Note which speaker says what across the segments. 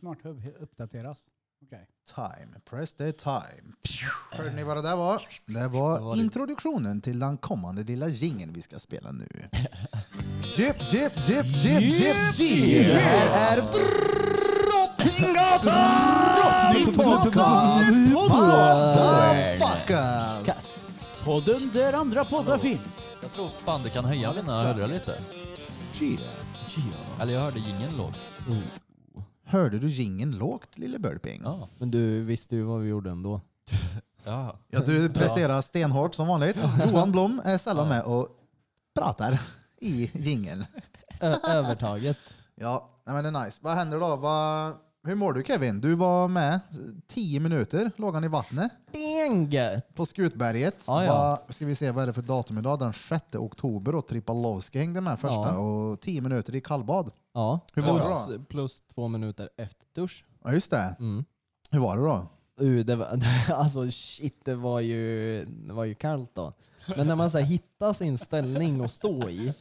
Speaker 1: SmartHub he- uppdateras. Okej.
Speaker 2: Time, press the time. Hörde ni vad det där var? Det var, introduktionen till den kommande lilla jingeln vi ska spela nu. Jip, jip, jip, jip, jip, jip. Det här är Drottninggatan Podcast! Podcast!
Speaker 1: Podden där andra poddar finns.
Speaker 3: Jag tror fan du kan höja mina hörlurar lite. Eller jag hörde ingen låg.
Speaker 2: Hörde du jingeln lågt, lille Burping?
Speaker 3: Ja.
Speaker 4: Men du visste ju vad vi gjorde ändå.
Speaker 3: ja.
Speaker 2: Ja, du presterar stenhårt som vanligt. Johan Blom är sällan med och pratar i jingeln.
Speaker 4: Ö- övertaget.
Speaker 2: Ja, nej, men det är nice. Vad händer då? Vad, hur mår du Kevin? Du var med 10 minuter, låg han i vattnet
Speaker 4: Inget!
Speaker 2: på Skutberget.
Speaker 4: Ja, ja.
Speaker 2: Vad, ska vi se vad är det för datum idag? Den 6 oktober och Tripalovski hängde med första
Speaker 4: Ja.
Speaker 2: och 10 minuter i kallbad.
Speaker 4: Ja.
Speaker 2: Hur var det
Speaker 4: plus,
Speaker 2: då?
Speaker 4: plus två minuter efter dusch.
Speaker 2: Ja, just det.
Speaker 4: Mm.
Speaker 2: Hur var det då?
Speaker 4: Uh, det var, alltså shit, det var ju, det var ju kallt då. Men när man så här, hittar sin ställning att stå i,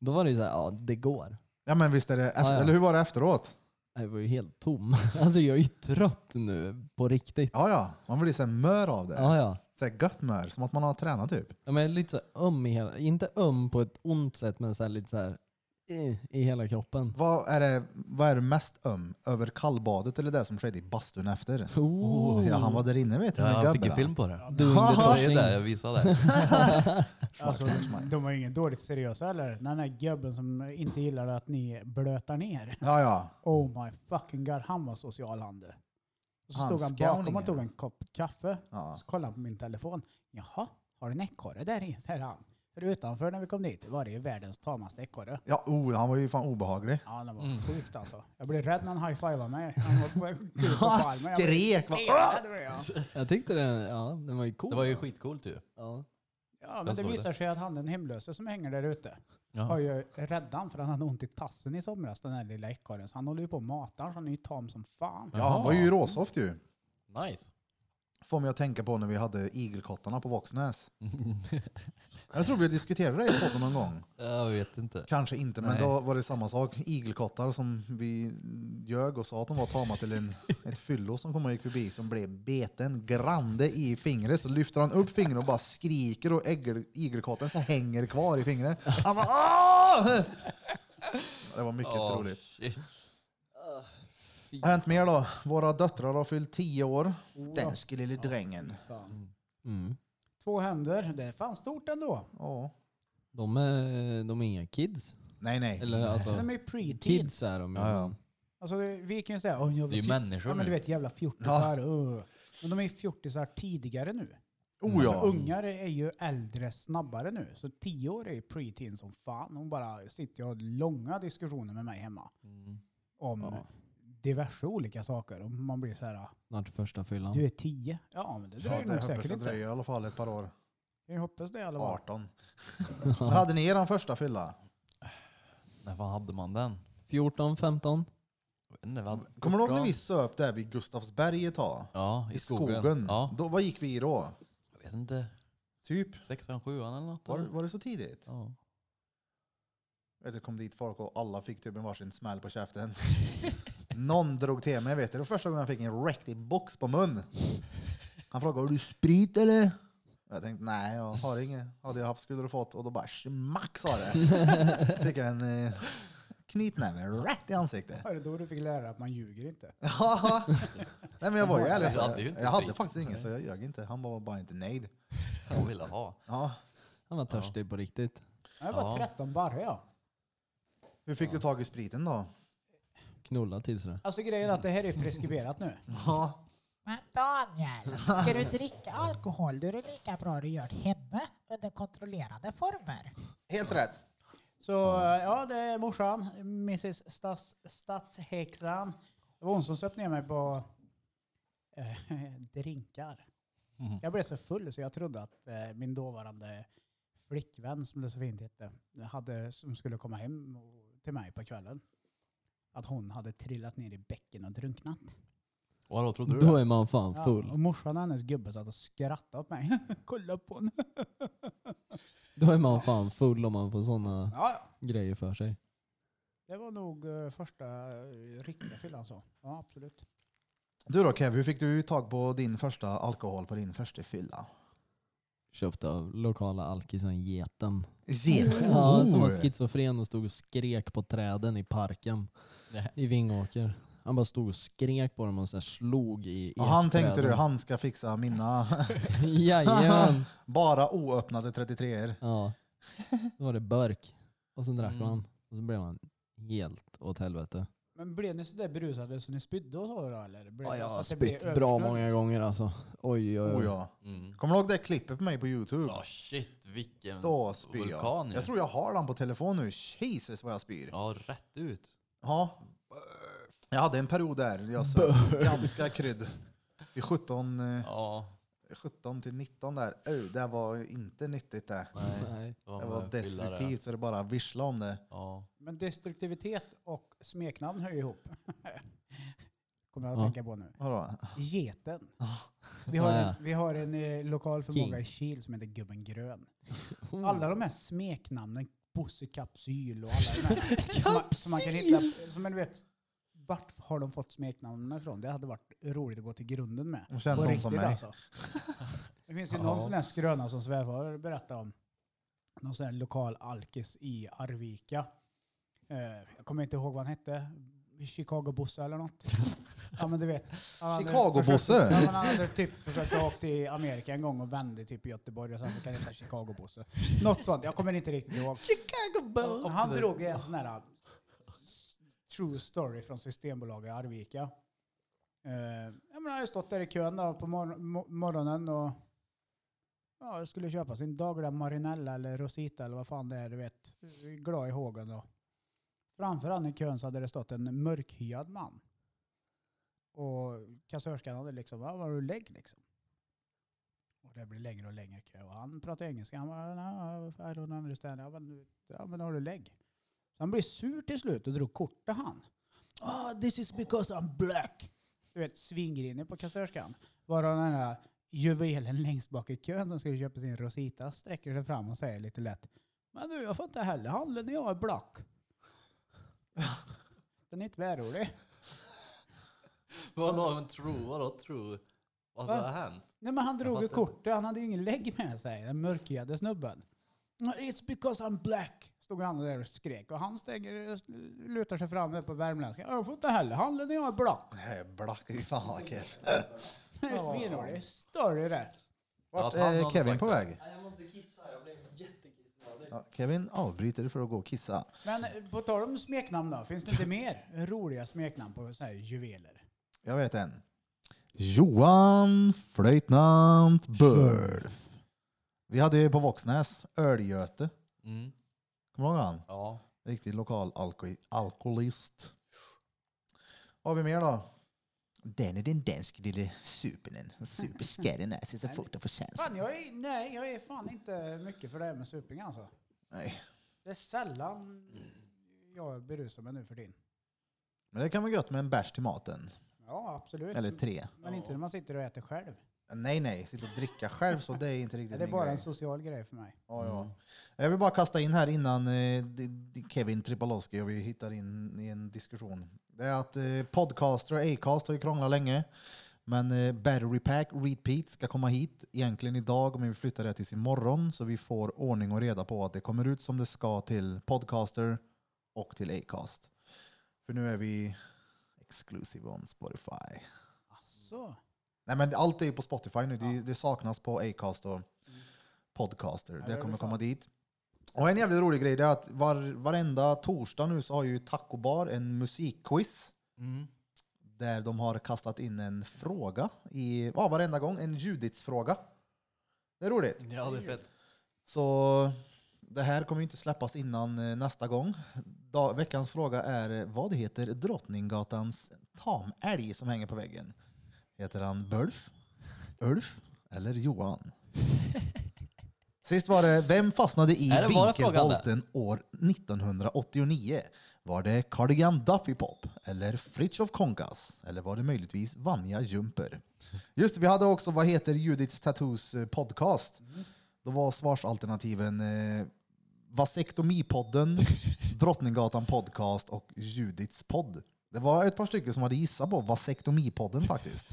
Speaker 4: då var det ju såhär, ja det går.
Speaker 2: Ja, men visst är det, efter,
Speaker 4: Ja, ja.
Speaker 2: eller hur var det efteråt?
Speaker 4: Jag var ju helt tom. Alltså jag är ju trött nu, på riktigt.
Speaker 2: Ja, ja. Man blir så här mör av det.
Speaker 4: Ja, ja.
Speaker 2: Så här gött mör, som att man har tränat typ.
Speaker 4: ja men lite så här öm i hela, inte öm på ett ont sätt, men så här, lite så här eh, i hela kroppen.
Speaker 2: Vad är, det, vad är du mest öm? Över kallbadet eller det som skedde i bastun efter? Oh, ja, han var där inne vet du. med
Speaker 3: ja jag fick
Speaker 2: gubbarna.
Speaker 3: en film på det.
Speaker 4: Du
Speaker 2: Haha.
Speaker 3: Det är där jag visade det.
Speaker 1: Alltså, de var ju inget dåligt seriösa eller? Den där gubben som inte gillar att ni blötar ner.
Speaker 2: Ja, ja.
Speaker 1: Oh my fucking god, han var social han du. Och Så
Speaker 2: Han
Speaker 1: stod han
Speaker 2: skåningen.
Speaker 1: bakom och tog en kopp kaffe.
Speaker 2: Ja.
Speaker 1: Så kollade han på min telefon. Jaha, har du en ekorre där inne? säger han. För utanför när vi kom dit var det ju världens tamaste ekorre.
Speaker 2: ja oh, han var ju fan obehaglig.
Speaker 1: Ja, den var sjukt alltså. Jag blev rädd när han high-fivade mig. Han var på väg att krypa på
Speaker 2: Han
Speaker 1: armen. Jag blev
Speaker 2: skrek! va?
Speaker 1: livrädd, det blev jag.
Speaker 4: Jag tyckte den, ja, den var ju cool.
Speaker 3: Det var ju skitcoolt ju.
Speaker 4: ja.
Speaker 1: Ja, men
Speaker 3: Jag
Speaker 1: det
Speaker 3: såg
Speaker 1: visar sig att han den hemlöse som hänger där ute har
Speaker 3: Ja.
Speaker 1: ju räddat han för han hade ont i tassen i somras, den här lilla ekorren. Så han håller ju på och matar han, så han är ju tam som fan.
Speaker 2: Ja, han var ju råsoft ju.
Speaker 3: Nice.
Speaker 2: Får mig att tänka på när vi hade igelkottarna på Våxnäs. Jag tror vi diskuterade det i podden någon gång.
Speaker 3: Jag vet inte.
Speaker 2: Kanske inte, men
Speaker 3: Nej.
Speaker 2: då var det samma sak. Igelkottar som vi ljög och sa att de var tama till en, ett fyllo som kom och gick förbi som blev beten grande i fingret. Så lyfter han upp fingret och bara skriker och ägel, igelkotten så hänger kvar i fingret. Han bara, "Åh!" det var mycket
Speaker 3: Åh,
Speaker 2: roligt.
Speaker 3: shit.
Speaker 1: Ah,
Speaker 2: Vad har hänt mer då? Våra döttrar har fyllt 10 år. Danske lille drängen.
Speaker 1: Fan.
Speaker 4: Mm.
Speaker 1: Två händer, det är fan stort ändå.
Speaker 2: Ja.
Speaker 4: De, är, de är inga kids.
Speaker 2: Nej, nej.
Speaker 4: Eller alltså,
Speaker 1: De är ju pre-teens.
Speaker 4: kids är de ju.
Speaker 3: Ja, ja.
Speaker 1: Alltså, vi kan ju säga, oh, jag
Speaker 3: Det är ju människor
Speaker 1: ja, men du
Speaker 3: nu.
Speaker 1: vet jävla fjortisar. Uh. Men de är ju fjortisar tidigare nu. Alltså,
Speaker 2: Oh ja.
Speaker 1: Ungar är ju äldre snabbare nu. Så tio år är ju pre-teen som fan. Hon bara sitter och har långa diskussioner med mig hemma.
Speaker 3: Mm.
Speaker 1: Om
Speaker 4: Ja.
Speaker 1: diverse olika saker. Och man blir så här, "Ah,
Speaker 4: Snart första fyllan.
Speaker 1: du är tio? Ja, men det
Speaker 2: Ja,
Speaker 1: dröjer
Speaker 2: det
Speaker 1: nog
Speaker 2: hoppas
Speaker 1: säkert
Speaker 2: jag
Speaker 1: inte.
Speaker 2: dröjer i alla fall ett par år.
Speaker 1: Jag hoppas det i alla fall.
Speaker 2: 18. När hade ni er första fylla?
Speaker 3: När fan hade man den?
Speaker 4: 14, 15.
Speaker 3: Jag vet inte, vi hade-
Speaker 2: Kommer du ihåg när vi söp där vid Gustavsberg ett tag?
Speaker 3: Ja,
Speaker 2: I skogen.
Speaker 3: Ja,
Speaker 2: Då, vad gick vi i då?
Speaker 3: jag vet inte.
Speaker 2: Typ?
Speaker 3: Sexan, sjuan eller något.
Speaker 2: Var, var det så tidigt?
Speaker 3: Ja.
Speaker 2: Vet du, kom dit folk och alla fick typ en varsin smäll på käften. Någon drog till mig vet du. Det var första gången jag fick en riktig box på mun. Han frågade, har du sprit eller? Jag tänkte, nej jag har inget. Hade jag haft skulle du fått. Och då bara smack sa det. Fick jag en eh, knytnäve rätt i ansiktet.
Speaker 1: Var det då du fick lära dig att man ljuger inte?
Speaker 2: Ja. Nej men jag var ju ärlig.
Speaker 3: Du hade ju inte
Speaker 2: Jag hade
Speaker 3: sprit.
Speaker 2: faktiskt inget så jag ljög inte. Han var bara inte nöjd.
Speaker 3: Jag ville ha.
Speaker 2: Ja.
Speaker 4: Han var törstig på riktigt.
Speaker 1: Jag var
Speaker 3: Ja.
Speaker 1: 13 bara ja.
Speaker 2: Hur fick du tag i spriten då?
Speaker 4: Knulla tills det.
Speaker 1: Alltså grejen är att det här är preskriberat nu.
Speaker 2: Ja.
Speaker 5: Men Daniel, ska du dricka alkohol då är det lika bra du gör det hemma under kontrollerade former.
Speaker 2: Helt rätt.
Speaker 1: Så eh, ja, det är morsan, mrs Stats, Statshäxan. Det var hon som söp ner mig på eh, drinkar.
Speaker 3: Mhm.
Speaker 1: Jag blev så full så jag trodde att eh, min dåvarande flickvän, som det så fint hette, hade, som skulle komma hem och- till mig på kvällen, att hon hade trillat ner i bäcken och drunknat.
Speaker 3: Och hallå, trodde du
Speaker 4: Då
Speaker 3: det?
Speaker 4: är man fan
Speaker 1: Ja,
Speaker 4: full.
Speaker 1: och morsan och hennes gubbe satt och skrattade åt mig. Kolla på henne.
Speaker 4: Då är man fan full om man får såna
Speaker 1: Ja, ja.
Speaker 4: grejer för sig.
Speaker 1: Det var nog eh, första eh, riktiga fyllan så. Ja, absolut.
Speaker 2: Du då Kev, hur fick du tag på din första alkohol på din första fylla?
Speaker 4: Köpt av lokala alkisen Geten.
Speaker 2: Geten?
Speaker 4: Ja,
Speaker 2: Oh.
Speaker 4: som var schizofren och stod och skrek på träden i parken
Speaker 3: Nej.
Speaker 4: i Vingåker. Han bara stod och skrek på dem och sen slog i
Speaker 2: Och han
Speaker 4: ekträden.
Speaker 2: tänkte du, han ska fixa mina
Speaker 4: Jajamän.
Speaker 2: bara oöppnade 33
Speaker 4: Ja. Då var det burk. Och sen drack
Speaker 3: Mm.
Speaker 4: man. Och så blev man helt åt helvete.
Speaker 1: Men blev ni så där berusade så ni spydde och så då eller? Blev
Speaker 4: Ja,
Speaker 1: det
Speaker 4: jag
Speaker 1: så
Speaker 4: har
Speaker 1: att det blev
Speaker 4: spytt bra
Speaker 1: överskuggande?
Speaker 4: många gånger alltså. Oj, oj,
Speaker 2: Oh,
Speaker 4: oj.
Speaker 2: ja.
Speaker 3: Mm.
Speaker 2: Kommer du ihåg det klippet på mig på Youtube?
Speaker 3: Ja, shit vilken
Speaker 2: Då spyr
Speaker 3: vulkan
Speaker 2: jag.
Speaker 3: ju.
Speaker 2: Jag tror jag har den på telefon nu. Jesus vad jag spyr.
Speaker 3: Ja, rätt ut.
Speaker 2: Ja. Jag hade en period där jag söp ganska krydd. I 17, eh,
Speaker 3: Ja,
Speaker 2: 17 till 19 där. Öj, det var ju inte nyttigt det.
Speaker 3: nej.
Speaker 4: Nej.
Speaker 2: Det var
Speaker 3: en fyllare.
Speaker 2: destruktivt så det bara vissla om det.
Speaker 3: Ja.
Speaker 1: Men destruktivitet och smeknamn hör ju ihop. Kommer jag att
Speaker 4: Ja.
Speaker 1: tänka på nu.
Speaker 2: Vadå?
Speaker 1: Geten. Vi har,
Speaker 4: Ja,
Speaker 1: en,
Speaker 4: ja.
Speaker 1: vi har en eh, lokal förmåga
Speaker 4: King.
Speaker 1: i Kil som heter Gubben Grön. Alla de här smeknamnen, Bosse Kapsyl och alla de här. som, man, som man kan hitta, som man vet, vart har de fått smeknamnen ifrån? Det hade varit roligt att gå till grunden med.
Speaker 2: Och sen
Speaker 1: På
Speaker 2: någon
Speaker 1: riktigt
Speaker 2: som mig.
Speaker 1: alltså. Det finns ju någon sån här skröna som svärfar berättar om. Någon sån här lokal alkis i Arvika. Eh, jag kommer inte ihåg vad han hette. Chicago-Bosse eller något. ja men du vet. han hade
Speaker 2: Chicago-Bosse?
Speaker 1: försökt- Ja men han hade typ försökt åka till Amerika en gång och vände typ i Göteborg och sen så kan det heta Chicago-Bosse. Något sånt. Jag kommer inte riktigt ihåg. Chicago-Bosse! Om han drog en sån här s- true story från Systembolaget i Arvika. Eh, jag, menar, jag har stått där i kön då på mor- mo- morgonen och ja, jag skulle köpa sin dagliga marinella eller rosita eller vad fan det är, du vet. Glad i hågen då. Framför han i kön så hade det stått en mörkhyad man. Och kassörskan hade liksom, vad var du lägg liksom? Och det blev längre och längre kö. Och han pratade engelska. Han bara, no, I don't understand. Ja men, ja, men har du lägg? Så han blev sur till slut och drog kortet han. Ah, this is because I'm black. Du vet, svingrinig på kassörskan. Bara den här juvelen längst bak i kön som skulle köpa sin Rosita sträcker sig fram och säger lite lätt. Men du, jag får inte heller handla när jag är black. Den är tvärrolig.
Speaker 3: Vadå, men tro, vadå tro? Vad
Speaker 1: Va?
Speaker 3: har hänt?
Speaker 1: Nej men han drog ju
Speaker 3: fattar inte.
Speaker 1: kortet, han hade ju ingen lägg med sig, den mörkhyade snubben. It's because I'm black, stod han där och skrek. Och han stänger, lutar sig fram där på värmländska. Jag får inte heller handla när jag är black.
Speaker 2: Nej, black. Fy fan vad kess.
Speaker 1: Det är svinrolig. Story där.
Speaker 2: Vart
Speaker 3: Att han
Speaker 2: är
Speaker 3: hade
Speaker 2: Kevin
Speaker 3: sagt
Speaker 2: på
Speaker 3: det.
Speaker 2: väg?
Speaker 4: Jag måste kissa, jag blev jättekissnödig.
Speaker 2: Ja, Kevin avbryter för att gå och kissa.
Speaker 1: Men eh, på tal om smeknamn då, finns det inte mer roliga smeknamn på så här juveler?
Speaker 2: Jag vet en. Johan Flöjtnant Burf. Vi hade ju på Våxnäs Ölgöte.
Speaker 3: Mm.
Speaker 2: Kommer du ihåg han?
Speaker 3: Ja.
Speaker 2: Riktig lokal alko- alkoholist. Vad har vi mer då? Den är den danske lille supenen. Superskallen är sig så fort den får
Speaker 1: Fan, jag är, nej, jag är fan inte mycket för det här med suping alltså.
Speaker 2: Nej,
Speaker 1: Det är sällan jag berusar mig nu för din.
Speaker 2: men det kan vara gött med en bärs till maten.
Speaker 1: Ja, absolut.
Speaker 2: Eller tre.
Speaker 1: Men inte när man sitter och äter själv.
Speaker 2: Nej, nej. Sitta och dricka själv så det är inte
Speaker 1: Det
Speaker 2: riktigt
Speaker 1: är
Speaker 2: min
Speaker 1: bara
Speaker 2: grej.
Speaker 1: en social grej för mig.
Speaker 2: Ja, ja. Jag vill bara kasta in här innan eh, d- d- Kevin Tripolowski och vi hittar in i en diskussion. Det är att eh, podcaster och Acast har ju krånglat länge. Men eh, Battery Pack Repeat ska komma hit egentligen idag men vi flyttar det tills imorgon så vi får ordning och reda på att det kommer ut som det ska till Podcaster och till Acast. För nu är vi exclusive on Spotify.
Speaker 1: Asså.
Speaker 2: Nej men allt är ju på Spotify nu. Det, det saknas på Acast och Podcaster.
Speaker 1: Mm. Ja, det
Speaker 2: Det
Speaker 1: är
Speaker 2: kommer
Speaker 1: det
Speaker 2: komma
Speaker 1: sant.
Speaker 2: dit. Och en jävligt rolig grej det är att var, varenda torsdag nu så har ju Taco Bar en musikquiz.
Speaker 3: Mm.
Speaker 2: Där de har kastat in en fråga. I, ja, varenda gång. En Judits-fråga. Det är roligt.
Speaker 3: Ja, det är fett.
Speaker 2: Så det här kommer ju inte släppas innan eh, nästa gång. Da, veckans fråga är eh, vad heter Drottninggatans tamälg som hänger på väggen? Heter han Bulf, Ulf eller Johan? Sist var det, vem fastnade i
Speaker 3: Är det bara frågan där?
Speaker 2: vinkelvolten år 1989? Var det Cardigan Duffy Pop eller Fritiof Konkas? Eller var det möjligtvis Vanja Jumper? Just det, vi hade också Vad heter Judiths Tattoos eh, podcast. Då var svarsalternativen eh, Vasektomipodden, Drottninggatan podcast och Judits podd. Det var ett par stycken som hade gissat på Vasektomipodden faktiskt.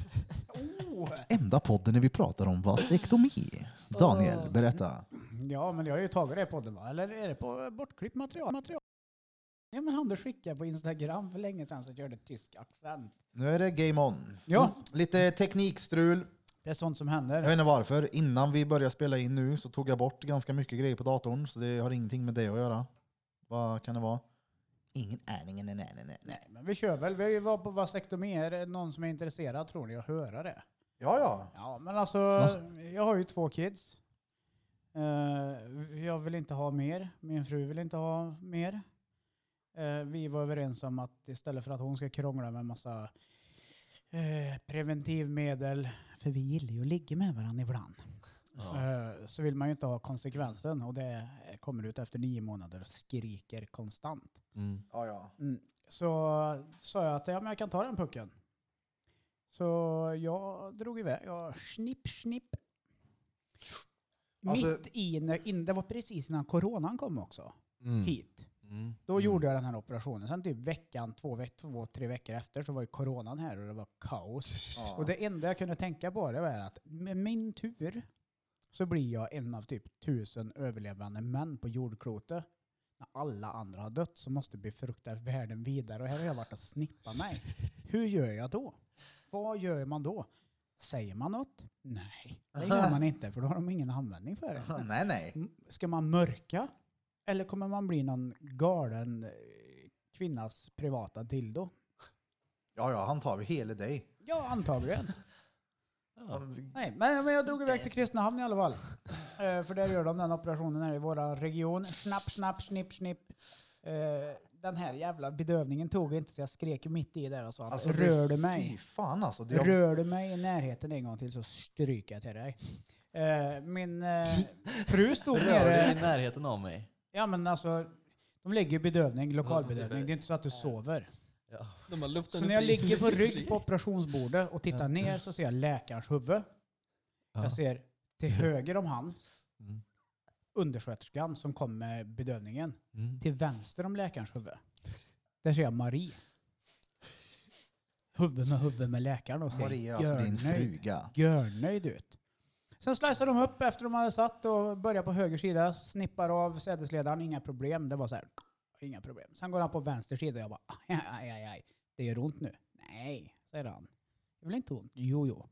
Speaker 2: Enda podden när vi pratar om vasektomi. Daniel, berätta.
Speaker 1: Ja, men jag har ju tagit det i podden va? Eller är det på bortklippt material? material? Ja, men Anders skickade på Instagram för länge sedan så körde tysk accent.
Speaker 2: Nu är det game on.
Speaker 1: Ja.
Speaker 2: Mm. Lite teknikstrul.
Speaker 1: Det är sånt som
Speaker 2: Jag vet
Speaker 1: händer.
Speaker 2: inte varför. Innan vi började spela in nu så tog jag bort ganska mycket grejer på datorn. Så det har ingenting med det att göra. Vad kan det vara? Ingen aning. Nej, nej, nej, nej.
Speaker 1: Nej, men vi kör väl. Vi har ju varit på vasektomi. Är det någon som är intresserad tror ni att höra det?
Speaker 2: Ja, ja.
Speaker 1: Ja, men alltså, jag har ju två kids. Eh, jag vill inte ha mer. Min fru vill inte ha mer. Eh, vi var överens om att istället för att hon ska krångla med massa eh, preventivmedel, för vi gillar ju att ligga med varandra ibland,
Speaker 3: Ja.
Speaker 1: eh, så vill man ju inte ha konsekvensen. Och det kommer ut efter nio månader och skriker konstant.
Speaker 3: Mm.
Speaker 2: ja, ja.
Speaker 1: Mm. Så sa jag att ja, men jag kan ta den pucken. Så jag drog iväg. Jag snipp, snipp.
Speaker 2: Alltså-
Speaker 1: Mitt i, när- in, det var precis innan coronan kom också,
Speaker 4: Mm.
Speaker 1: hit.
Speaker 3: Mm.
Speaker 1: Då gjorde jag den här operationen. Sen typ veckan, två, veck, två, tre veckor efter så var ju coronan här och det var kaos.
Speaker 2: ja.
Speaker 1: Och det enda jag kunde tänka på det var att med min tur så blir jag en av typ tusen överlevande män på jordklotet. När alla andra har dött så måste befrukta världen vidare och här har jag varit och snippat mig. Hur gör jag då? Vad gör man då? Säger man något? Nej, det gör man inte för då har de ingen användning för det.
Speaker 2: nej, nej.
Speaker 1: M- Ska man mörka? Eller kommer man bli någon galen eh, kvinnas privata dildo?
Speaker 2: Ja, ja, han tar vi hela dig.
Speaker 1: Ja, antagligen.
Speaker 3: Ja.
Speaker 1: Nej, men, men jag drog iväg till Kristinehamn i alla fall. Eh, för där gör de den operationen här i vår region. Snapp, snapp, snipp, snipp. Eh, den här jävla bedövningen tog inte så jag skrek ju mitt i där och sa att
Speaker 2: Alltså, det-
Speaker 1: rör du mig?
Speaker 2: Fy fan alltså. Det, jag,
Speaker 1: Rör du mig i närheten en gång till så stryker jag till dig. Eh, min eh, fru stod
Speaker 3: Rör dig i
Speaker 1: nere.
Speaker 3: närheten av mig.
Speaker 1: Ja men alltså, de lägger ju bedövning, lokalbedövning. Det är inte så att du sover.
Speaker 3: Ja.
Speaker 4: De har luften
Speaker 1: Så när jag ligger på rygg på operationsbordet och tittar ner så ser jag läkarens huvud.
Speaker 3: Ja.
Speaker 1: Jag ser till höger om han,
Speaker 3: Mm.
Speaker 1: undersköterskan som kom med bedövningen.
Speaker 3: Mm.
Speaker 1: Till vänster om läkarens huvud, där ser jag Marie. Huvud med huvud med läkaren och ser
Speaker 2: Maria, alltså din fruga.
Speaker 1: görnöjd ut. Sen slicear de upp efter de hade satt och börjar på höger sida, snippar av sädesledaren, inga problem. Det var så här, inga problem. Sen går han på vänster sida och jag bara, aj, aj, aj, aj. det gör ont nu. Nej, säger han. Det blir inte ont. Jo, jo.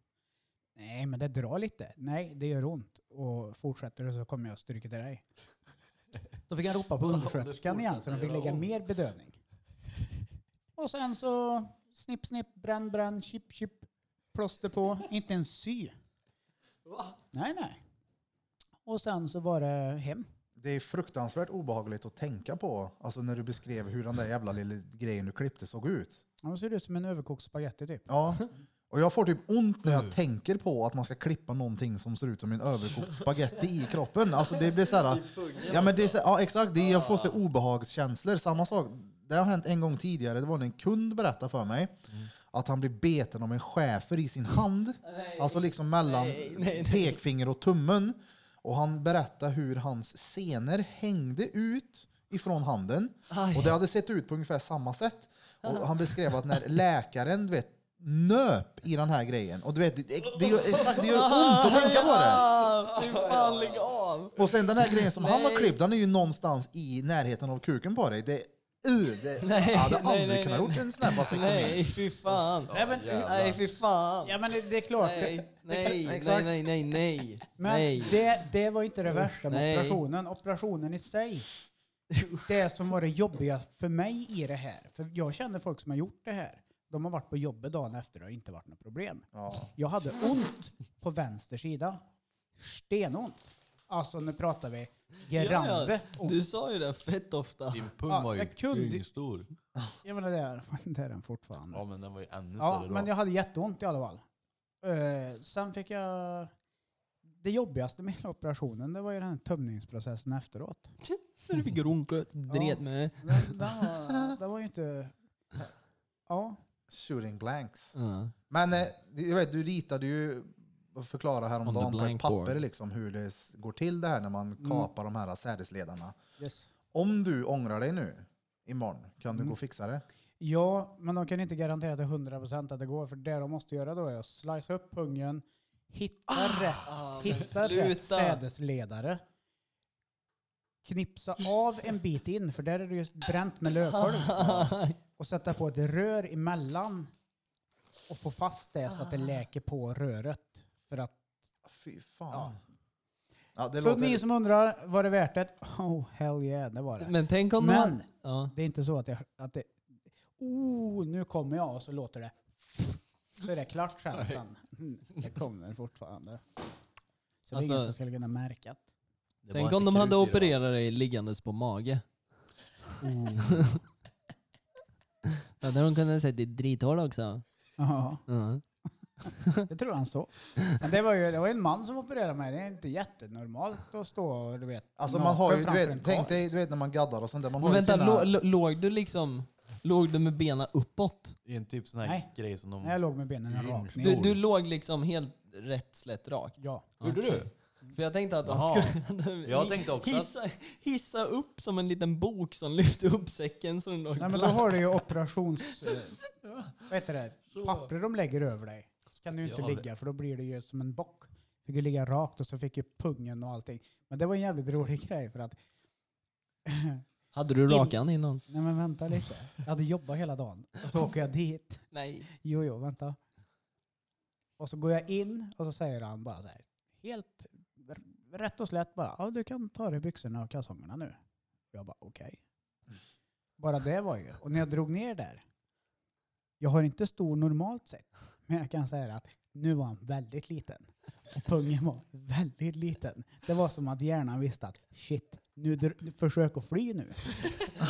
Speaker 1: Nej, men det drar lite. Nej, det gör ont. Och fortsätter det så kommer jag stryka till dig. Då fick han ropa på
Speaker 3: Om det
Speaker 1: undersköterskan igen så de fick
Speaker 3: fortsätter
Speaker 1: lägga
Speaker 3: göra
Speaker 1: mer bedövning. Och sen så snipp, snipp, bränn, bränn, chip, chip, plåster på. Inte en sy. Nej, nej. Och sen så var det hem.
Speaker 2: det är fruktansvärt obehagligt att tänka på. Alltså när du beskrev hur den där jävla lilla grejen du klippte såg ut.
Speaker 1: Han ser ut som en överkokt spagetti typ.
Speaker 2: Ja. Och jag får typ ont när jag tänker på att man ska klippa någonting som ser ut som en överkokt spagetti i kroppen. Alltså det blir så här. Ja, men det är så, ja exakt, det är, jag får så obehagskänslor. Samma sak, det har hänt en gång tidigare. Det var när en kund berättade för mig att han blev beten av en schäfer i sin hand. Alltså liksom mellan
Speaker 4: Nej, nej, nej.
Speaker 2: pekfinger och tummen. Och han berättade hur hans senor hängde ut ifrån handen.
Speaker 4: Aj.
Speaker 2: Och det hade sett ut på ungefär samma sätt. Och han beskrev att när läkaren, du vet, nöp i den här grejen. Och du vet, det, det, gör, exakt, det gör ont att tänka på det.
Speaker 4: Ah, Fy fan, lägg av!
Speaker 2: Och sen den här grejen som han
Speaker 4: Nej.
Speaker 2: har klippt, den är ju någonstans i närheten av kuken på dig. Det, uh, det,
Speaker 4: Nej,
Speaker 2: jag hade
Speaker 4: nej,
Speaker 2: aldrig
Speaker 4: nej,
Speaker 2: kunnat
Speaker 4: nej,
Speaker 2: gjort en snabb
Speaker 4: Nej,
Speaker 2: vasektomi.
Speaker 4: fy fan!
Speaker 1: Nej, men,
Speaker 4: Nej, fy fan!
Speaker 1: ja, men det, det är klart.
Speaker 4: Nej, nej,
Speaker 2: Exakt.
Speaker 4: nej, nej, nej, nej.
Speaker 1: Men
Speaker 4: nej.
Speaker 1: det, det var inte det värsta med
Speaker 4: Nej.
Speaker 1: operationen. Operationen i sig. Det som var det jobbiga för mig i det här. För jag känner folk som har gjort det här. De har varit på jobbet dagen efter och inte varit något problem.
Speaker 2: Ja.
Speaker 1: Jag hade ont på vänster sida. Stenont. Alltså nu pratar vi grande ont.
Speaker 4: Du sa ju det fett ofta.
Speaker 3: Din pung
Speaker 1: Ja,
Speaker 3: var ju
Speaker 1: jag kunde-
Speaker 3: dyngstor.
Speaker 1: Jag menar det är, det är den fortfarande.
Speaker 3: Ja men den var ju ännu
Speaker 1: Ja,
Speaker 3: större då.
Speaker 1: men jag hade jätteont i alla fall. Eh, sen fick jag... Det jobbigaste med hela operationen det var ju den här tömningsprocessen efteråt.
Speaker 4: När du fick runka och dret
Speaker 1: Ja.
Speaker 4: med.
Speaker 1: Den, den, var, den var ju inte... Ja.
Speaker 2: Shooting blanks.
Speaker 4: Ja.
Speaker 2: Men eh, jag vet, du ritade ju förklarade
Speaker 4: On
Speaker 2: häromdagen
Speaker 4: the
Speaker 2: på ett
Speaker 4: blank
Speaker 2: papper
Speaker 4: board.
Speaker 2: liksom, hur det s- går till det här när man
Speaker 1: Mm.
Speaker 2: kapar de här sädesledarna.
Speaker 1: Yes.
Speaker 2: Om du ångrar dig nu, imorgon, kan du
Speaker 1: Mm.
Speaker 2: gå och fixa det?
Speaker 1: Ja, men de kan inte garantera till 100% att det går. För det de måste göra då är att slicea upp pungen, hitta rätt, hitta rätt sädesledare, knipsa av en bit in, för där är det just bränt med lövkolv, och sätta på ett rör emellan och få fast det så att det läker på röret. För att,
Speaker 2: Fy fan. Ja.
Speaker 1: Ja.
Speaker 2: det
Speaker 1: så
Speaker 2: låter...
Speaker 1: ni som undrar, var det värt det? Oh, hell yeah, det var det.
Speaker 4: Men tänk om
Speaker 1: Men
Speaker 4: man... Ja.
Speaker 1: Det är inte så att, jag, att det... Oh, nu kommer jag och så låter det... Så är det klart sen. Mm, Det kommer fortfarande. Så det
Speaker 4: Alltså-
Speaker 1: är ingen som skulle kunna märka. att-
Speaker 3: Det
Speaker 4: Tänk
Speaker 3: var
Speaker 4: om
Speaker 3: inte
Speaker 4: de hade
Speaker 3: krut i det, va?
Speaker 4: opererat dig liggandes på mage. Då hade de kunnat säga ditt drithål också.
Speaker 1: Ja,
Speaker 4: Ja.
Speaker 1: det tror han så. Men det var ju det var en man som opererade mig. Det är inte jättenormalt att stå och du vet...
Speaker 2: Alltså man
Speaker 1: naken
Speaker 2: har ju, du
Speaker 1: framför en
Speaker 2: vet, tänk
Speaker 1: karl.
Speaker 2: dig du vet, när man gaddar och sånt där. Man
Speaker 4: Men
Speaker 2: har ju
Speaker 4: vänta,
Speaker 2: sina...
Speaker 4: lå- lå- låg du liksom... Låg du med benen uppåt?
Speaker 3: Det är en typ sån här
Speaker 1: Nej.
Speaker 3: grej som de...
Speaker 1: Nej, Jag låg med benen rakt
Speaker 4: Du,
Speaker 1: ner.
Speaker 4: du låg liksom helt rätt slätt rakt?
Speaker 1: Ja.
Speaker 3: Gjorde
Speaker 4: Okej. För jag tänkte att han
Speaker 3: Jaha.
Speaker 4: skulle...
Speaker 3: Jag tänkte också att-
Speaker 4: hissa, hissa upp som en liten bok som lyfte upp säcken så den låg
Speaker 1: Nej men då
Speaker 4: platt.
Speaker 1: har du ju operations... eh, Vad heter det? Papper de lägger över dig. kan du inte
Speaker 3: Special.
Speaker 1: ligga för då blir det ju som en bock. Fick ju ligga rakt och så fick ju pungen och allting. Men det var en jävligt rolig grej för att...
Speaker 4: Hade du rakan innan?
Speaker 1: Nej men vänta lite. Jag hade jobbat hela dagen och så åker jag dit.
Speaker 4: Nej.
Speaker 1: Jo jo, vänta. Och så går jag in och så säger han bara så här. Helt r- rätt och slätt bara. Ja du kan ta dig byxorna och kalsongerna nu. Jag bara okej. Bara det var ju. Och när jag drog ner där. Jag har inte stor normalt sett. Men jag kan säga att nu var han väldigt liten. Och pungen var väldigt liten. Det var som att hjärnan visste att shit, nu dr- försök att fly nu.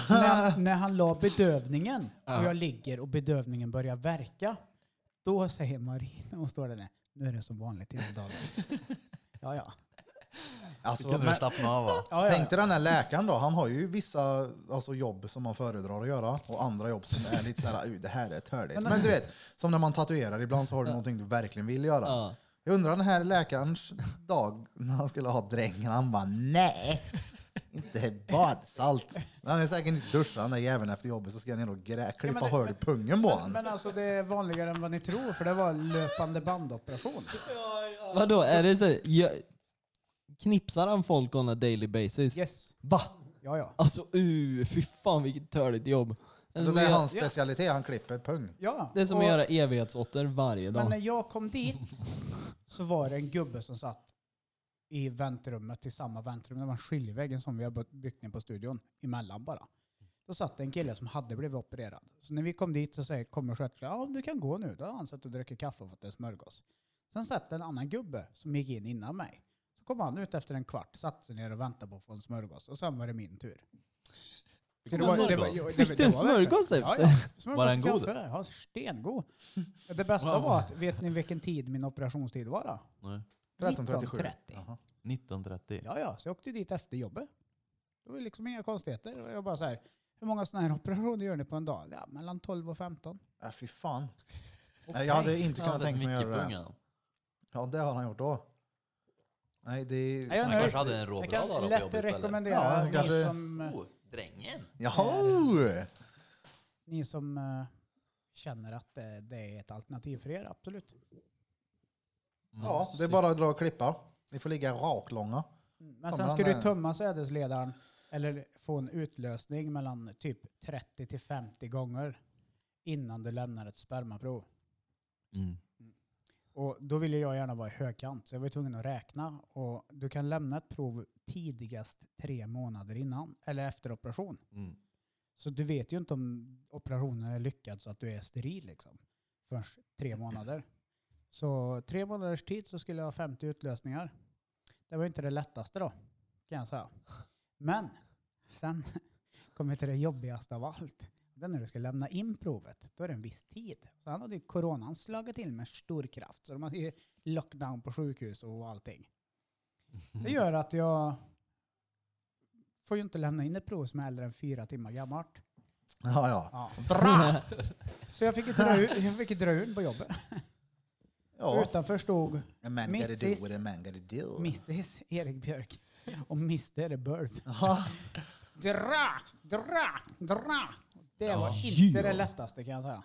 Speaker 1: Så när, han- när han la bedövningen och jag ligger och bedövningen börjar verka. Då säger Marina, hon står där nere, nu är det som vanligt inom dagen. Ja, ja.
Speaker 3: Så
Speaker 2: alltså,
Speaker 3: kan du
Speaker 2: men,
Speaker 3: slappna av va?
Speaker 1: ja, ja,
Speaker 2: tänk
Speaker 1: ja.
Speaker 2: dig den här läkaren då. Han har ju vissa alltså, jobb som man föredrar att göra och andra jobb som är lite såhär, "Uh, det här är törligt. Men du vet, som när man tatuerar, ibland så har du någonting du verkligen vill göra.
Speaker 4: Ja.
Speaker 2: Jag undrar den här läkarens dag när han skulle ha drängen. Han bara nej, inte badsalt. Han är säkert inte duschad den där jäveln efter jobbet så ska jag ner och grä, klippa
Speaker 1: det-
Speaker 2: hål i pungen på
Speaker 1: Men,
Speaker 2: honom.
Speaker 1: men alltså det är vanligare än vad ni tror för det var löpande bandoperation.
Speaker 4: Vadå, är det så? här, gö- knipsar han folk on a daily basis?
Speaker 1: Yes.
Speaker 4: Va?
Speaker 1: Ja, ja.
Speaker 4: Alltså uh, fy fan vilket törligt jobb. Det
Speaker 1: Alltså,
Speaker 2: Så
Speaker 4: är som
Speaker 2: det är
Speaker 4: att
Speaker 2: hans
Speaker 1: Ja.
Speaker 2: specialitet, han klipper pung.
Speaker 1: ja.
Speaker 4: göra- det är som
Speaker 1: och-
Speaker 4: att göra evighetsotter varje
Speaker 1: Men
Speaker 4: dag.
Speaker 1: när jag kom dit så var det en gubbe som satt i väntrummet, i samma väntrum. Det var en skiljevägg en som vi har byggt- byggt ner på studion, emellan bara. Då satt det en kille som hade blivit opererad. Så när vi kom dit så säger, kommer sköterskan, ja du kan gå nu. Då har han suttit och druckit kaffe och fått en smörgås. Sen satt det en annan gubbe som gick in innan mig. Så kom han ut efter en kvart, satte sig ner och väntade på att få en smörgås. Och sen var det min tur. Så
Speaker 3: en smörgås?
Speaker 1: jo,
Speaker 4: Fick du
Speaker 1: det var
Speaker 4: en
Speaker 1: verkligen-
Speaker 4: smörgås
Speaker 1: Ja,
Speaker 4: efter?
Speaker 1: ja. Smörgås
Speaker 3: Var den
Speaker 1: och
Speaker 3: god?
Speaker 1: kaffe. Ja, stengod. Det bästa var att, vet ni vilken tid min operationstid var då?
Speaker 3: Nej.
Speaker 2: 13.37.
Speaker 1: 19.30.
Speaker 2: Jaha.
Speaker 3: 19.30.
Speaker 1: Ja, ja, så jag åkte dit efter jobbet. Det var ju liksom inga konstigheter. Och Jag bara så här, hur många sådana här operationer gör ni på en dag? Ja, mellan 12 och 15.
Speaker 2: Äh, fy fan. Nej, jag hade inte
Speaker 3: Han har
Speaker 2: kunnat
Speaker 3: sett
Speaker 2: tänka mig att
Speaker 3: mycket
Speaker 2: göra det.
Speaker 3: pungar, han.
Speaker 2: Ja, det har han gjort då. Nej, det är...
Speaker 1: Nej, jag är
Speaker 3: Han
Speaker 1: nöjd.
Speaker 3: kanske hade en råbra
Speaker 1: Jag
Speaker 3: dag då
Speaker 1: kan
Speaker 3: på jobbet
Speaker 1: lätt
Speaker 3: istället.
Speaker 2: Ja,
Speaker 1: rekommendera ni,
Speaker 2: kanske-
Speaker 1: som, eh,
Speaker 3: Oh, drängen!
Speaker 2: Jaha!
Speaker 1: ni som eh, känner att eh, det är ett alternativ för er, absolut.
Speaker 2: Ja, det är bara att dra och klippa. Ni får ligga raklånga.
Speaker 1: Mm, Men
Speaker 2: Ja,
Speaker 1: sen
Speaker 2: men
Speaker 1: ska
Speaker 2: han
Speaker 1: du
Speaker 2: är-
Speaker 1: tömma sädesledaren eller få en utlösning mellan typ 30 till 50 gånger innan du lämnar ett spermaprov.
Speaker 3: Mm.
Speaker 1: Och då ville jag gärna vara i högkant, så jag var tvungen att räkna. Och du kan lämna ett prov tidigast tre månader innan, eller efter operation.
Speaker 3: Mm.
Speaker 1: Så du vet ju inte om operationen är lyckad så att du är steril liksom. Förrän tre månader. Så tre månaders tid så skulle jag ha 50 utlösningar. Det var ju inte det lättaste då, kan jag säga. Men sen kom vi till det jobbigaste av allt. Det är när du ska lämna in provet. Då är det en viss tid. Så han hade ju coronan slagit till med stor kraft. Så de hade ju lockdown på sjukhus och allting. Det gör att jag får ju inte lämna in ett prov som är äldre än fyra timmar gammalt.
Speaker 2: Ja, ja.
Speaker 1: Ja.
Speaker 2: Dra!
Speaker 1: Så jag fick ju dra ur, jag fick ju dra ur på jobbet.
Speaker 2: Ja.
Speaker 1: Utanför stod
Speaker 2: A man gotta do
Speaker 1: Mrs.
Speaker 2: what a man gotta do.
Speaker 1: Mrs Erik Björk och Mr Birth.
Speaker 2: Ja.
Speaker 1: Dra, dra, dra. Det var
Speaker 3: Ja.
Speaker 1: inte det lättaste kan jag säga.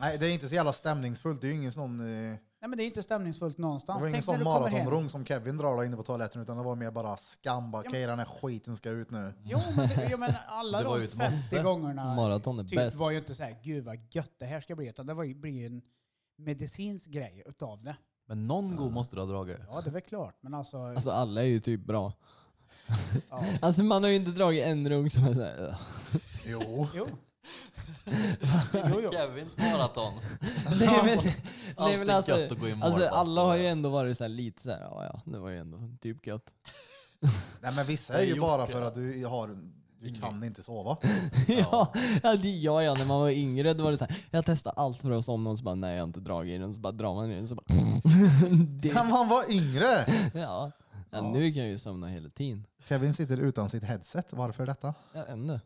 Speaker 2: Nej, det är inte så jävla stämningsfullt. Det är ju ingen sån, eh,
Speaker 1: Nej men det är inte stämningsfullt
Speaker 2: det
Speaker 1: någonstans.
Speaker 2: var ingen
Speaker 1: Tänk när
Speaker 2: sån
Speaker 1: du kommer hem.
Speaker 2: maratonrung som Kevin drar där inne på toaletten utan det var mer bara skam. Bara,
Speaker 1: Ja, men-
Speaker 2: Okej, den här skiten ska ut nu.
Speaker 1: Jo men, det, jo, men alla
Speaker 3: Det var
Speaker 1: de
Speaker 3: ju ett måste.
Speaker 1: 50 gångerna
Speaker 4: Maraton är
Speaker 1: typ,
Speaker 4: bäst.
Speaker 1: var ju inte så här, gud vad gött det här ska bli, utan det var ju, blir ju en medicinsk grej utav det.
Speaker 3: Men någon god måste du ha dragit.
Speaker 1: Ja det är väl klart, men alltså...
Speaker 4: Alltså alla är ju typ bra.
Speaker 1: ja.
Speaker 4: Alltså man har ju inte dragit en rung som är såhär... "Ugh."
Speaker 2: Jo.
Speaker 1: Jo. jo, jo.
Speaker 3: Kevins maraton.
Speaker 4: Det är väl, det är
Speaker 3: Alltid
Speaker 4: väl alltså,
Speaker 3: gött att gå i mål.
Speaker 4: alltså
Speaker 3: bara.
Speaker 4: alla har ju ändå varit såhär lite såhär, ja ja, det var ju ändå typ gött.
Speaker 2: Nej, men vissa
Speaker 3: Jag
Speaker 2: är ju
Speaker 3: gjort
Speaker 2: bara
Speaker 3: det.
Speaker 2: för att du har... Du kan inte sova.
Speaker 4: ja, ja, det gör jag när man var yngre. Då var det såhär, jag testade allt för att somna och så bara nej jag har inte dragit i den. Så bara drar man i den så bara...
Speaker 2: Kan
Speaker 4: det,
Speaker 2: man vara yngre?
Speaker 4: ja. ja, nu kan jag ju somna hela tiden.
Speaker 2: Kevin sitter utan sitt headset. Varför detta?
Speaker 4: Jag vet inte.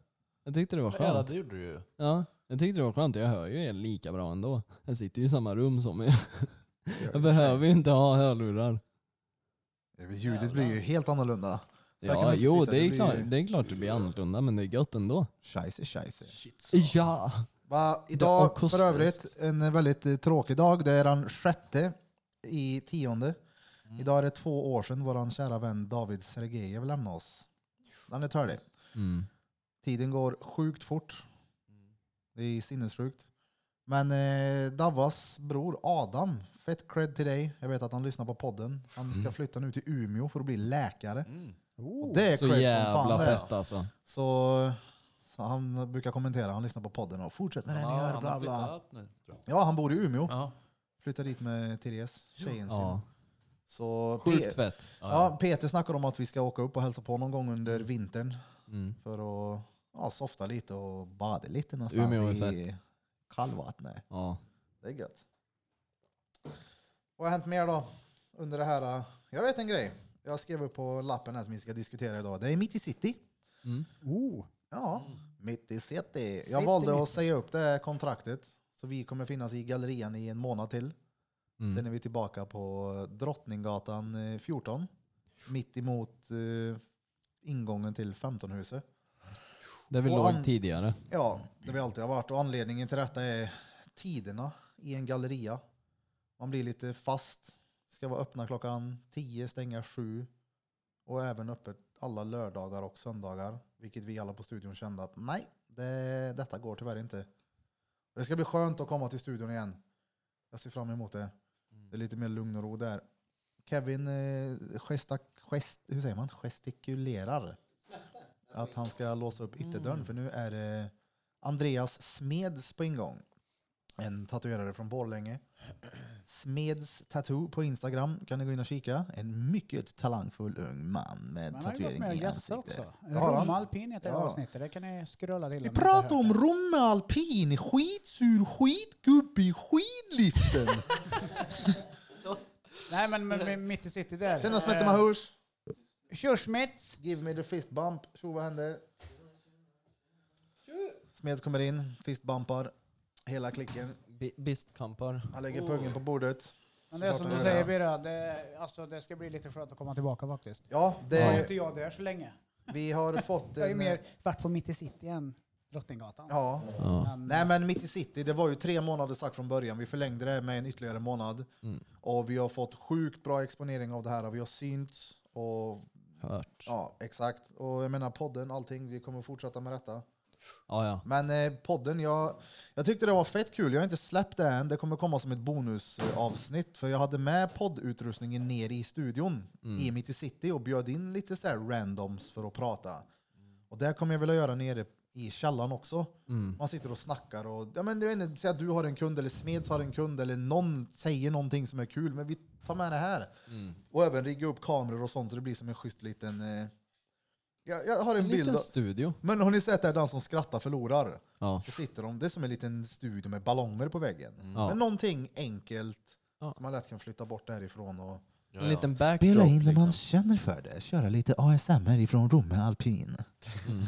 Speaker 4: Jag tyckte det var
Speaker 3: Ja,
Speaker 4: skönt.
Speaker 3: det gjorde du ju.
Speaker 4: Ja, jag tyckte det var skönt. Jag hör ju er lika bra ändå. Jag sitter ju i samma rum som er. Jag behöver ju inte ha hörlurar.
Speaker 2: Eh, Ljudet blir ju helt annorlunda. Så här kan man
Speaker 4: Ja,
Speaker 2: inte
Speaker 4: jo
Speaker 2: sitta,
Speaker 4: det är,
Speaker 2: blir
Speaker 4: klart,
Speaker 2: ju-
Speaker 4: det är klart det blir annorlunda men det är gött ändå.
Speaker 2: Scheisse, scheisse.
Speaker 3: Shit.
Speaker 4: Ja!
Speaker 2: Va,
Speaker 4: Ja,
Speaker 2: idag
Speaker 4: kost-
Speaker 2: för övrigt en väldigt eh, tråkig dag. Det är den sjätte i tionde.
Speaker 3: Mm.
Speaker 2: Idag är det två år sedan vår kära vän David Sergejev lämnade oss. Han är törlig.
Speaker 4: Mm.
Speaker 2: Tiden går sjukt fort. Det är sinnessjukt. Men eh, Davas bror Adam, fett cred till dig. Jag vet att han lyssnar på podden. Han ska flytta nu till Umeå för att bli läkare.
Speaker 3: Mm.
Speaker 2: Och det är
Speaker 4: Så
Speaker 2: cred som
Speaker 4: jävla
Speaker 2: fan det.
Speaker 4: fett alltså.
Speaker 2: Så, så han brukar kommentera, han lyssnar på podden och fortsätt med det ni
Speaker 3: Ja,
Speaker 2: gör.
Speaker 3: han
Speaker 2: Bla,
Speaker 3: har
Speaker 2: bla.
Speaker 3: flyttat nu. tror jag.
Speaker 2: Ja, han bor i Umeå.
Speaker 3: Ja.
Speaker 2: Flyttade dit med Therese, tjejen
Speaker 4: Ja.
Speaker 2: sin. Så
Speaker 4: Sjukt
Speaker 2: Pe-
Speaker 4: fett.
Speaker 2: Ja, Peter snackar om att vi ska åka upp och hälsa på någon gång under vintern
Speaker 4: Mm.
Speaker 2: för att ja, softa lite och bada lite någonstans
Speaker 4: Umeå är
Speaker 2: i
Speaker 4: fett.
Speaker 2: kallvattnet.
Speaker 4: Ja.
Speaker 2: Det är gött. Vad har hänt mer då? Under det här? eh, Jag vet en grej. Jag skrev upp på lappen här som vi ska diskutera idag. Det är mitt i city.
Speaker 4: Mm.
Speaker 1: Oh.
Speaker 2: Ja, mitt i city. Jag
Speaker 1: City
Speaker 2: valde
Speaker 1: mitt
Speaker 2: att säga upp det här kontraktet. Så vi kommer finnas i gallerian i en månad till.
Speaker 4: Mm.
Speaker 2: Sen är vi tillbaka på Drottninggatan eh, 14. Mitt emot eh, ingången till 15-huset.
Speaker 4: Där vi
Speaker 2: Och
Speaker 4: låg
Speaker 2: an-
Speaker 4: tidigare.
Speaker 2: Ja, det vi alltid har varit. Och anledningen till detta är tiderna i en galleria. Man blir lite fast. Ska vara öppna klockan 10, stänga 7. Och även öppet alla lördagar och söndagar. Vilket vi alla på studion kände att nej, det, detta går tyvärr inte. Och det ska bli skönt att komma till studion igen. Jag ser fram emot det. Det är lite mer lugn och ro där. Kevin eh, gestak, gest, hur säger man? gestikulerar. Att han ska låsa upp ytterdörren för nu är det Andreas Smeds på ingång. En tatuerare från Borlänge. Smeds Tattoo på Instagram kan ni gå in och kika. En mycket talangfull ung man med
Speaker 1: Man har ju gått
Speaker 2: tatuering
Speaker 1: med och
Speaker 2: i
Speaker 1: gästat
Speaker 2: ansiktet.
Speaker 1: också.
Speaker 2: har han.
Speaker 1: Rom Alpin heter det
Speaker 2: Ja.
Speaker 1: avsnittet, det kan ni scrolla till.
Speaker 2: Vi
Speaker 1: ni inte har hört
Speaker 2: pratar
Speaker 1: det.
Speaker 2: om Romme Alpin, skitsur skitgubbe i skidliften.
Speaker 1: Nej men, men, men mitt i city där. Eh,
Speaker 2: Tjena Smette Mahoush.
Speaker 1: Körsmets.
Speaker 2: Give me the fist bump. Tjo, vad händer? Smed kommer in, fistbumpar hela klicken.
Speaker 4: Bistkampar.
Speaker 2: Han lägger
Speaker 1: Oh.
Speaker 2: pungen på bordet.
Speaker 1: Men det är som
Speaker 2: pratar
Speaker 1: du
Speaker 2: vi
Speaker 1: säger
Speaker 2: med.
Speaker 1: Birra, det, alltså, det ska bli lite skönt att komma tillbaka faktiskt.
Speaker 2: Ja,
Speaker 1: Det var ju
Speaker 2: det,
Speaker 1: inte jag där så länge.
Speaker 2: vi har fått
Speaker 1: Jag har ju
Speaker 2: en...
Speaker 1: mer varit på mitt i city än Drottninggatan.
Speaker 2: Ja.
Speaker 4: Ja.
Speaker 1: Men,
Speaker 2: Nej men Mitt i City, det var ju tre månader sagt från början. Vi förlängde det med en ytterligare månad.
Speaker 4: Mm.
Speaker 2: Och vi har fått sjukt bra exponering av det här. och Vi har synts och
Speaker 4: Hört. Ja.
Speaker 2: ja, exakt. Och jag menar podden, allting. Vi kommer fortsätta med detta.
Speaker 4: ja.
Speaker 2: Men eh, podden, jag, jag tyckte det var fett kul. Jag har inte släppt det än. Det kommer komma som ett bonusavsnitt. För jag hade med poddutrustningen ner i studion i Mitt i City och bjöd in lite så här randoms för att prata. Och det kommer jag vilja göra nere i källaren också.
Speaker 4: Mm.
Speaker 2: Man sitter och snackar och ja, men du vet inte, säg att du har en kund eller Smeds har en kund eller någon säger någonting som är kul. Men vi tar med det här.
Speaker 4: Mm.
Speaker 2: Och även rigga upp kameror och sånt så det blir som en schysst liten... Eh, jag, jag har en,
Speaker 4: En
Speaker 2: bild.
Speaker 4: liten
Speaker 2: av-
Speaker 4: studio.
Speaker 2: Men har ni sett där den som skrattar förlorar?
Speaker 4: Ja.
Speaker 2: Så sitter de, det är som en liten studio med ballonger på väggen.
Speaker 4: Ja.
Speaker 2: Men någonting enkelt
Speaker 4: Ja.
Speaker 2: som man lätt kan flytta bort därifrån. Och
Speaker 3: Ja,
Speaker 4: En
Speaker 3: ja.
Speaker 4: liten backdrop liksom.
Speaker 2: känner för det. Köra lite ASMR ifrån Romme Alpin.
Speaker 4: Mm.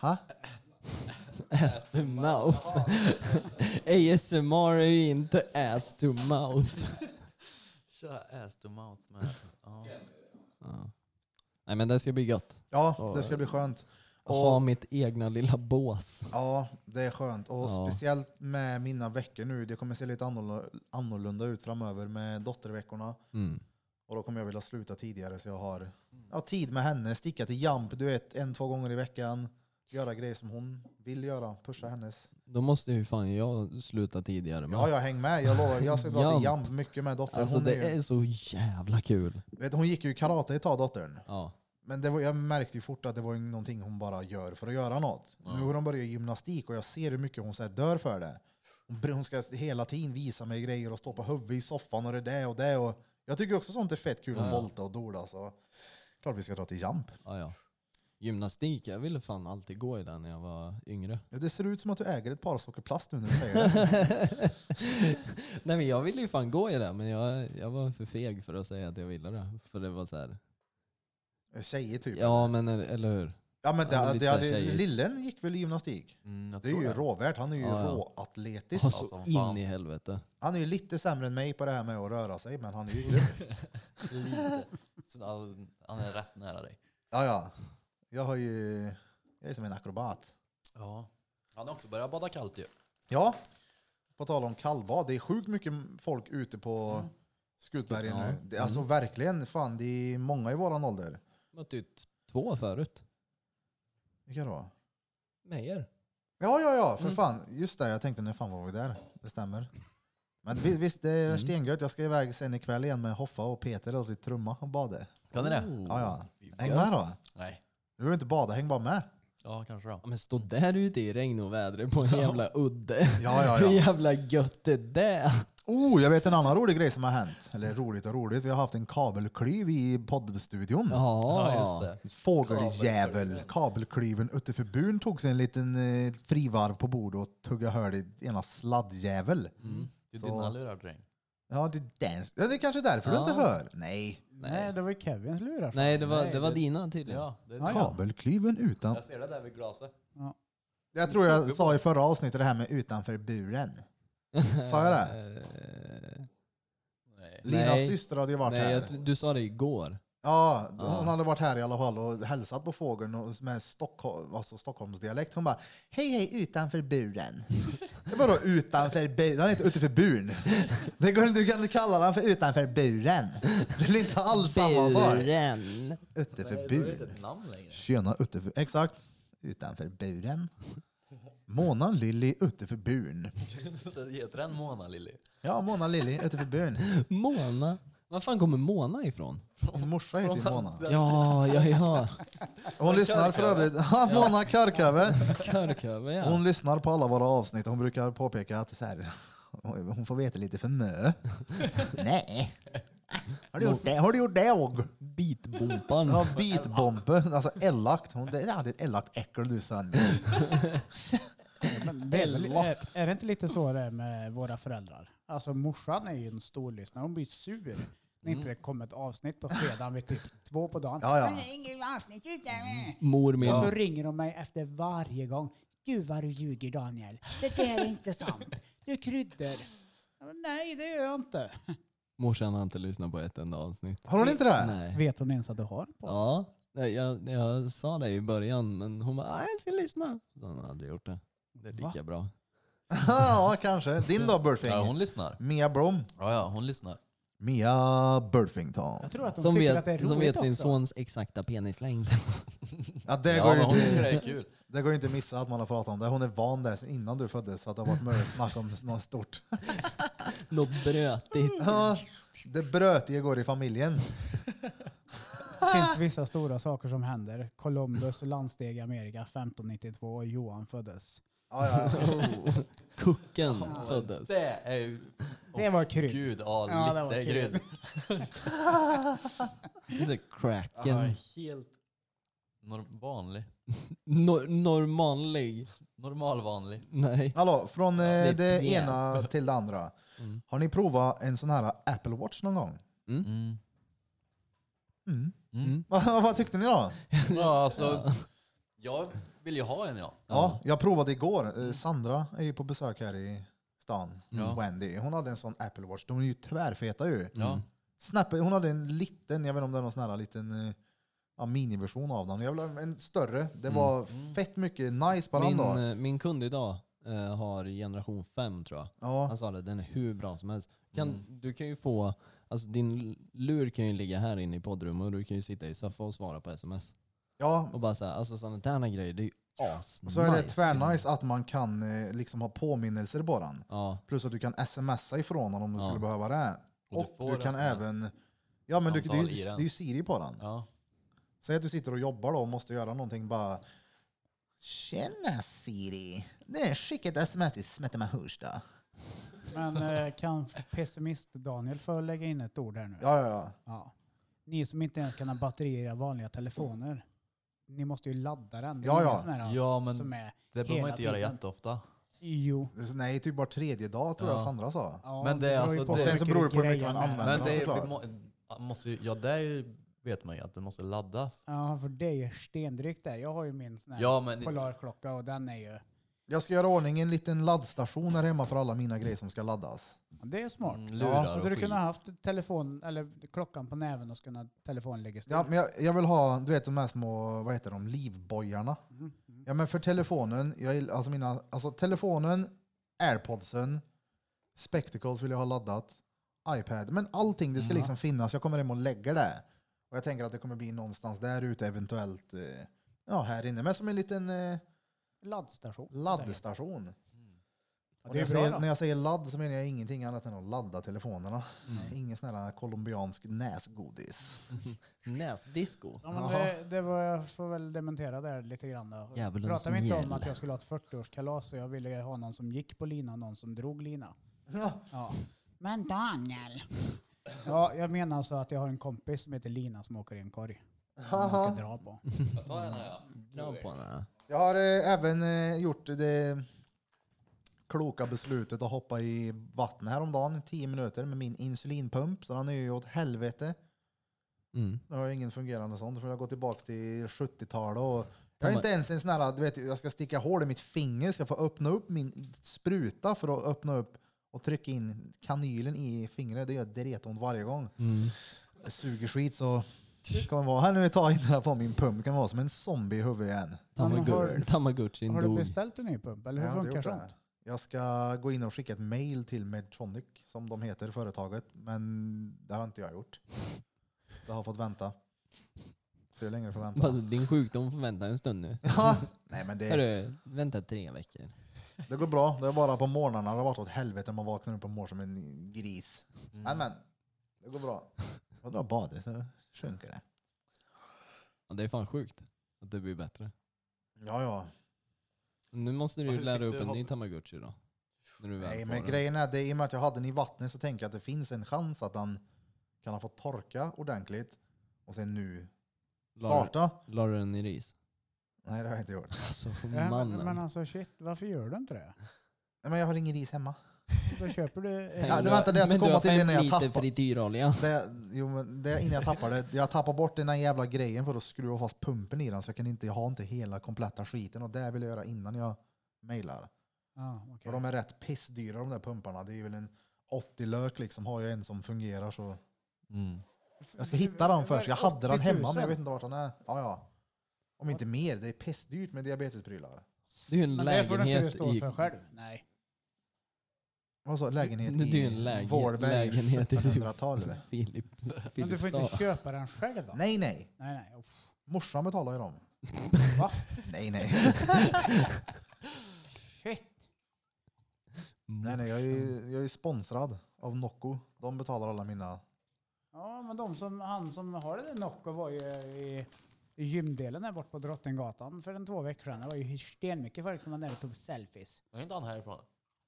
Speaker 2: Ha?
Speaker 4: Ass to mouth. ASMR är ju inte ass to mouth.
Speaker 3: Köra ass to mouth med. Ja.
Speaker 4: Ja. Nej men det ska bli gött.
Speaker 2: Ja, det ska bli skönt.
Speaker 4: Att ha
Speaker 2: Och,
Speaker 4: mitt egna lilla bås.
Speaker 2: ja, det är skönt. Och
Speaker 4: Ja.
Speaker 2: speciellt med mina veckor nu. Det kommer se lite annorlunda- annorlunda ut framöver med dotterveckorna.
Speaker 4: Mm.
Speaker 2: Och då kommer jag vilja sluta tidigare så jag har ja, tid med henne. Sticka till Jamp, du vet, en, två gånger i veckan. Göra grejer som hon vill göra. Pusha hennes.
Speaker 4: Då måste ju fan jag sluta tidigare med.
Speaker 2: Ja, jag häng med. Jag lovar, jag ska dra till
Speaker 4: Jamp.
Speaker 2: Jamp mycket med dottern.
Speaker 4: Alltså
Speaker 2: hon,
Speaker 4: det
Speaker 2: är ju,
Speaker 4: är så jävla kul.
Speaker 2: vet, hon gick ju karate ett tag, dottern.
Speaker 4: Ja.
Speaker 2: Men det var, jag märkte ju fort att det var ju någonting hon bara gör för att göra något. Nu har hon börjat gymnastik och jag ser hur mycket hon så här dör för det. Hon, br- hon ska hela tiden visa mig grejer och stå på huvudet i soffan och det där och det. Och jag tycker också sånt är fett kul, att
Speaker 4: Ja, ja.
Speaker 2: volta och dola. Så klart vi ska dra till jump.
Speaker 4: Ja, ja. Gymnastik, jag ville fan alltid gå i den när jag var yngre.
Speaker 2: Ja, det ser ut som att du äger ett par socker plast nu när du säger det.
Speaker 4: Nej men jag ville ju fan gå i det men jag, jag var för feg för att säga att jag ville det. För det var så här.
Speaker 2: Tjejer typ. Ja,
Speaker 4: ja men eller- eller hur?
Speaker 2: men
Speaker 4: ja, men
Speaker 2: det,
Speaker 4: lite
Speaker 2: det,
Speaker 4: så här
Speaker 2: det,
Speaker 4: tjejer.
Speaker 2: lillen gick väl i gymnastik?
Speaker 3: Mm, jag
Speaker 2: Det är
Speaker 3: tror
Speaker 2: ju råvärt. Han är ju
Speaker 4: Ja, ja.
Speaker 2: råatletisk.
Speaker 3: Ja,
Speaker 4: Och så
Speaker 3: som
Speaker 4: in
Speaker 3: fan.
Speaker 4: i helvete.
Speaker 2: Han är ju lite sämre än mig på det här med att röra sig, men han är ju grym.
Speaker 3: Lite. Så, ja, han är rätt nära dig.
Speaker 2: Ja, ja. Jag har ju... Jag är som en akrobat.
Speaker 3: Ja. Han har också börjat bada kallt ju.
Speaker 2: Ja. På tal om kallbad, det är sjukt mycket folk ute på Skutbergen
Speaker 4: Ja.
Speaker 2: nu. Det, alltså verkligen, fan det är många i våran ålder.
Speaker 4: Mötte ju t- två förut.
Speaker 2: Vilka då?
Speaker 4: Meyer.
Speaker 2: Ja, ja, ja, för
Speaker 4: Mm.
Speaker 2: fan. Just det, jag tänkte när fan var vi där? Det stämmer. Men vi- visst, det är
Speaker 4: Mm.
Speaker 2: stengött. Jag ska iväg sen ikväll igen med Hoffa och Peter och till Trumma och bada.
Speaker 3: Ska ni det?
Speaker 4: Oh.
Speaker 2: Ja, ja.
Speaker 3: Fy fan.
Speaker 2: Häng med då.
Speaker 3: Nej.
Speaker 2: Du behöver inte bada, häng bara med.
Speaker 3: Ja, kanske då.
Speaker 4: Ja, men stå där ute i regn och väder på en jävla udde.
Speaker 2: Ja, ja,
Speaker 4: Hur
Speaker 2: ja.
Speaker 4: jävla gött är det?
Speaker 2: Oh, jag vet en annan rolig grej som har hänt. Eller roligt och roligt, vi har haft en kabelklyv i poddstudion.
Speaker 4: Ja,
Speaker 3: Ja, just det.
Speaker 2: Fågeljävel. Kabelklyven utanför buren tog sig en liten eh, frivarv på bordet och tugga hål i ena sladdjävel.
Speaker 4: Mm.
Speaker 3: Det är
Speaker 2: Så-
Speaker 3: dina lurar dräng.
Speaker 2: Ja, det, där, ja, det är kanske därför
Speaker 4: Ja.
Speaker 2: du inte hör. Nej.
Speaker 1: Nej. det var ju Kevins lurar.
Speaker 4: Nej, det var, det var
Speaker 3: det-
Speaker 4: dina tydligen.
Speaker 3: Ja, det är
Speaker 1: Ja, ja.
Speaker 2: Kabelklyven utan...
Speaker 3: Jag ser det där vid glaset.
Speaker 2: Jag tror jag sa i förra avsnittet det här med utanför buren. Sa jag det?
Speaker 4: Eh,
Speaker 3: Nej.
Speaker 2: Linas
Speaker 4: Nej.
Speaker 2: syster hade ju varit
Speaker 4: Nej,
Speaker 2: här.
Speaker 4: jag, tr- du sa det igår.
Speaker 2: Ja, hon
Speaker 4: Ja.
Speaker 2: hade varit här i alla fall och hälsat på fågeln och med Stockholm, alltså Stockholmsdialekt. Hon bara hej hej utanför buren. Det var då utanför buren, han är inte utanför buren. Det går, inte- du kan inte kalla den för utanför buren. Det blir inte alls samma sak.
Speaker 4: Buren.
Speaker 2: Utanför
Speaker 3: då är det inte
Speaker 2: buren.
Speaker 3: ett namn längre.
Speaker 2: Tjena utanför, exakt. Utanför buren. Mona Lilly utanför buren.
Speaker 3: Det heter en Mona Lilly.
Speaker 2: Ja, Mona Lilly utanför buren.
Speaker 4: Mona. Var fan kommer Mona ifrån?
Speaker 2: Min morsa heter ju Mona.
Speaker 4: Ja, ja, ja.
Speaker 2: Hon lyssnar för övrigt. Ja, Mona Körköver.
Speaker 4: Körköver ja.
Speaker 2: Hon lyssnar på alla våra avsnitt. Hon brukar påpeka att så här, hon får veta lite för mö. Nej. Har du gjort det? Har du gjort det och?
Speaker 4: Bitbompan.
Speaker 2: Ja, bitbombe. Alltså elakt. Hon, det, ja, det är ett elakt äckel du son.
Speaker 1: Men det är, väl, är, är det inte lite så det är med våra föräldrar? Alltså morsan är ju en storlyssnare. Hon blir sur när
Speaker 4: Mm.
Speaker 1: inte det kommer ett avsnitt på fredagen vid typ två på dagen. Mm.
Speaker 2: Ja, ja.
Speaker 5: Det är inget avsnitt ute.
Speaker 4: Mor min.
Speaker 1: Och så ringer de mig efter varje gång. Gud vad du ljuger Daniel. Det där är inte sant. Du kryddar. Ja, men Nej, det gör jag inte.
Speaker 4: Morsan har inte lyssnat på ett enda avsnitt.
Speaker 2: Har hon inte
Speaker 1: Äh,
Speaker 2: det?
Speaker 4: Nej.
Speaker 1: Vet hon ens att du har en podd?
Speaker 4: Ja, nej, jag, jag sa det i början men hon bara "Nej, jag ska lyssna. Så hon har aldrig gjort det. Det är
Speaker 1: Va?
Speaker 4: lika bra.
Speaker 2: Ja, kanske. Din då,
Speaker 3: Ja,
Speaker 2: Burfing?
Speaker 3: hon lyssnar.
Speaker 2: Mia Blom.
Speaker 3: Ja, ja, hon lyssnar.
Speaker 2: Mia Burfington.
Speaker 1: Jag tror att de
Speaker 4: Som
Speaker 1: tycker
Speaker 4: vet,
Speaker 1: att det är roligt
Speaker 4: som vet sin
Speaker 1: också.
Speaker 4: sons exakta penislängd.
Speaker 2: Ja, det,
Speaker 3: Ja,
Speaker 2: går ju
Speaker 3: men hon tycker det
Speaker 2: inte,
Speaker 3: är kul.
Speaker 2: det går ju inte att missa att man har pratat om det. Hon är van där sedan innan du föddes så att det har varit möjligt att snacka om något stort.
Speaker 4: Något brötigt.
Speaker 2: Ja, det brötiga går i familjen.
Speaker 1: Det finns vissa stora saker som händer. Columbus landsteg i Amerika 1592 och Johan föddes.
Speaker 2: Ja, ja, ja.
Speaker 1: Mm.
Speaker 4: Kucken föddes.
Speaker 3: Det är ju...
Speaker 1: Det var krydd.
Speaker 3: Gud, ja,
Speaker 1: Ja, det var
Speaker 3: lite
Speaker 1: kul.
Speaker 3: grydd.
Speaker 4: Det är
Speaker 3: Ja,
Speaker 4: Cracken.
Speaker 3: helt nor- vanlig.
Speaker 4: Nor- normallig.
Speaker 3: Normalvanlig.
Speaker 4: Nej.
Speaker 2: Hallå, från eh,
Speaker 4: det är
Speaker 2: det,
Speaker 4: pjäs.
Speaker 2: ena till det andra.
Speaker 4: Mm.
Speaker 2: Har ni provat en sån här Apple Watch någon gång?
Speaker 3: Mm.
Speaker 2: Mm.
Speaker 3: Mm.
Speaker 2: Vad, vad tyckte ni då?
Speaker 3: Ja, alltså, jag vill ju ha en ja.
Speaker 2: Ja, jag provade igår. Eh, Sandra är ju på besök här i stan.
Speaker 3: Mm.
Speaker 2: hos Wendy. Hon hade en sån Apple Watch. De är ju tvärfeta ju.
Speaker 3: ja.
Speaker 2: Snap, hon hade en liten, jag vet inte om det är någon sån här liten eh, ja, miniversion av den. Jag vill ha en större. Det
Speaker 4: Mm.
Speaker 2: var fett mycket nice på den
Speaker 4: Min,
Speaker 2: då.
Speaker 4: eh, min kund idag eh, har generation 5 tror jag.
Speaker 2: Ja,
Speaker 4: Han sa det, den är hur bra som helst. Kan,
Speaker 3: Mm.
Speaker 4: Du kan ju få, alltså din lur kan ju ligga här inne i poddrummet och du kan ju sitta i soffa och svara på sms.
Speaker 2: ja.
Speaker 4: Och bara såhär, alltså sådana där grejer, det är ju asnice.
Speaker 2: Och så är det tvärnice att man kan eh, liksom ha påminnelser på den.
Speaker 4: Ja,
Speaker 2: Plus att du kan smsa ifrån den om du
Speaker 4: Ja.
Speaker 2: skulle behöva det.
Speaker 3: Och du
Speaker 2: Och du,
Speaker 3: får
Speaker 2: kan
Speaker 3: sms.
Speaker 2: även... Ja men du, det, är ju,
Speaker 3: Samtal i
Speaker 2: det
Speaker 3: den.
Speaker 2: är ju Siri på den.
Speaker 3: ja.
Speaker 2: Säg att du sitter och jobbar då och måste göra någonting bara. Tjena Siri. Det är skickat sms till Smetema Hursta.
Speaker 1: Men eh, kan pessimist-Daniel få lägga in ett ord här nu?
Speaker 2: Ja, ja, ja.
Speaker 1: Ja. Ni som inte ens kan ha batterier i era vanliga telefoner. Ni måste ju ladda den. Det är
Speaker 2: Ja,
Speaker 1: många
Speaker 2: ja.
Speaker 1: såna här
Speaker 3: Ja, men-
Speaker 1: som är,
Speaker 3: Det behöver
Speaker 1: Hela
Speaker 3: man inte göra
Speaker 1: tiden.
Speaker 3: jätteofta.
Speaker 1: jo.
Speaker 2: Nej, typ var tredje dag tror jag
Speaker 3: Ja.
Speaker 2: Sandra sa.
Speaker 1: Ja,
Speaker 3: Men det är
Speaker 1: beror ju
Speaker 3: alltså-
Speaker 1: på
Speaker 3: det-
Speaker 2: Sen så beror det på hur
Speaker 1: grejer
Speaker 2: mycket man
Speaker 1: är.
Speaker 2: använder
Speaker 3: Men
Speaker 2: Ja,
Speaker 3: det är,
Speaker 2: såklart.
Speaker 3: vi må, måste, ju- ja, det är ju- vet man ju att den måste laddas.
Speaker 1: Ja, för det är ju stendrygt det. Jag har ju min sån här
Speaker 3: Ja, men
Speaker 1: Polarklocka och den är ju...
Speaker 2: Jag ska göra i ordning en liten laddstation här hemma för alla mina grejer som ska laddas.
Speaker 1: Det är smart.
Speaker 3: mm, lurar
Speaker 1: Hade
Speaker 3: och
Speaker 1: du
Speaker 3: skit.
Speaker 1: kunnat haft telefon, eller klockan på näven och så kunde telefonen ligga still?
Speaker 2: Ja, men jag, jag vill ha, du vet de här små, vad heter de, livbojarna.
Speaker 1: Mm, mm.
Speaker 2: Ja men för telefonen, jag, gill- alltså mina, alltså telefonen, airpodsen, spectacles vill jag ha laddat, iPad, men allting det ska
Speaker 1: Ja.
Speaker 2: liksom finnas. Jag kommer hem och lägger det. Och jag tänker att det kommer bli någonstans där ute eventuellt, eh, ja här inne, men som en liten eh,
Speaker 1: Laddstation.
Speaker 2: laddstation.
Speaker 3: Mm.
Speaker 1: Ja,
Speaker 2: Och
Speaker 1: det
Speaker 2: när, jag
Speaker 1: är bra
Speaker 2: säger,
Speaker 1: då.
Speaker 2: när jag säger ladd så menar jag ingenting annat än att ladda telefonerna.
Speaker 3: Mm.
Speaker 2: Ingen sån här colombiansk näsgodis.
Speaker 1: Mm.
Speaker 4: näsdisco.
Speaker 1: Ja, men
Speaker 2: Jaha.
Speaker 1: det, det var, jag får väl dementera där lite grann då.
Speaker 4: Djävulen
Speaker 1: Pratade vi
Speaker 4: som
Speaker 1: inte om
Speaker 4: gäll.
Speaker 1: att jag skulle ha ett 40-årskalas och jag ville ha någon som gick på lina och någon som drog lina?
Speaker 2: Ja.
Speaker 1: Ja. Men Daniel! Ja, jag menar alltså att jag har en kompis som heter Lina som åker i en korg. Som man ska dra på.
Speaker 3: Jag tar den här ja.
Speaker 4: Dra på den här.
Speaker 2: Jag har eh, även eh, gjort det kloka beslutet att hoppa i vatten häromdagen, 10 minuter med min insulinpump. Så den är ju åt helvete.
Speaker 4: Mm.
Speaker 2: Nu har jag ingen fungerande sån, för jag gå tillbaka till 70-talet. Och jag
Speaker 4: Den
Speaker 2: har
Speaker 4: var-
Speaker 2: inte ens en sån här, du vet, jag ska sticka hål i mitt finger, ska få öppna upp min spruta för att öppna upp och trycka in kanylen i fingret. Det gör dretont varje gång.
Speaker 4: Mm.
Speaker 2: Det suger skit så kan man vara här nu ett tag innan jag får min pump. kan vara som en zombie i huvudet igen.
Speaker 1: Men har-
Speaker 4: Tamagur- Tamagotchin
Speaker 1: Har du
Speaker 4: dog.
Speaker 1: beställt en ny pump eller hur
Speaker 2: Jag har inte
Speaker 1: funkar
Speaker 2: gjort det.
Speaker 1: sånt?
Speaker 2: Jag ska gå in och skicka ett mail till Medtronic, som de heter, företaget. Men det har inte jag gjort. Jag har fått vänta. Så hur länge du får vänta.
Speaker 4: Alltså, din sjukdom får vänta en stund nu.
Speaker 2: Ja, nej men det,
Speaker 4: Hörru, vänta tre veckor.
Speaker 2: det går bra. Det är bara på morgnarna det har varit åt helvete. Man vaknar upp och mår som en gris. Men
Speaker 3: Mm.
Speaker 2: men, det går bra. Jag drar badet så sjunker det.
Speaker 4: Ja, det är fan sjukt att det blir bättre.
Speaker 2: Ja, ja.
Speaker 4: Nu måste du
Speaker 3: Hur
Speaker 4: ju
Speaker 3: fick
Speaker 4: lära
Speaker 3: du
Speaker 4: upp en
Speaker 3: hopp-
Speaker 4: ny Tamagotchi då. När du väl
Speaker 2: Nej,
Speaker 4: får
Speaker 2: men
Speaker 4: den.
Speaker 2: grejen är att i och med att jag hade den i vattnet så tänker jag att det finns en chans att den kan ha fått torka ordentligt och sen nu
Speaker 4: La,
Speaker 2: starta.
Speaker 4: la du den i ris?
Speaker 2: Nej, det har jag inte gjort.
Speaker 4: Alltså
Speaker 1: Ja, men,
Speaker 4: mannen.
Speaker 1: men alltså shit, varför gör du inte det?
Speaker 2: Nej, men jag har ingen ris hemma.
Speaker 1: Då köper du...
Speaker 4: Nej,
Speaker 2: Ja, det
Speaker 4: men
Speaker 2: var inte det jag
Speaker 4: men
Speaker 2: skulle
Speaker 4: du
Speaker 2: komma
Speaker 4: har
Speaker 2: till
Speaker 4: fem
Speaker 2: när jag
Speaker 4: liter
Speaker 2: tappar.
Speaker 4: frityrolja.
Speaker 2: Det, jo, men det är innan jag tappar det. Jag tappar bort den här jävla grejen för att skruva fast pumpen i den så jag kan inte, jag har inte hela kompletta skiten och det vill jag göra innan jag mejlar.
Speaker 1: Ja,
Speaker 2: För
Speaker 1: okej.
Speaker 2: de är rätt pissdyra de där pumparna. Det är väl en 80 lök liksom. Har jag en som fungerar så.
Speaker 3: Mm.
Speaker 2: Jag ska hitta den först. Jag hade den
Speaker 1: 80 000.
Speaker 2: hemma men jag vet inte vart den är. Ja, ja. Om inte mer. Det är pissdyrt med diabetesprylar.
Speaker 4: Det är ju en
Speaker 1: Men det får du inte
Speaker 4: lägenhet
Speaker 1: stå
Speaker 4: i...
Speaker 1: för själv. Nej.
Speaker 2: Vad sa lägenhet
Speaker 4: Det är ju en
Speaker 2: i
Speaker 4: lägenhet,
Speaker 2: Vårberg
Speaker 4: lägenhet i typ
Speaker 2: 1700-talet.
Speaker 4: Filip,
Speaker 1: Men du får inte
Speaker 4: Filipstad.
Speaker 1: köpa den själv va?
Speaker 2: Nej, nej.
Speaker 1: Nej, nej. Uff.
Speaker 2: Morsan betalar ju dem.
Speaker 1: Va?
Speaker 2: Nej, nej.
Speaker 1: Shit.
Speaker 2: Nej, nej, jag är, ju, jag är sponsrad av Nocco. De betalar alla mina...
Speaker 1: Ja, men de som, han som har det där Nocco var ju i, i gymdelen där bort på Drottninggatan för en två veckor sedan. Det var ju stenmycket folk som var där och tog selfies.
Speaker 3: Var inte han härifrån?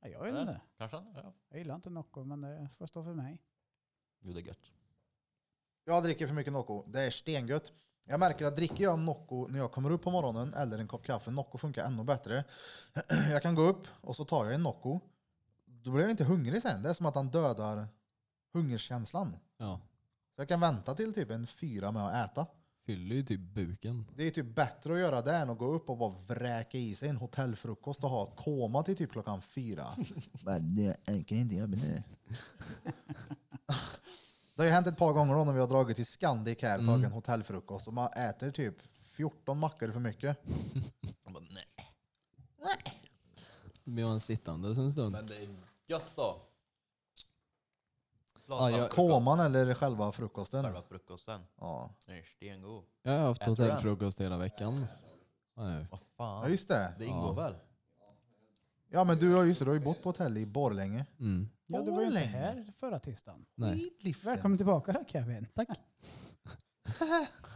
Speaker 1: Ja, jag vet inte.
Speaker 3: Kanske han? Ja.
Speaker 1: Jag gillar inte Nocco, men det får stå för mig.
Speaker 3: Jo, det är gött.
Speaker 2: Jag dricker för mycket Nocco. Det är stengött. Jag märker att dricker jag Nocco när jag kommer upp på morgonen eller en kopp kaffe, Nocco funkar ännu bättre. Jag kan gå upp och så tar jag en Nocco. Då blir jag inte hungrig sen. Det är som att han dödar hungerskänslan.
Speaker 4: Ja.
Speaker 2: Så jag kan vänta till typ en fyra med att äta.
Speaker 4: fyller ju typ buken.
Speaker 2: Det är typ bättre att göra det än att gå upp och bara vräka i sig en hotellfrukost och ha koma till typ klockan fyra. Men jag tänker inte jobba nu. Det har ju hänt ett par gånger då när vi har dragit till Scandic här och
Speaker 4: Mm.
Speaker 2: tagit en hotellfrukost och man äter typ 14 mackor för mycket.
Speaker 3: Jag bara, nej.
Speaker 4: Då blir man sittandes en stund.
Speaker 3: Men det är gött då.
Speaker 4: Ja, jag-
Speaker 2: Koman eller själva frukosten?
Speaker 3: Själva frukosten.
Speaker 2: Ja.
Speaker 3: Den är stengod.
Speaker 4: Jag har haft
Speaker 3: Äter du
Speaker 4: hotellfrukost hela veckan. Nej.
Speaker 3: Vad
Speaker 2: ja,
Speaker 3: fan.
Speaker 2: just det.
Speaker 3: Det ingår
Speaker 4: Ja.
Speaker 3: väl?
Speaker 2: Ja, men du, ja, just det, du har ju bott på hotell i Borlänge.
Speaker 4: Mm.
Speaker 1: Ja, du var ju inte
Speaker 2: Borlänge.
Speaker 1: här förra tisdagen.
Speaker 4: Nej.
Speaker 2: Skidliften.
Speaker 1: Välkommen tillbaka då Kevin.
Speaker 4: Tack.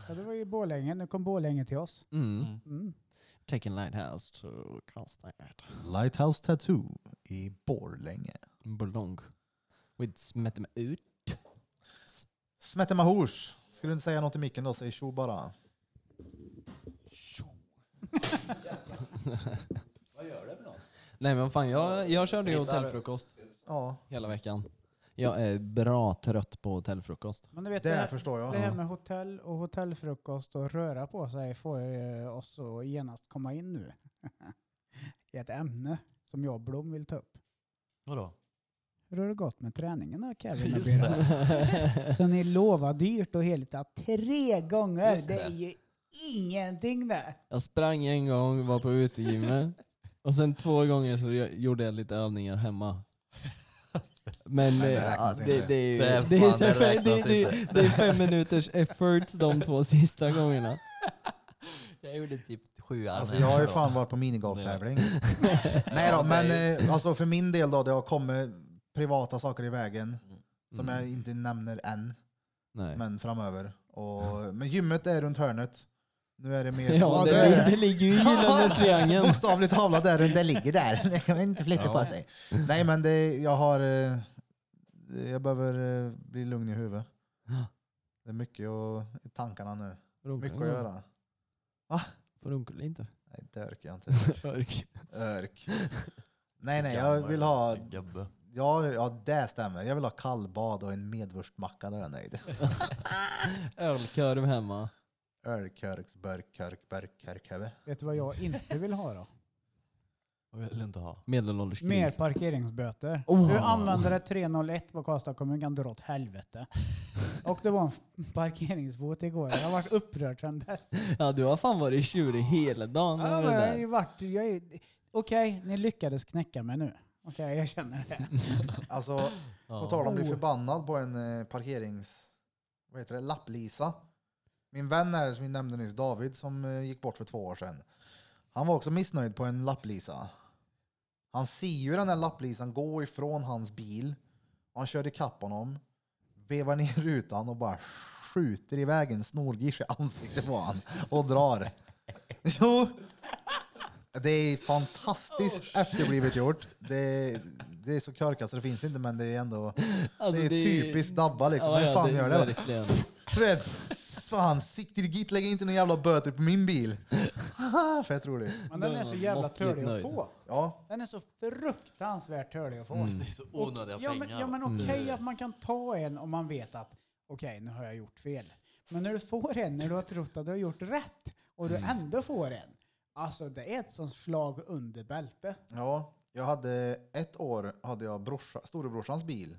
Speaker 1: Ja, det var ju Borlänge. Nu kom Borlänge till oss.
Speaker 4: Mm.
Speaker 3: Mm.
Speaker 1: Mm.
Speaker 4: Taking lighthouse to Karlstad.
Speaker 2: Lighthouse Tattoo i Borlänge.
Speaker 4: Ballong. With smätter mig ut.
Speaker 2: Smette Mahors. Ska du inte säga något i micken då? Säg tjo bara.
Speaker 3: Vad gör det för något?
Speaker 4: Nej men fan, jag, jag körde ju
Speaker 3: Hittar-
Speaker 4: hotellfrukost
Speaker 2: Ja,
Speaker 4: hela veckan. Jag är bra trött på hotellfrukost.
Speaker 1: Men du vet,
Speaker 2: det
Speaker 1: det,
Speaker 2: här
Speaker 1: här,
Speaker 2: förstår jag.
Speaker 1: det här med hotell och hotellfrukost och röra på sig får ju oss att genast komma in nu. I ett ämne som jag och Blom vill ta upp.
Speaker 3: Vadå?
Speaker 1: Hur har det gått med träningen då Kevin och
Speaker 3: Just
Speaker 1: Birra? Så ni lovar dyrt och heligt att tre gånger.
Speaker 3: Just
Speaker 1: Det.
Speaker 3: det.
Speaker 1: är ju ingenting där.
Speaker 4: Jag sprang en gång, var på utegymmet. Och sen två gånger så jag- gjorde jag lite övningar hemma. Men
Speaker 2: Nej, det
Speaker 4: eh,
Speaker 2: räknas
Speaker 4: ja, det,
Speaker 2: inte.
Speaker 4: det, är ju-
Speaker 3: Det är
Speaker 4: det är
Speaker 3: fan,
Speaker 4: så
Speaker 3: det
Speaker 4: fem- det-
Speaker 3: räknas
Speaker 4: det-
Speaker 3: inte.
Speaker 4: det är fem minuters efforts de två sista gångerna.
Speaker 3: Jag gjorde typ sju
Speaker 2: Alltså,
Speaker 3: armhävningar
Speaker 2: jag har ju
Speaker 3: då.
Speaker 2: fan varit på minigolftävling. Nej då,
Speaker 3: Ja,
Speaker 2: men
Speaker 3: det är
Speaker 2: eh, alltså, för min del då, det har kommit privata saker i vägen som
Speaker 4: Mm.
Speaker 2: jag inte nämner än,
Speaker 4: Nej.
Speaker 2: men framöver. Och, men gymmet är runt hörnet. Nu är det mer...
Speaker 4: Ja,
Speaker 2: nu är
Speaker 4: det, det ligger ju i gyllene triangeln.
Speaker 2: Bokstavligt talat där runt, det ligger där. Det kan man inte flytta
Speaker 3: Ja.
Speaker 2: på sig. Nej men det, jag har... eh, Jag behöver eh, bli lugn i huvudet.
Speaker 4: Ja.
Speaker 2: Det är mycket att- i tankarna nu.
Speaker 4: Runkar
Speaker 2: Mycket
Speaker 4: du?
Speaker 2: att göra.
Speaker 4: Runkar inte?
Speaker 2: Nej, det orkar jag inte.
Speaker 4: Örk.
Speaker 2: Örk. Nej nej, jag vill ha...
Speaker 3: Gubbe.
Speaker 2: Ja, ja det stämmer. Jag vill ha kallbad och en medvurstmacka, där är jag nöjd.
Speaker 4: Ölkorv hemma.
Speaker 2: Ölkörks, börkkörk, börkkörkhöve.
Speaker 1: Vet du vad jag inte vill ha då?
Speaker 3: Jag vill inte ha.
Speaker 4: Medelålders
Speaker 1: Mer
Speaker 4: gris.
Speaker 1: parkeringsböter.
Speaker 4: Oh.
Speaker 1: Du använder det 301 på Karlstad kommun kan dra åt helvete. Och det var en f- parkeringsbot igår. Jag har varit upprörd sedan dess.
Speaker 4: Ja, du har fan varit tjurig hela dagen.
Speaker 1: Ja,
Speaker 4: över
Speaker 1: men
Speaker 4: det
Speaker 1: jag
Speaker 4: där.
Speaker 1: har ju varit, jag är, okej, ni lyckades knäcka mig nu. Okej, jag känner det.
Speaker 2: Alltså,
Speaker 4: Ja.
Speaker 2: På tal om att bli
Speaker 1: Oh.
Speaker 2: förbannad på en eh, parkerings... Vad heter det? Lapplisa. Min vän här som vi nämnde nyss, David, som eh, gick bort för två år sedan. Han var också missnöjd på en lapplisa. Han ser ju den där lapplisan gå ifrån hans bil. Och han kör ikapp honom. Vevar ner rutan och bara skjuter iväg en snorgish i ansiktet på han och drar. Jo! Det är fantastiskt efterblivet gjort. Det, det är så körkat så det finns inte men det är ändå...
Speaker 4: Alltså,
Speaker 2: det är typiskt Dabba liksom.
Speaker 4: Ja,
Speaker 2: Hur
Speaker 4: ja,
Speaker 2: fan
Speaker 4: det-
Speaker 2: gör det?
Speaker 4: verkligen.
Speaker 2: Du vet, fan, sikta git, lägg inte några jävla böter på min bil. Haha, Fett roligt.
Speaker 1: Men den är så jävla törlig att få.
Speaker 2: Ja,
Speaker 1: Den är så fruktansvärt törlig att få.
Speaker 3: Det är så
Speaker 1: Och-
Speaker 3: onödiga
Speaker 1: ja, men,
Speaker 3: pengar.
Speaker 1: ja men
Speaker 4: Mm.
Speaker 1: okej att man kan ta en om man vet att okej nu har jag gjort fel. Men när du får en när du har trott att du har gjort rätt och du ändå får en. Alltså det är ett sånt slag under bälte.
Speaker 2: ja. Jag hade ett år hade jag brorsa, storebrorsans bil.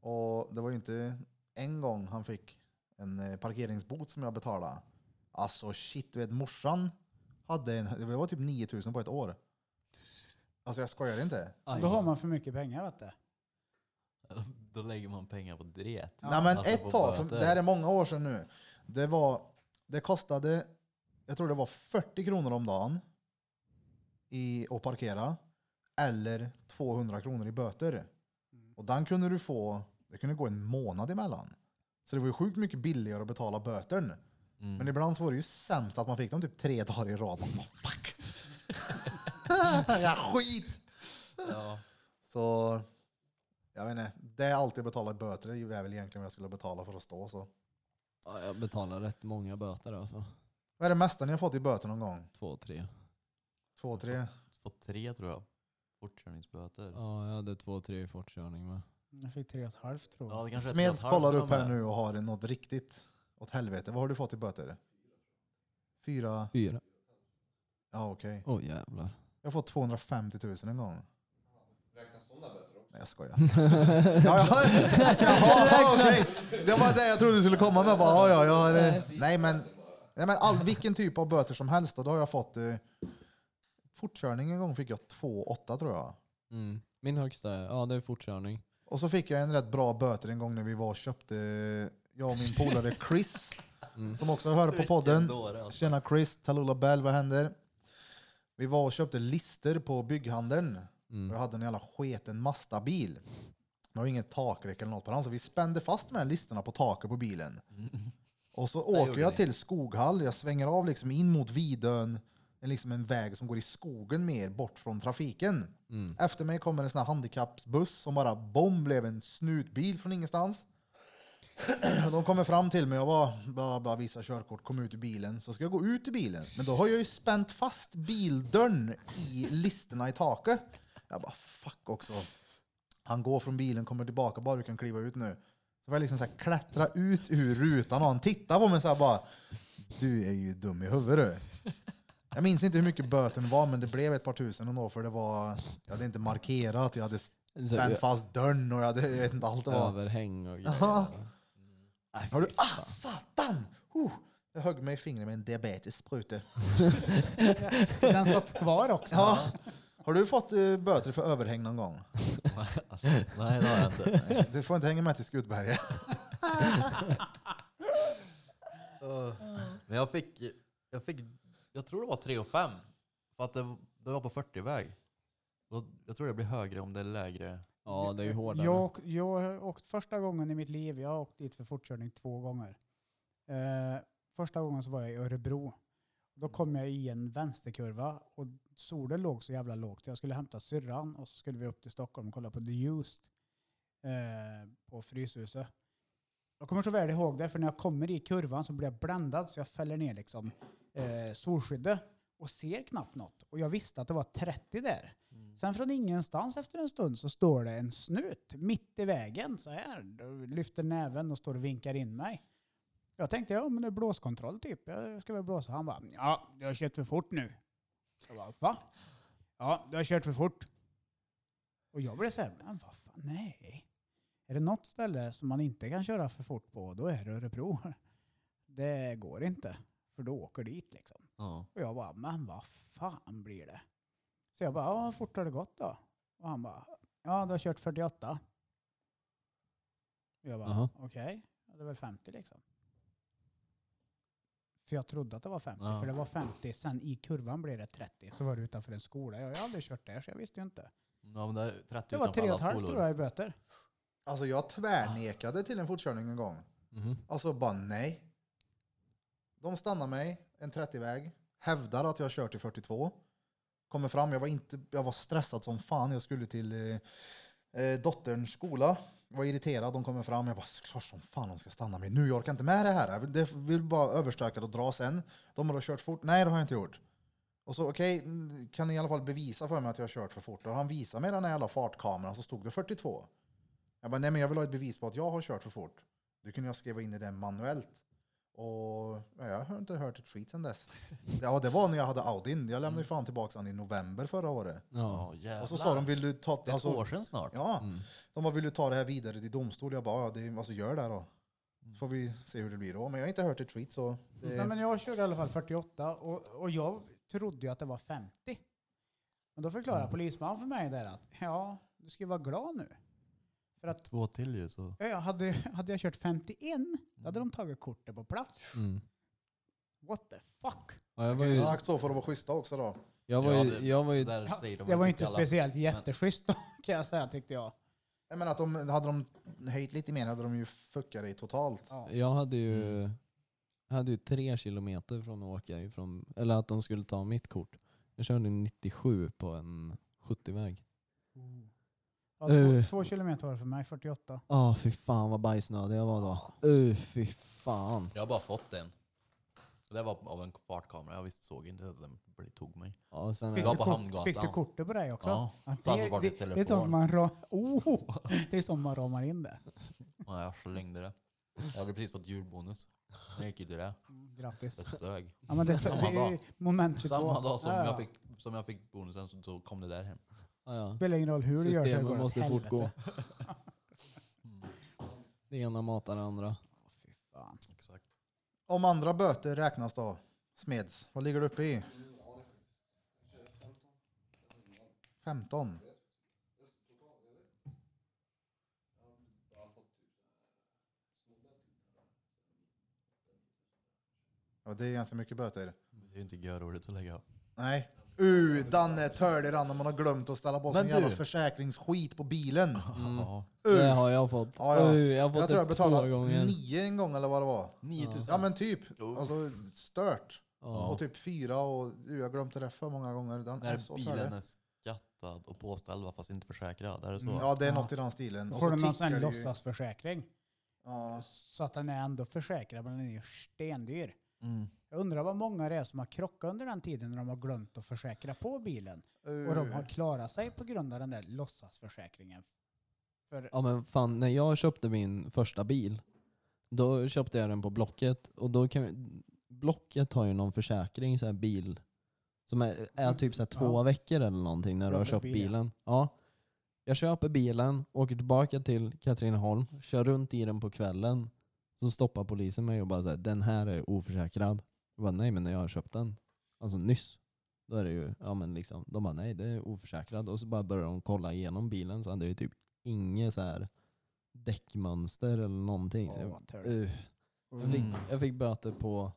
Speaker 2: Och det var ju inte en gång han fick en eh, parkeringsbot som jag betalade. Alltså shit, du vet morsan hade en, det var typ 9000 på ett år. Alltså jag skojar inte.
Speaker 4: Aj.
Speaker 1: Då har man för mycket pengar vet du.
Speaker 3: Då lägger man pengar på det.
Speaker 2: Nej men
Speaker 3: Alltså,
Speaker 2: ett
Speaker 3: på
Speaker 2: tag, för
Speaker 3: böter.
Speaker 2: det här är många år sedan nu. Det, var, det kostade, jag tror det var 40 kronor om dagen i att parkera. Eller 200 kronor i böter. Och den kunde du få, det kunde gå en månad emellan. Så det var ju sjukt mycket billigare att betala bötern.
Speaker 3: Mm.
Speaker 2: Men ibland så var det ju sämst att man fick dem typ tre dagar i rad. Man bara, fuck! ja, skit!
Speaker 3: ja.
Speaker 2: Så jag vet inte, det är alltid att betala böter det är väl egentligen vad jag skulle betala för att stå så.
Speaker 4: Ja, jag betalar rätt många böter alltså.
Speaker 2: Vad är det mesta ni har fått i böter någon gång?
Speaker 4: Två, tre.
Speaker 2: Två, tre?
Speaker 3: Två, tre tror jag. Fortkörningsböter. Ja.
Speaker 4: Ja, jag hade två, tre i fortkörning med.
Speaker 1: Jag fick tre och ett halvt tror jag.
Speaker 3: det kanske är ett och
Speaker 2: Smeds
Speaker 3: ett halvt
Speaker 2: kollar
Speaker 3: till
Speaker 2: upp
Speaker 3: och med.
Speaker 2: här nu och har något riktigt Åt helvete, vad har du fått i böter? Fyra?
Speaker 4: Fyra.
Speaker 2: Ja, okej.
Speaker 4: Åh oh, jävlar.
Speaker 2: Jag har fått 250 000 en gång. Räknas sådana böter också? Nej, jag skojar. ja, ja, jaha, okej. Det var det jag trodde du skulle komma med. Bara, ja, ja, jag har, eh, nej, men, nej, men all, vilken typ av böter som helst. Och då har jag fått eh, fortkörning en gång fick jag 2,8 tror jag.
Speaker 4: Mm. Min högsta, är- ja det är fortkörning.
Speaker 2: Och så fick jag en rätt bra böter en gång när vi var och köpte, jag och min polare Chris,
Speaker 4: Mm.
Speaker 2: som också hör på
Speaker 3: Vilken
Speaker 2: podden.
Speaker 3: dåre, alltså.
Speaker 2: Tjena Chris, Talula Bell, vad händer? Vi var och köpte lister på bygghandeln. Och
Speaker 4: Mm.
Speaker 2: jag hade en jävla sketen Mazda-bil. Det var inget takräcke eller något på den, så vi spände fast med listerna på taket på bilen. Och så åker
Speaker 3: gjorde
Speaker 2: jag
Speaker 3: ni.
Speaker 2: till Skoghall, jag svänger av liksom in mot Vidön, en, liksom en väg som går i skogen mer, bort från trafiken.
Speaker 4: Mm.
Speaker 2: Efter mig kommer en sån här handikappsbuss som bara bom blev en snutbil från ingenstans. De kommer fram till mig och bara, bara, bara visar körkort, kom ut ur bilen. Så ska jag gå ut ur bilen. Men då har jag ju spänt fast bildörren i listerna i taket. Jag bara fuck också. Han går från bilen, kommer tillbaka, bara du kan kliva ut nu. Så får jag liksom så här klättra ut ur rutan och han tittar på mig så här bara. Du är ju dum i huvudet du. Jag minns inte hur mycket böten var men det blev ett par tusen ändå för det var, jag hade inte markerat, jag hade
Speaker 4: Så,
Speaker 2: spänt fast dörren och jag, hade, jag vet inte allt det var.
Speaker 4: överhäng och
Speaker 2: Jaha.
Speaker 4: grejer. Nej,
Speaker 2: Har du,
Speaker 4: fy
Speaker 2: ah satan! Huh. Jag högg mig i fingret med en diabetesspruta.
Speaker 1: Den satt kvar också.
Speaker 2: Ja. Har du fått eh, böter för överhäng någon gång?
Speaker 3: Alltså, Nej, det har jag inte.
Speaker 2: Du får inte hänga med till Skutberget.
Speaker 3: Men jag fick, jag fick, jag tror det var 3 och 5. För att det, det var på 40-väg. Då- Jag tror det blir högre om det är lägre.
Speaker 4: Ja det är ju hårdare.
Speaker 1: Eh, Jag, åk- jag har åkt första gången i mitt liv, jag har åkt dit för fortkörning två gånger. Eh, första gången så var jag i Örebro. Då kom jag i en vänsterkurva och solen låg så jävla lågt. Jag skulle hämta syrran och så skulle vi upp till Stockholm och kolla på The Used eh, på Fryshuset. Jag kommer så väl ihåg det, för när jag kommer i kurvan så blir jag bländad så jag fäller ner liksom eh, solskyddet och ser knappt något. Och jag visste att det var 30 där. Sen från ingenstans efter en stund så står det en snut mitt i vägen så här. Då Lyfter näven och står och vinkar in mig. Jag tänkte, ja men det är blåskontroll typ. Jag ska väl blåsa. Han bara, ja du har kört för fort nu. Jag bara, va? Ja, du har kört för fort. Och jag blev så här, men vad fan, nej. Är det något ställe som man inte kan köra för fort på, då är det Örebro. Det går inte, för då åker dit liksom.
Speaker 3: Ja.
Speaker 1: Och jag bara, men vad fan blir det? Så jag bara, ja hur fort har det gått då? Och han bara, ja du har kört 48. Och jag bara,
Speaker 4: Jaha.
Speaker 1: okej, ja, det är väl 50 liksom. För jag trodde att det var 50,
Speaker 3: Ja.
Speaker 1: för det var 50, sen i kurvan blev det 30. Så var det utanför en skola, jag har ju aldrig kört där så jag visste ju inte.
Speaker 3: ja men det är 30
Speaker 1: Det var
Speaker 3: utanför
Speaker 1: 3,5
Speaker 3: alla skolor.
Speaker 1: tror jag i böter.
Speaker 2: Alltså jag tvärnekade till en fortkörning en gång.
Speaker 4: Mhm.
Speaker 2: Alltså bara nej. De stannar mig en 30-väg, hävdar att jag har kört i 42. Kommer fram, jag var, inte, jag var stressad som fan. Jag skulle till eh, eh, dotterns skola. Jag var irriterad, de kommer fram. Jag bara, klart som fan de ska stanna mig nu. Jag orkar inte med det här. Jag vill, det vill bara överstöka och dra sen. De har då kört fort. Nej, det har jag inte gjort. Och så okej, mm, kan ni i alla fall bevisa för mig att jag har kört för fort? Och han visade mig den här jävla fartkameran så stod det 42. Jag bara, nej men jag vill ha ett bevis på att jag har kört för fort. Du kunde jag skriva in i den manuellt. Och ja, jag har inte hört ett skit sedan dess. Ja, det var när jag hade Audin. Jag lämnade ju fan tillbaka den i november förra året.
Speaker 4: Ja.
Speaker 3: Ja, jävlar.
Speaker 2: Och så sa de, vill du ta... alltså,
Speaker 3: det är ett år sedan snart.
Speaker 2: ja,
Speaker 4: Mm.
Speaker 2: de bara, vill du ta det här vidare till domstol? Jag bara, ja, det, alltså gör det då. Så får vi se hur det blir då. Men jag har inte hört ett skit så...
Speaker 3: Eh,
Speaker 2: Det,
Speaker 1: Nej, men jag körde i alla fall 48 och, och jag trodde ju att det var 50. Men då förklarade
Speaker 3: Mm.
Speaker 1: polisman för mig där att ja, du ska ju vara glad nu. För att
Speaker 3: Två till ju så.
Speaker 1: Ja, ja, hade, hade jag kört 51, då
Speaker 3: Mm.
Speaker 1: hade de tagit kortet på plats.
Speaker 4: Mm.
Speaker 1: What the fuck?
Speaker 4: Ja, jag, var
Speaker 2: det är
Speaker 4: ju,
Speaker 2: ju sagt så för att vara schyssta också då.
Speaker 4: jag var ju, jag var ju,
Speaker 3: så där
Speaker 1: Ja,
Speaker 3: säger de
Speaker 1: det var ju
Speaker 3: till
Speaker 1: inte
Speaker 3: alla.
Speaker 1: speciellt jätteschysst då, kan jag säga tyckte jag.
Speaker 2: Jag menar att de, hade de höjt lite mer hade de ju fuckat dig totalt.
Speaker 1: Ja.
Speaker 4: jag hade ju, jag hade ju tre kilometer från att åka ifrån, eller att de skulle ta mitt kort. Jag körde 97 på en 70-väg.
Speaker 1: Ja, två,
Speaker 4: Eh.
Speaker 1: två kilometer var det för mig, 48.
Speaker 4: Ja fy fan vad bajsnödig jag var då. Uh, fy fan.
Speaker 3: Jag har bara fått en. Det var av en fartkamera. Jag visst såg inte att den bl- tog mig.
Speaker 4: Ja, sen,
Speaker 3: Det var
Speaker 1: du
Speaker 3: på
Speaker 1: kort-
Speaker 3: Hamngatan.
Speaker 1: Fick du kortet på dig också?
Speaker 3: Ja, det hade
Speaker 1: det,
Speaker 3: varit
Speaker 1: det,
Speaker 3: telefon.
Speaker 1: det, är sånt man ra- oh, det är sånt man ramar in det.
Speaker 3: Ja, jag slängde det. Jag hade precis fått julbonus. Jag gick ju till det.
Speaker 1: Mm, Grattis.
Speaker 3: Jag sög.
Speaker 1: Ja, men det,
Speaker 3: Samma
Speaker 1: det är
Speaker 3: dag.
Speaker 1: moment 22.
Speaker 3: Samma dag som,
Speaker 1: Ja, ja.
Speaker 3: jag fick, som jag fick bonusen så- så kom det där hem.
Speaker 4: Ja, ja.
Speaker 1: spelar ingen roll hur du gör så det
Speaker 4: Systemet
Speaker 1: går åt
Speaker 4: måste
Speaker 1: helvete.
Speaker 4: fortgå.
Speaker 3: Mm,
Speaker 4: Det ena matar det andra.
Speaker 1: Fy fan.
Speaker 3: exakt.
Speaker 2: Om andra böter räknas då? Smeds, vad ligger du uppe i? 15. Ja, det är ganska mycket böter.
Speaker 3: Det är ju inte görordet att lägga upp.
Speaker 2: Nej. Uh, Danne törde rann om man har glömt att ställa på sig
Speaker 3: Men
Speaker 2: en jävla
Speaker 3: du-
Speaker 2: försäkringsskit på bilen.
Speaker 3: Ja,
Speaker 4: Det
Speaker 2: Uh.
Speaker 4: har jag fått.
Speaker 2: Ja, ja.
Speaker 4: Oj, Jag har fått
Speaker 2: Jag tror jag
Speaker 4: det två
Speaker 2: betalade
Speaker 4: gånger.
Speaker 2: nio en gång eller vad det var.
Speaker 3: 9000.
Speaker 2: Ja men typ.
Speaker 3: Jo.
Speaker 2: Alltså stört.
Speaker 4: Ja.
Speaker 2: Och typ fyra och du, jag har glömt det för många gånger. Den är alltså, så
Speaker 3: När bilen
Speaker 2: törlig.
Speaker 3: är skattad och påställd va, fast inte försäkrad. Är det så?
Speaker 2: Mm, ja det är
Speaker 1: Ja.
Speaker 2: något i den stilen.
Speaker 1: Då
Speaker 2: Och
Speaker 1: får
Speaker 2: så
Speaker 1: du någon sån
Speaker 2: tickar
Speaker 1: här
Speaker 2: det ju-
Speaker 1: låtsasförsäkring.
Speaker 2: Ja.
Speaker 1: Så att den är ändå försäkrad, men den är ju stendyr.
Speaker 3: Mm.
Speaker 1: Jag undrar vad många det är som har krockat under den tiden när de har glömt att försäkra på bilen. Och de har
Speaker 2: Uh,
Speaker 1: klarat sig på grund av den där låtsasförsäkringen. För
Speaker 4: ja men fan, när jag köpte min första bil, då köpte jag den på Blocket. Och då kan vi, Blocket har ju någon försäkring, så här bil, som är, är typ så här två
Speaker 1: Mm. Ja.
Speaker 4: veckor eller någonting när du har
Speaker 1: Blocket
Speaker 4: köpt
Speaker 1: bil, ja.
Speaker 4: bilen. Ja. Jag köper bilen, åker tillbaka till Katrineholm, kör runt i den på kvällen. Så stoppar polisen mig och bara såhär, den här är oförsäkrad. Jag bara, nej men jag har köpt den. Alltså nyss. Då är det ju, ja men liksom, de bara nej det är oförsäkrad. Och så bara börjar de kolla igenom bilen så hade ju typ inget så här däckmönster eller någonting. Så
Speaker 1: Åh,
Speaker 4: jag,
Speaker 1: vad törligt.
Speaker 4: uh, jag, fick,
Speaker 3: Mm.
Speaker 4: jag fick böter på,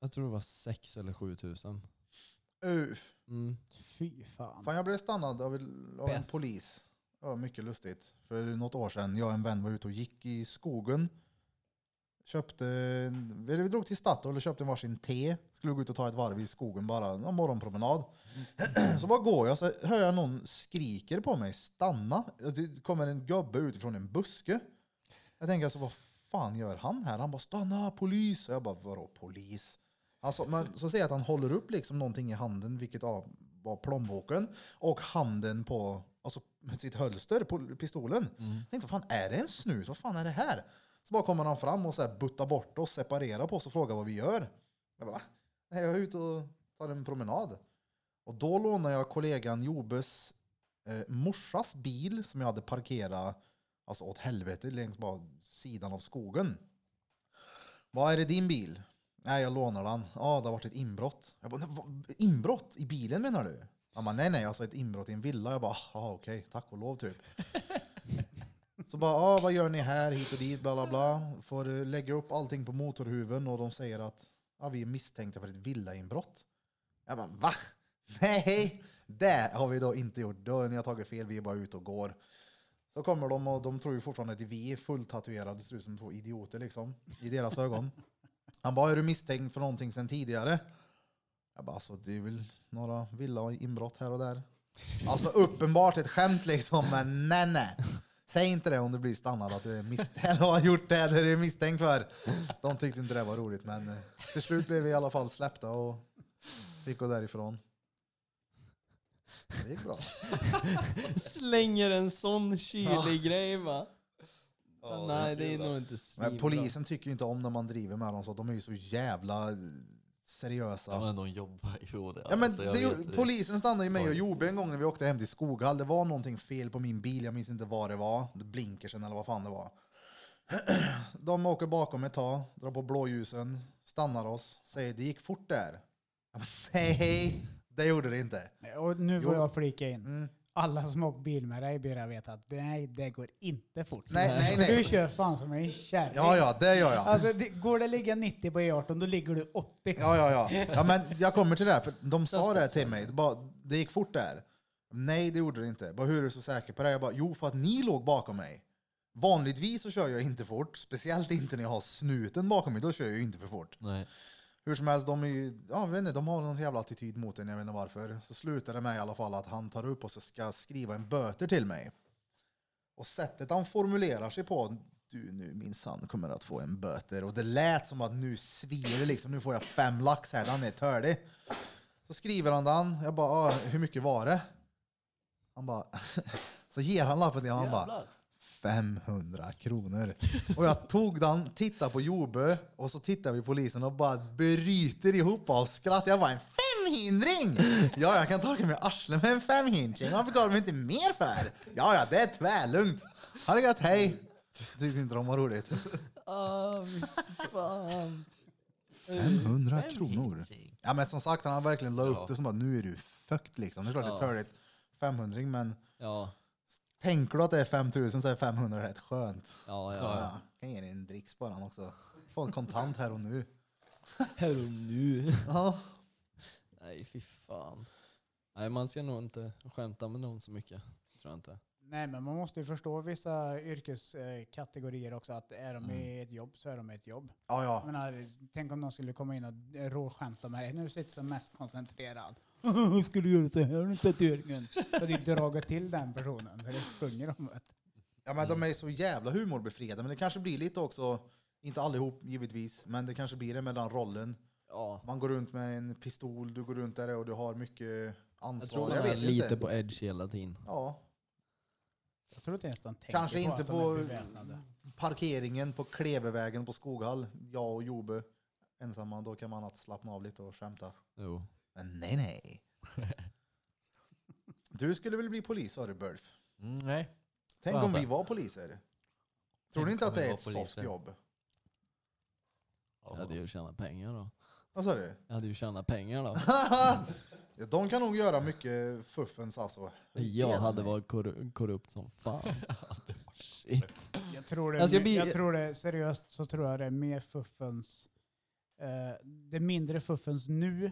Speaker 4: jag tror det var 6 eller 7 tusen.
Speaker 2: uh,
Speaker 4: Mm.
Speaker 1: fy fan.
Speaker 2: fan jag blev stannad av, av en
Speaker 3: Bäst.
Speaker 2: polis. Det var mycket lustigt. För något år sedan, jag och en vän var ute och gick i skogen. Köpte, eller vi drog till Statoil och köpte varsin te. Skulle gå ut och ta ett varv i skogen bara, en morgonpromenad. Så bara går jag så hör jag någon skriker på mig, stanna. Det kommer en gubbe utifrån en buske. Jag tänker alltså, vad fan gör han här? Han bara, stanna polis. Och jag bara, vadå polis? Alltså, men så ser jag att han håller upp liksom någonting i handen, vilket ja, var plånboken. Och handen på, alltså med sitt hölster, på pistolen.
Speaker 3: Mm.
Speaker 2: Jag tänkte, vad fan är det en snut? Vad fan är det här? Så bara kommer han fram och så här buttar bort oss, separerar på oss och frågar vad vi gör. Jag bara, "Va? Nej, jag är ute och tar en promenad. Och då lånade jag kollegan Jobes eh, morsas bil som jag hade parkerat alltså åt helvete längs bara sidan av skogen. Vad är det din bil? Nej, jag lånar den. Ja, det har varit ett inbrott. Jag bara, "Nej, vad- inbrott i bilen menar du? Han bara, nej, nej, alltså ett inbrott i en villa. Jag bara, ah, okej, tack och lov typ. Så bara, ah, vad gör ni här, hit och dit, bla bla bla. Får eh, lägga upp allting på motorhuven och de säger att ah, vi är misstänkta för ett villainbrott. Jag bara, va? Nej, det har vi då inte gjort. Då har ni tagit fel, vi är bara ute och går. Så kommer de och de tror ju fortfarande att vi är fulltatuerade, ser ut som två idioter liksom, i deras ögon. Han bara, är du misstänkt för någonting sen tidigare? Jag bara, alltså det är väl några villainbrott här och där. Alltså uppenbart ett skämt liksom, men nej nej. Säg inte det om du blir stannad att du är misstänkt, eller har gjort det du är misstänkt för. De tyckte inte det var roligt, men eh, till slut blev vi i alla fall släppta och fick gå därifrån. Det gick bra.
Speaker 4: Slänger en sån
Speaker 2: kylig
Speaker 4: grej va?
Speaker 3: Ja,
Speaker 4: nej det är
Speaker 3: kul,
Speaker 4: alltså.
Speaker 3: va?
Speaker 4: nog inte
Speaker 2: Men polisen tycker ju inte om när man driver med dem så att de är ju så jävla eh, seriösa.
Speaker 3: Ja, men de jobbar ju och det.
Speaker 2: Ja, men
Speaker 3: alltså, jag
Speaker 2: det,
Speaker 3: vet
Speaker 2: gjorde-
Speaker 3: det.
Speaker 2: polisen stannade ju mig och
Speaker 3: Oj.
Speaker 2: Jobe en gång när vi åkte hem till Skoghall. Det var någonting fel på min bil, jag minns inte vad det var. Det blinkersen eller vad fan det var. De åker bakom ett tag, drar på blåljusen, stannar oss, säger det gick fort där. Jag bara, Nej, det gjorde det inte.
Speaker 1: Och nu får
Speaker 2: Jo.
Speaker 1: jag flika in.
Speaker 2: Mm.
Speaker 1: Alla som åkt bil med dig, Birra, vet att nej, det går inte fort.
Speaker 2: Nej, nej, nej.
Speaker 1: Du kör fan som en kärring.
Speaker 2: Ja, ja, det gör jag.
Speaker 1: Alltså, det, går det ligga 90 på E18, då ligger du 80.
Speaker 2: Ja, ja, ja. ja men jag kommer till det här, för de sa det här till mig. Det, bara, det gick fort där. Nej, det gjorde det inte. Bara, hur är du så säker på det? Jag bara, jo, för att ni låg bakom mig. Vanligtvis så kör jag inte fort, speciellt inte när jag har snuten bakom mig. Då kör jag ju inte för fort.
Speaker 3: Nej.
Speaker 2: Hur som helst, de, är ju, ja, jag vet inte, de har någon jävla attityd mot en, jag vet inte varför. Så slutar det med i alla fall att han tar upp och så ska skriva en böter till mig. Och sättet han formulerar sig på, du nu minsann kommer att få en böter. Och det lät som att nu svider det liksom, nu får jag fem lax här, den är tördig. Så skriver han den, jag bara, "Ah, hur mycket var det? Han bara, så ger han lappen till honom, han bara,
Speaker 3: Jävlar.
Speaker 2: 500 kronor. Och jag tog den, tittade på Jobö och så tittade vi på polisen och bara bryter ihop av skratt. Jag var en femhindring! Ja, jag kan torka mig i arslet med en femhindring. Varför gav de inte mer för? Ja, ja, det är tvärlugnt. Ha det gött, hej! Tyckte inte de var roligt.
Speaker 4: Åh, fan.
Speaker 2: 500 kronor. Ja men som sagt, han har verkligen la
Speaker 3: Ja.
Speaker 2: upp det som att nu är du fucked liksom. Det är klart det
Speaker 4: Ja.
Speaker 2: är törligt. 500 men
Speaker 4: Ja,
Speaker 2: tänker du att det är 5000 så är 500 rätt skönt.
Speaker 4: ja,
Speaker 2: Ja.
Speaker 4: ja.
Speaker 2: Kan ge dig en dricks bara han också. Få en kontant här och nu.
Speaker 4: Här och nu.
Speaker 2: Ja.
Speaker 4: Nej, fy fan. Nej, man ska nog inte skämta med någon så mycket. Tror jag inte.
Speaker 1: Nej, men man måste ju förstå vissa yrkeskategorier också. Att är de i ett jobb så är de i ett jobb.
Speaker 2: Mm. Ja,
Speaker 1: Jag
Speaker 2: ja.
Speaker 1: menar, tänk om någon skulle komma in och eh, råskämta med dig. Nu sitter du som mest koncentrerad. ska du göra så här med tatueringen? Så hade ju dragit till den personen. Så det sjunger om det.
Speaker 2: ja men
Speaker 4: Mm.
Speaker 2: de är så jävla humorbefriade. Men det kanske blir lite också, inte allihop givetvis, men det kanske blir det mellan rollen.
Speaker 4: Ja.
Speaker 2: Man går runt med en pistol, du går runt där och du har mycket ansvar.
Speaker 4: Jag tror de är
Speaker 2: vet
Speaker 4: lite
Speaker 2: inte.
Speaker 4: på edge hela tiden.
Speaker 2: Ja,
Speaker 1: Jag tror inte ens de tänker
Speaker 2: Kanske
Speaker 1: på
Speaker 2: inte
Speaker 1: att de
Speaker 2: på-
Speaker 1: är beväpnade.
Speaker 2: parkeringen på Klevevägen på Skoghall, jag och Jobe ensamma, då kan man att slappna av lite och skämta.
Speaker 4: Jo.
Speaker 2: Men nej, nej. Du skulle väl bli polis sa du Burf?
Speaker 3: Mm, nej.
Speaker 2: Tänk
Speaker 3: Fan,
Speaker 2: om vi
Speaker 3: det.
Speaker 2: var poliser? Tror
Speaker 3: Tänk
Speaker 2: du inte
Speaker 3: om
Speaker 2: att det
Speaker 3: vi
Speaker 2: är
Speaker 3: var
Speaker 2: ett
Speaker 3: poliser.
Speaker 2: soft jobb?
Speaker 4: Jag hade ju tjänat pengar då.
Speaker 2: Vad sa du?
Speaker 4: Jag hade ju tjänat pengar då.
Speaker 2: Ja, De kan nog göra mycket fuffens alltså.
Speaker 4: Jag hade varit korru- korrupt som fan. Shit.
Speaker 1: Jag tror det,
Speaker 4: Jag ska bli-
Speaker 1: jag tror det seriöst så tror jag det är mer fuffens, eh, det är mindre fuffens nu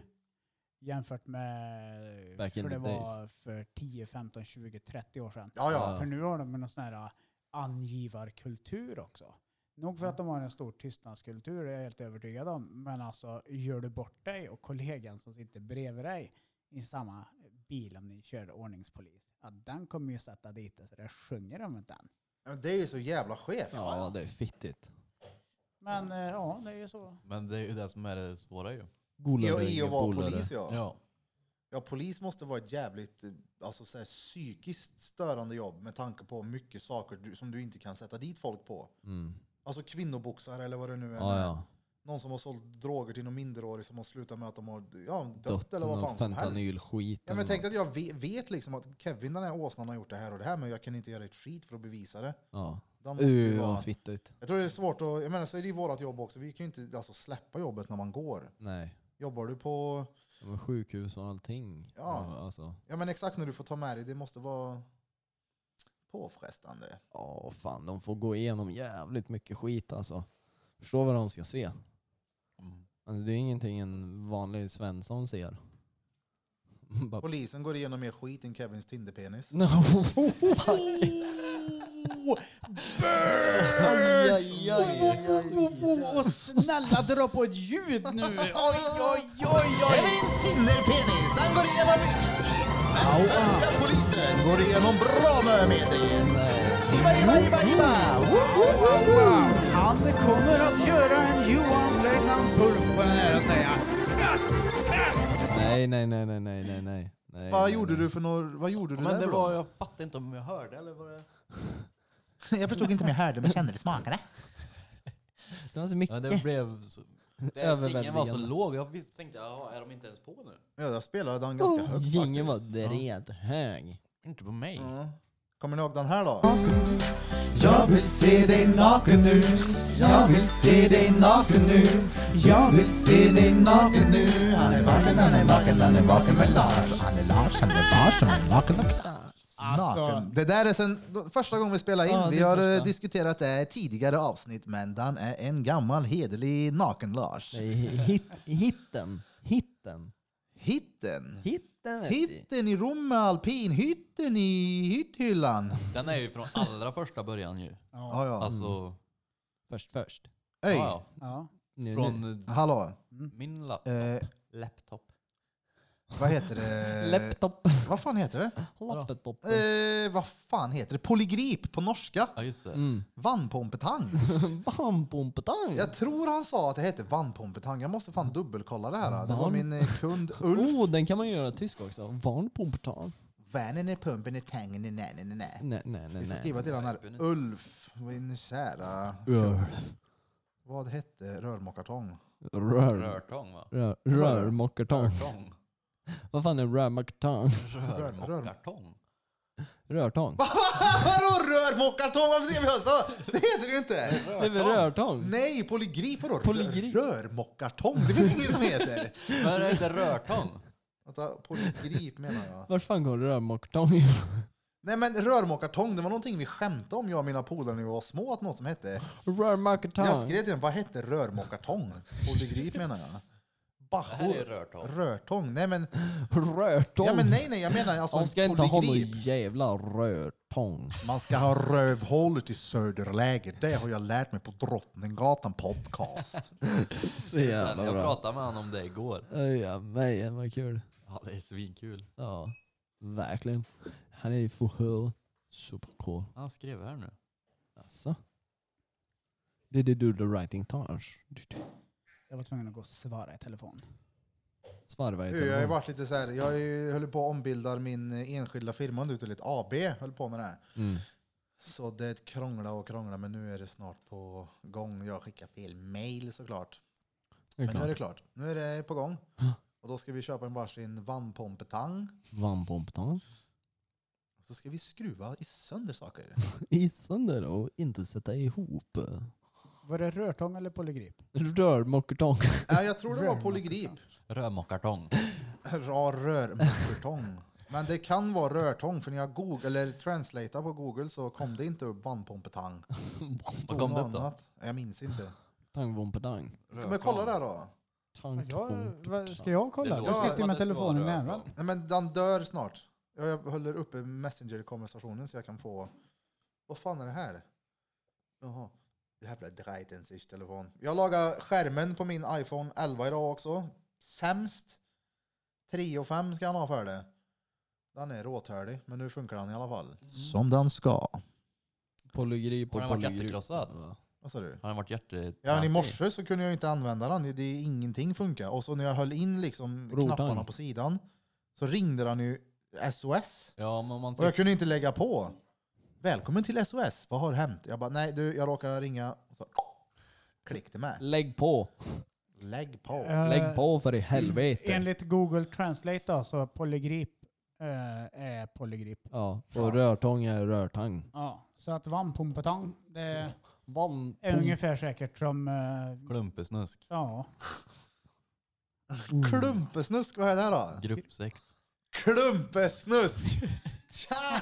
Speaker 1: jämfört med
Speaker 4: Back in
Speaker 1: för det
Speaker 4: the
Speaker 1: var för 10, 15, 20, 30 år sedan.
Speaker 2: Ja, ja.
Speaker 4: Ja.
Speaker 1: För nu har de någon sån här eh, angivarkultur också. Nog för att de har en stor tystnadskultur, det är jag helt övertygad om. Men alltså, gör du bort dig och kollegan som sitter bredvid dig i samma bil om ni kör ordningspolis, ja, den kommer ju sätta dit det så det sjunger om den.
Speaker 2: Men Det är ju så jävla skevt.
Speaker 4: Ja, det är fittigt.
Speaker 1: Men eh, ja, det är ju så.
Speaker 3: Men det är ju det som är det svåra ju.
Speaker 2: I
Speaker 4: Golare
Speaker 2: E och, I och vara
Speaker 4: golare.
Speaker 2: polis ja.
Speaker 3: Ja.
Speaker 2: Ja, polis måste vara ett jävligt eh, alltså, så här, psykiskt störande jobb med tanke på mycket saker du, som du inte kan sätta dit folk på.
Speaker 4: Mm.
Speaker 2: Alltså kvinnoboxare eller vad det nu är.
Speaker 4: Ja, ja.
Speaker 2: Någon som har sålt droger till någon minderårig som har slutat med att de har ja, dött,
Speaker 4: Dött
Speaker 2: eller vad fan som helst.
Speaker 4: fentanylskit.
Speaker 2: Ja, men
Speaker 4: eller
Speaker 2: tänk
Speaker 4: något.
Speaker 2: att jag ve- vet liksom att Kevin den här åsnan har gjort det här och det här men jag kan inte göra ett skit för att bevisa det.
Speaker 4: Ja.
Speaker 2: Den måste ju
Speaker 4: Uh,
Speaker 2: vara,
Speaker 4: vad fittigt.
Speaker 2: jag tror det är svårt att, jag menar så är det ju vårat jobb också. Vi kan ju inte alltså, släppa jobbet när man går.
Speaker 4: Nej.
Speaker 2: Jobbar du på,
Speaker 4: Ja, men sjukhus och allting.
Speaker 2: Ja.
Speaker 4: Alltså.
Speaker 2: ja men exakt när du får ta med dig, det måste vara påfrestande.
Speaker 4: Ja, fan. De får gå igenom jävligt mycket skit alltså. Förstå vad de ska se.
Speaker 3: Mm.
Speaker 4: Alltså, det är ingenting en vanlig Svensson ser. Bara,
Speaker 2: Polisen går igenom mer skit än Kevins Tinderpenis.
Speaker 4: no. aj, aj, aj.
Speaker 1: snälla dra på ett ljud nu! Oj, oj,
Speaker 2: Kevins Tinderpenis, den går igenom mycket skit. Men svenska
Speaker 3: ah.
Speaker 2: polisen går igenom bra mömedring. Jibba, jibba, jibba, jibba. Woo, woo, woo, woo.
Speaker 1: Han kommer att göra en Johan Löjtnant Pulf på den här och säga
Speaker 4: Nej, nej, nej, nej, nej, nej, nej. nej
Speaker 2: Vad
Speaker 4: nej,
Speaker 2: gjorde
Speaker 4: nej.
Speaker 2: du för några... Vad gjorde du
Speaker 3: Men
Speaker 2: där
Speaker 3: det
Speaker 2: för
Speaker 3: var,
Speaker 2: något?
Speaker 3: jag fattade inte om jag hörde eller var det...
Speaker 2: Jag förstod inte om jag hörde, men jag kände det smakade.
Speaker 4: Det var så mycket.
Speaker 3: Ja, det blev... Så, det, ingen var så
Speaker 4: Överväldigande.
Speaker 3: låg. Jag visste, tänkte, jaha, är de inte ens på nu?
Speaker 2: Ja, jag spelade den ganska högt
Speaker 4: Gingen var
Speaker 2: faktiskt.
Speaker 4: drethög.
Speaker 3: Inte på mig.
Speaker 2: Ja. Kommer ni ihåg den här då?
Speaker 6: Jag vill se dig naken nu Jag vill se dig naken nu Jag vill se dig naken nu Han är
Speaker 4: Alltså-
Speaker 6: vaken, han är vaken, han är vaken med Lars Han är Lars, han är Lars, han är naken med Lars
Speaker 1: Alltså,
Speaker 2: Naken. Det där är sen då- första gången vi spelar in.
Speaker 4: Ja,
Speaker 2: vi
Speaker 4: det är
Speaker 2: har eh,
Speaker 4: första.
Speaker 2: diskuterat det i tidigare avsnitt, men den är en gammal hederlig naken-Lars.
Speaker 4: Nej, hit, hitten. Hitten.
Speaker 2: Hitten.
Speaker 4: Hitten vet du.
Speaker 2: Hytten i Rom med alpin, hytten i hytthyllan.
Speaker 3: Den är ju från allra första början ju.
Speaker 1: ja,
Speaker 2: Ja, ja.
Speaker 3: Alltså,
Speaker 4: Först först.
Speaker 2: Öj,
Speaker 3: ja,
Speaker 1: ja.
Speaker 3: ja.
Speaker 4: Nu,
Speaker 3: Från
Speaker 4: nu.
Speaker 3: eh,
Speaker 2: hallå.
Speaker 3: min lapp.
Speaker 2: Eh,
Speaker 3: laptop.
Speaker 2: vad heter det?
Speaker 4: Laptop.
Speaker 2: vad fan heter det?
Speaker 4: Laptop.
Speaker 2: Eh, vad fan heter det? Polygrip på norska.
Speaker 3: Ja, just det.
Speaker 4: Mm.
Speaker 2: Vannpompetang.
Speaker 4: Bampompetang.
Speaker 2: Jag tror han sa att det hette vannpompetang. Jag måste fan dubbelkolla det här. Det var min eh, kund Ulf.
Speaker 4: Oh, den kan man göra tysk också. Varnpompetang.
Speaker 2: Vanen är pumpen är tangen är nej, nej, nej, nej.
Speaker 4: Nej, nej, nej.
Speaker 2: Vi ska
Speaker 4: nej.
Speaker 2: skriva till den här Ulf, min kära.
Speaker 4: Ulf.
Speaker 2: Vad hette rörmokartång?
Speaker 4: Rör.
Speaker 3: Rörtång va?
Speaker 4: Rör.
Speaker 2: Vad sa du?
Speaker 4: Rörmokartång.
Speaker 3: Rörtång.
Speaker 4: Vad fan är rörmokartång?
Speaker 3: Rörmokartång.
Speaker 4: Rörtång?
Speaker 2: Vadå rörmokartång? Varför ser vi oss så? Det heter det ju inte!
Speaker 4: Nej men rörtång?
Speaker 2: Nej, polygrip vadå?
Speaker 4: Polygrip.
Speaker 2: Rörmokartång? Det finns ingen som heter.
Speaker 3: Men är det inte rörtång?
Speaker 2: Vänta, polygrip menar jag.
Speaker 4: Vart fan går rörmokartång ifrån?
Speaker 2: Nej men rörmokartång, det var någonting vi skämtade om jag och mina polare när vi var små, att något som hette. Jag
Speaker 4: Rörmokartång?
Speaker 2: skrev till dem, vad hette rörmokartång? Polygrip menar jag.
Speaker 3: Det här är ju
Speaker 2: Bachor.
Speaker 3: rörtång.
Speaker 2: Rörtång? Nej men,
Speaker 4: Rörtång?
Speaker 2: ja, men nej nej, jag menar alltså
Speaker 4: De ska inte ha någon
Speaker 2: polygrip.
Speaker 4: jävla rörtång.
Speaker 2: Man ska ha rövhålet i söderläge. Det har jag lärt mig på Drottninggatan podcast.
Speaker 4: Så
Speaker 3: Jag
Speaker 4: jävla bra.
Speaker 3: pratade med honom om det igår.
Speaker 4: Ja, men vad kul.
Speaker 3: Ja, det är svinkul.
Speaker 4: Ja, verkligen. Han är ju förhör. Supercool.
Speaker 3: Han skrev här nu.
Speaker 4: Alltså. Did they do the writing task?
Speaker 1: Jag var tvungen att gå och svara i telefon.
Speaker 4: Svarva i
Speaker 2: Jag har ju
Speaker 4: telefon.
Speaker 2: varit lite så här, jag har ju- höll på att ombilda min eh, enskilda firma nu till ett AB. Höll på med det här.
Speaker 4: Mm.
Speaker 2: Så det krångla och krångla men nu är det snart på gång. Jag skickar fel mail såklart.
Speaker 4: Det är
Speaker 2: Men nu är det
Speaker 4: klart.
Speaker 2: klart. Nu är det på gång.
Speaker 4: Ja.
Speaker 2: Och då ska vi köpa en varsin vannpompetang.
Speaker 4: Vannpompetång.
Speaker 2: Så ska vi skruva i sönder saker.
Speaker 4: Isande då, inte sätta ihop.
Speaker 1: Var det rörtång eller polygrip?
Speaker 4: Rörmokertång.
Speaker 2: ja, jag tror det var polygrip.
Speaker 3: Rörmokartång.
Speaker 2: Ra rörmuttertång. Men det kan vara rörtång, för när jag googlade, eller translateade på google så kom det inte upp vannpompetang.
Speaker 3: Vad kom det upp då?
Speaker 2: Annat. Jag minns inte.
Speaker 4: Tangvompedang.
Speaker 2: Men kolla där
Speaker 1: Jag,
Speaker 2: då.
Speaker 1: vad- ska
Speaker 4: Tangtvångpetang.
Speaker 1: jag
Speaker 3: Det
Speaker 1: kolla?
Speaker 3: låter
Speaker 1: Jag sitter
Speaker 3: som
Speaker 1: med
Speaker 3: att det
Speaker 1: telefonen i
Speaker 3: står
Speaker 1: näven.
Speaker 3: rörtång.
Speaker 2: Nej, men den dör snart. Jag jag håller uppe Messenger-konversationen så jag kan få... Vad fan är det här? Jaha. Jävla dreitens ich telefon. Jag lagar skärmen på min iPhone 11 idag också. Sämst. 3 och 5 ska han ha för det. Den är råtörlig, men nu funkar den i alla fall. Mm. Som den ska.
Speaker 4: Polygrip och
Speaker 3: Har den varit
Speaker 4: polygrip.
Speaker 3: jättekrossad?
Speaker 4: Ja.
Speaker 2: Vad sa du?
Speaker 3: Har han varit hjärte...
Speaker 2: Ja, men i morse så kunde jag inte använda den. Det, det, ingenting funkar. Och så när jag höll in liksom
Speaker 4: Rotan.
Speaker 2: knapparna på sidan så ringde den ju SOS.
Speaker 3: Ja, men om man
Speaker 2: Och jag
Speaker 3: trycker...
Speaker 2: kunde inte lägga på. Välkommen till SOS, vad har hänt? Jag bara, nej du, jag råkar ringa. Och så klick det med.
Speaker 4: Lägg på.
Speaker 2: Lägg på.
Speaker 1: Eh,
Speaker 4: Lägg på för i helvete.
Speaker 1: Enligt Google Translate då, så polygrip eh, är polygrip.
Speaker 4: Ja, och rörtång är rörtang.
Speaker 1: Ja, så att vannpompetang, det
Speaker 4: Vann...
Speaker 1: är ungefär säkert som... Eh,
Speaker 3: Klumpesnusk.
Speaker 1: ja,
Speaker 3: Mm.
Speaker 2: Klumpesnusk, vad är det här då?
Speaker 3: Gruppsex.
Speaker 2: Klumpesnusk! Tja!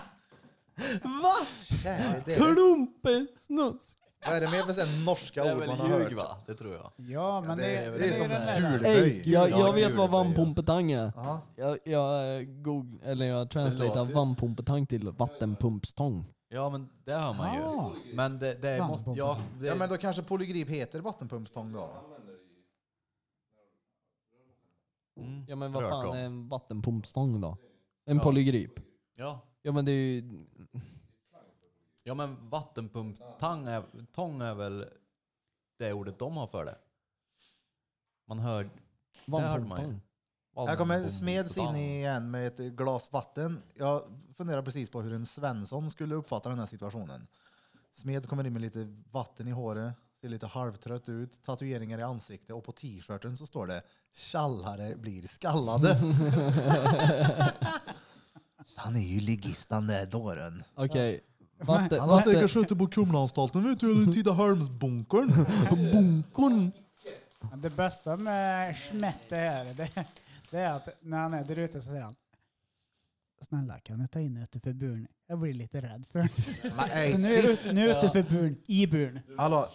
Speaker 4: Va?
Speaker 2: Käre det.
Speaker 4: Klumpesnusk!
Speaker 2: Vad är det mer för sån norska
Speaker 3: Det är
Speaker 2: ord man
Speaker 3: väl
Speaker 2: har
Speaker 3: ljug
Speaker 2: hört?
Speaker 3: va? Det tror jag.
Speaker 1: ja men
Speaker 2: det
Speaker 1: det,
Speaker 2: är-
Speaker 1: det,
Speaker 2: det är
Speaker 1: är den
Speaker 2: som
Speaker 1: där.
Speaker 2: där gul- Ej,
Speaker 4: Jag,
Speaker 3: Ja,
Speaker 4: jag vet vad
Speaker 3: julböj, ja.
Speaker 4: vannpompetang är.
Speaker 2: Jaha.
Speaker 4: Jag, jag, goog, eller jag
Speaker 3: låter
Speaker 4: translatear
Speaker 3: ju-
Speaker 4: vannpompetang till vattenpumpstång.
Speaker 3: Ja, men det hör man ju.
Speaker 1: Ah.
Speaker 3: Men det, det måste... Ja, det,
Speaker 2: Ja men då kanske polygrip heter vattenpumpstång då?
Speaker 3: mm,
Speaker 4: Ja men vad
Speaker 3: rört
Speaker 4: fan
Speaker 3: om.
Speaker 4: är en vattenpumpstång då? En
Speaker 3: Ja.
Speaker 4: polygrip.
Speaker 3: Ja.
Speaker 4: Ja men det är ju...
Speaker 3: ja, men vattenpumptång är, tång är väl det ordet de har för det. Man hör... hörde man ju.
Speaker 4: Vattenpumpstång.
Speaker 2: Här kommer Smeds in igen med ett glas vatten. Jag funderar precis på hur en Svensson skulle uppfatta den här situationen. Smed kommer in med lite vatten i håret, ser lite halvtrött ut, tatueringar i ansiktet och på t-shirten så står det “Tjallare blir skallade”. Han är ju ligist den där dåren.
Speaker 4: Okej. Vatten...
Speaker 2: Han har
Speaker 4: Vatten...
Speaker 2: säkert suttit på Kumlaanstalten vet du, eller Tidaholmsbunkern.
Speaker 4: Bunkon!
Speaker 1: Det bästa med Schmette här, det, det är att när han är där ute så säger han Snälla kan du ta in ute för buren? Jag blir lite rädd för den."
Speaker 2: Men, ey,
Speaker 1: Så nu är
Speaker 2: sist-
Speaker 1: ut- nu är ute för buren, i buren.
Speaker 2: Hallå.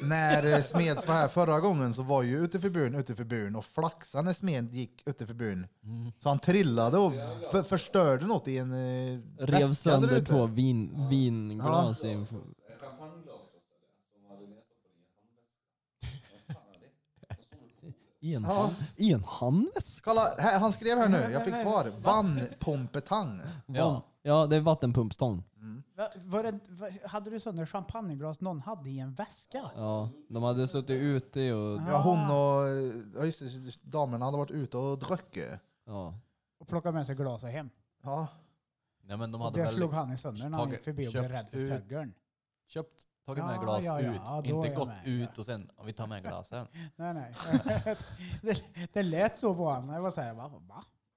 Speaker 2: När eh, Smeds var här förra gången så var ju ute för buren, ute för buren och flaxade när Smed gick ute för buren. Så han trillade och för, förstörde något i en eh,
Speaker 4: Rev
Speaker 2: väska där
Speaker 4: sönder
Speaker 2: ute.
Speaker 4: två vin, vinglas i en... I en,
Speaker 2: Ja.
Speaker 4: hand, I en handväska?
Speaker 2: Kolla, här, han skrev här nu, jag fick svar. Vannpompetang.
Speaker 3: Ja.
Speaker 4: Ja, det är vattenpumpstång.
Speaker 1: Va, var det, va, hade du sönder champagneglas någon hade i en väska?
Speaker 4: Ja, de hade suttit ute och...
Speaker 2: Ja, hon och eh, ja, just det, damerna hade varit ute och druckit.
Speaker 4: Ja.
Speaker 1: och plockade med sig glaset hem.
Speaker 2: Ja.
Speaker 3: Nej, men de
Speaker 1: Och
Speaker 3: hade
Speaker 1: där
Speaker 3: väl
Speaker 1: slog han i sönder när han
Speaker 3: tagit-
Speaker 1: gick förbi och blev
Speaker 3: köpt
Speaker 1: rädd för
Speaker 3: ut.
Speaker 1: föggorn.
Speaker 3: köpt, tagit med
Speaker 1: Ja,
Speaker 3: glas
Speaker 1: ja, ja,
Speaker 3: ut.
Speaker 1: ja, då är
Speaker 3: inte
Speaker 1: jag
Speaker 3: gått
Speaker 1: med.
Speaker 3: ut och sen, ja, vi tar med glasen.
Speaker 1: Nej, nej. det, det lät så på honom. Jag var så här, va?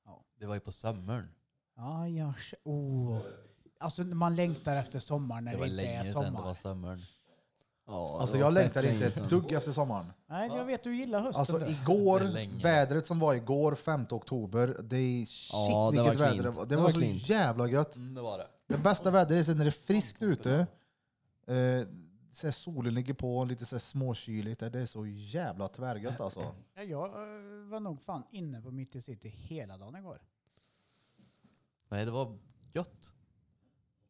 Speaker 1: va?
Speaker 3: Det var ju på sommaren.
Speaker 1: Ja, jag... Oh. Alltså man längtar efter sommaren när
Speaker 3: Det
Speaker 1: det,
Speaker 3: var
Speaker 1: inte är
Speaker 3: länge sedan det
Speaker 1: sommar.
Speaker 3: var sommaren.
Speaker 4: Ja,
Speaker 2: Alltså
Speaker 4: det var
Speaker 2: jag
Speaker 4: fett
Speaker 2: längtar inte
Speaker 4: länge
Speaker 2: ett
Speaker 4: sedan.
Speaker 2: dugg efter sommaren.
Speaker 1: Nej, jag vet du gillar hösten.
Speaker 2: Alltså
Speaker 1: du.
Speaker 2: igår,
Speaker 3: Det är länge.
Speaker 2: vädret som var igår, 5 oktober, det är shit
Speaker 4: Ja, det
Speaker 2: vilket
Speaker 4: var
Speaker 2: väder det
Speaker 4: klint.
Speaker 2: var. Det,
Speaker 4: Det
Speaker 2: var,
Speaker 4: var
Speaker 2: så
Speaker 4: klint.
Speaker 2: jävla gött.
Speaker 3: Mm, det var det.
Speaker 2: Det bästa vädret är när det är friskt ute. Eh, så här solen ligger på, lite så här småkyligt. Det är så jävla tvärgött alltså.
Speaker 1: Ja, Jag eh, var nog fan inne på Mitt i City hela dagen igår.
Speaker 3: Nej, det var gött.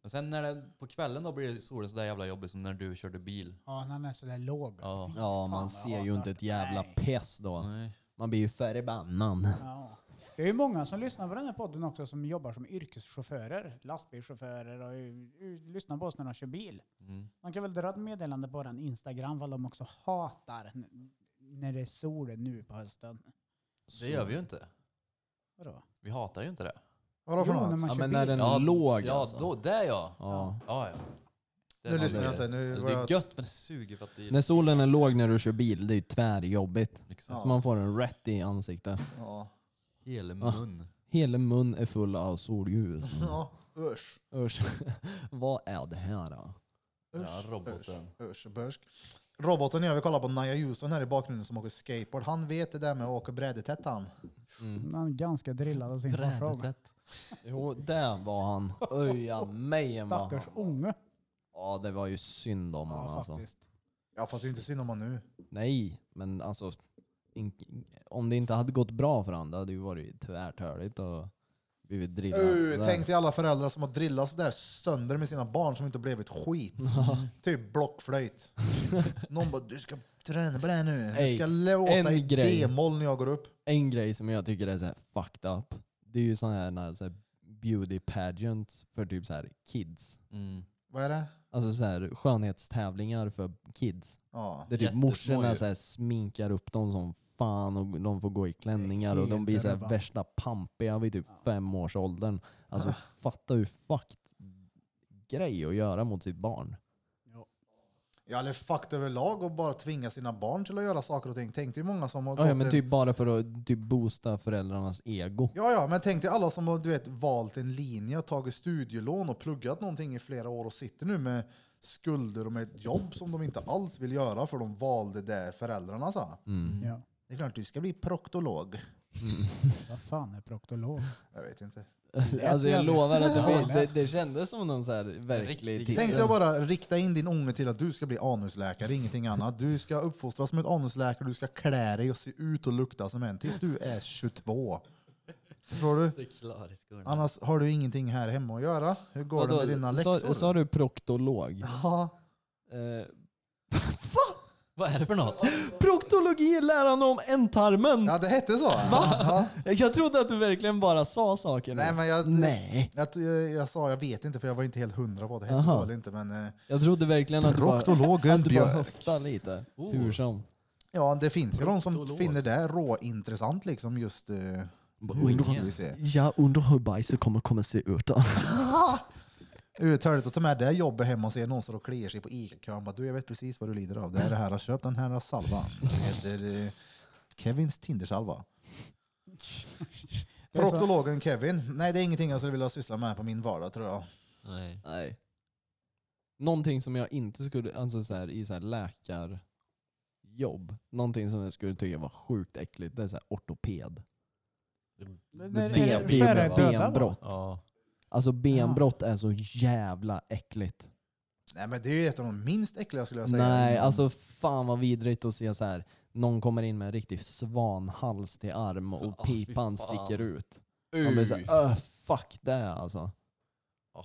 Speaker 3: Men sen när det, på kvällen då blir solen sådär jävla jobbig som när du körde bil.
Speaker 1: Ja, när den är sådär låg.
Speaker 3: Ja.
Speaker 1: Fy
Speaker 4: Ja,
Speaker 1: fan,
Speaker 4: man
Speaker 1: vad
Speaker 4: ser
Speaker 1: jag
Speaker 4: ju
Speaker 1: hatar
Speaker 4: inte
Speaker 1: det.
Speaker 4: ett jävla
Speaker 1: Nej.
Speaker 4: piss då.
Speaker 3: Nej.
Speaker 4: Man blir ju förbannad.
Speaker 1: Ja. Det är ju många som lyssnar på den här podden också som jobbar som yrkeschaufförer, lastbilschaufförer och ju- ju- lyssnar på oss när de kör bil.
Speaker 3: Mm.
Speaker 1: Man kan väl dra ett meddelande på den Instagram vad de också hatar n- när det är sol nu på hösten.
Speaker 3: Det gör vi ju inte.
Speaker 1: Vadå?
Speaker 3: Vi hatar ju inte det.
Speaker 2: Vadå för
Speaker 1: Jo, när
Speaker 2: något?
Speaker 1: man
Speaker 4: Ja
Speaker 1: kör
Speaker 4: men när
Speaker 1: bil.
Speaker 4: den låg
Speaker 3: ja,
Speaker 4: alltså.
Speaker 3: då, det ja.
Speaker 4: Ja.
Speaker 3: Ja, ja. Det,
Speaker 2: Nu
Speaker 3: är
Speaker 2: lyssnar jag
Speaker 3: sant.
Speaker 2: inte. Nu
Speaker 3: Alltså,
Speaker 2: var
Speaker 3: det är
Speaker 2: jag...
Speaker 3: gött men det suger för att det är
Speaker 4: När solen är låg när du kör bil, det är ju tvärjobbigt.
Speaker 3: liksom
Speaker 2: Ja.
Speaker 4: Så man får en rätt i ansiktet.
Speaker 2: Ja.
Speaker 3: hela mun.
Speaker 4: Hela mun är full av solljus.
Speaker 2: ja, usch.
Speaker 4: Usch. Vad är det här då?
Speaker 3: Ja, roboten.
Speaker 2: Usch, usch, börsk. Roboten jag vill kolla på Naja Houston här i bakgrunden som åker skateboard. Han vet det där med att åka brädetätt han.
Speaker 4: Mm.
Speaker 1: Han är ganska drillad av sin farsa.
Speaker 4: Jo, där var han. Öja mejen var
Speaker 1: Stackars
Speaker 4: han.
Speaker 1: unge.
Speaker 4: Ja, det var ju synd om honom
Speaker 1: Ja,
Speaker 4: alltså.
Speaker 1: faktiskt.
Speaker 2: Ja fast det är inte synd om han nu.
Speaker 4: Nej, men alltså. in- Om det inte hade gått bra för honom, det hade ju varit tvärtöligt och blivit drillad
Speaker 2: Uh,
Speaker 4: sådär.
Speaker 2: tänk dig alla föräldrar som har drillat sådär sönder med sina barn som inte blivit skit. typ blockflöjt. Någon bara du ska träna på det här nu. Du
Speaker 4: Ey,
Speaker 2: ska låta
Speaker 4: en
Speaker 2: i
Speaker 4: grej.
Speaker 2: d-moll när jag går upp.
Speaker 4: en grej som jag tycker är så här fucked up, det är ju sådana här, när så här beauty pageants för typ så här kids.
Speaker 3: Mm.
Speaker 2: Vad är det?
Speaker 4: Alltså så här skönhetstävlingar för kids.
Speaker 2: Ja.
Speaker 4: Där typ
Speaker 3: Jättesmå
Speaker 4: morsorna
Speaker 3: ju.
Speaker 4: så här sminkar upp dem som fan och de får gå i klänningar och de blir så här
Speaker 1: Helt
Speaker 4: värsta pampiga vid typ femårsåldern. Alltså fatta hur fucked grej att göra mot sitt barn.
Speaker 2: Ja, eller fucked överlag och bara tvinga sina barn till att göra saker och ting. Tänk dig hur många som har
Speaker 4: Ja, ja,
Speaker 2: gått
Speaker 4: men
Speaker 2: en-
Speaker 4: typ bara för att typ boosta föräldrarnas ego.
Speaker 2: Ja, ja, men tänk dig alla som har du vet, valt en linje, tagit studielån och pluggat någonting i flera år och sitter nu med skulder och med ett jobb som de inte alls vill göra för de valde det föräldrarna sa.
Speaker 4: Mm.
Speaker 1: Ja.
Speaker 2: Det är klart du ska bli proktolog.
Speaker 1: Vad fan är proktolog?
Speaker 2: Jag vet inte.
Speaker 4: Alltså jag
Speaker 1: jävligt-
Speaker 4: lovar att det,
Speaker 1: Ja.
Speaker 4: det, det kändes som någon så här verklig
Speaker 3: riktig-
Speaker 4: titel.
Speaker 2: Tänk dig att bara rikta in din ånger till att du ska bli anusläkare, ingenting annat. Du ska uppfostras som ett anusläkare, du ska klä dig och se ut och lukta som en tills du är 22. Förstår du? Annars har du ingenting här hemma att göra. Hur går det med dina läxor?
Speaker 4: Sa, sa du proktolog?
Speaker 2: Ja.
Speaker 4: Eh,
Speaker 3: Vad är det för något?
Speaker 4: proktologi är läran om ändtarmen!
Speaker 2: ja, det hette så. Ja.
Speaker 4: Jag trodde att du verkligen bara sa saker. nu.
Speaker 2: Nej, men jag,
Speaker 4: Nej.
Speaker 2: Jag, jag, jag sa jag vet inte för jag var inte helt hundra på det. Hette
Speaker 4: Aha.
Speaker 2: så eller inte. Men, eh,
Speaker 4: Jag trodde verkligen att du bara,
Speaker 2: Proktologen
Speaker 4: att du bara
Speaker 2: Björk.
Speaker 4: höftade lite.
Speaker 3: Oh.
Speaker 4: Hur som.
Speaker 2: ja, det finns ju de som
Speaker 3: Proktolog.
Speaker 2: finner det råintressant liksom just... eh, nu får vi se.
Speaker 4: Jag undrar hur bajset kommer komma se ut då.
Speaker 2: Uttalet att ta med det jobbet hem och se någon som kliar sig på Ica-kön. Bara, Du, jag vet precis vad du lider av. Det är det här. Köp den här salvan. Det heter eh, Kevins Tindersalva.
Speaker 1: Det är så-
Speaker 2: Proktologen Kevin. Nej, det är ingenting jag skulle vilja syssla med på min vardag tror jag.
Speaker 3: Nej.
Speaker 4: Nej. Någonting som jag inte skulle, alltså så här, i så här läkarjobb, någonting som jag skulle tycka var sjukt äckligt, det är så här ortoped.
Speaker 1: Det- det-
Speaker 4: Ben,
Speaker 1: det-
Speaker 3: är-
Speaker 4: ben,
Speaker 3: skär är
Speaker 1: skära döda, va?
Speaker 4: benbrott.
Speaker 3: Ja.
Speaker 4: Alltså benbrott är så jävla äckligt.
Speaker 2: Nej, men det är ju ett av de minst äckliga skulle jag säga.
Speaker 4: Nej,
Speaker 2: Mm.
Speaker 4: alltså fan vad vidrigt att se så här. någon kommer in med en riktig svanhals till arm och
Speaker 3: Ja, fy fan.
Speaker 4: pipan sticker ut. Man blir såhär, öh fuck det alltså.
Speaker 3: Ah.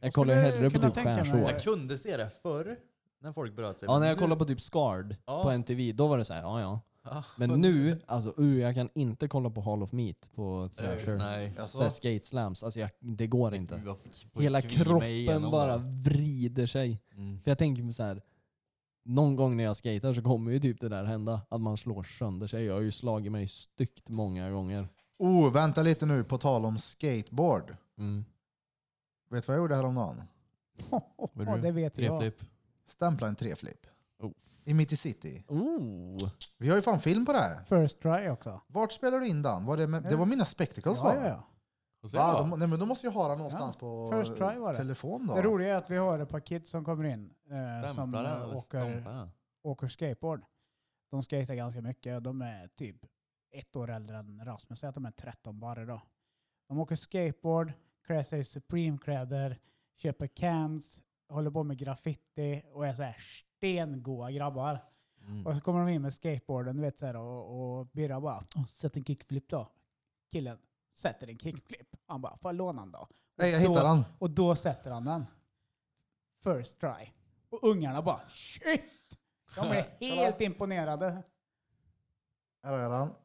Speaker 4: Jag kollar ju
Speaker 1: skulle
Speaker 4: hellre på
Speaker 1: kunna
Speaker 4: typ
Speaker 1: tänka mig-
Speaker 4: skärsår.
Speaker 3: Jag kunde se det förr när folk bröt sig.
Speaker 4: Ja,
Speaker 3: men
Speaker 4: när jag
Speaker 3: nu-
Speaker 4: kollade på typ Scarred
Speaker 3: Ja.
Speaker 4: på MTV, då var det så här, ja ja.
Speaker 3: Ah,
Speaker 4: Men
Speaker 3: vad-
Speaker 4: nu, alltså uh, jag kan inte kolla på Hall of Meat på
Speaker 3: Eh,
Speaker 4: Thrasher.
Speaker 3: Nej. Mm,
Speaker 2: Alltså,
Speaker 4: Såhär skate slams, alltså jag, det går inte.
Speaker 3: Gud, vad fick- vad
Speaker 4: Hela
Speaker 3: kniv mig
Speaker 4: kroppen
Speaker 3: igenom
Speaker 4: bara
Speaker 3: där.
Speaker 4: vrider sig.
Speaker 3: Mm.
Speaker 4: För jag tänker mig så här. Någon gång när jag skater så kommer ju typ det där hända. Att man slår sönder sig. Jag har ju slagit mig styckt många gånger.
Speaker 2: Oh, vänta lite nu på tal om skateboard.
Speaker 4: Mm.
Speaker 2: Vet du vad jag gjorde häromdagen?
Speaker 3: Vad
Speaker 1: Ja,
Speaker 3: du?
Speaker 1: det vet jag.
Speaker 3: Treflipp.
Speaker 2: Stämpla en treflip.
Speaker 4: Oh.
Speaker 2: I Mitt i City.
Speaker 4: Oh.
Speaker 2: Vi har ju fan film på det här.
Speaker 1: First try också.
Speaker 2: Vart spelar du in den? Var det, med, det var mina spectacles va?
Speaker 1: Ja, ja, ja.
Speaker 3: Får se
Speaker 2: Va,
Speaker 3: då.
Speaker 2: de, nej, men då måste jag ha den någonstans
Speaker 1: Ja,
Speaker 2: på
Speaker 1: first try var det.
Speaker 2: telefon då.
Speaker 1: Det roliga är att vi har ett par kids som kommer in eh, som
Speaker 3: Stämplar den
Speaker 1: eh,
Speaker 3: eller
Speaker 1: åker,
Speaker 3: stampar den?
Speaker 1: åker skateboard. De skater ganska mycket. De är typ ett år äldre än Rasmus. Säg att de är 13 bara idag. De åker skateboard, klär sig i Supreme-kläder, köper cans, håller på med graffiti och är så här stengoa grabbar.
Speaker 3: Mm.
Speaker 1: Och så kommer de in med skateboarden du vet, så här, och, och Birra bara "Åh, ”Sätt en kickflip då”. Killen sätter en kickflip. Han bara ”Får jag låna den då?”
Speaker 2: Nej, jag hittar den.
Speaker 1: Och då sätter han den. First try. Och ungarna bara ”Shit!” De är helt imponerade.
Speaker 2: Här har jag den.
Speaker 4: Ja,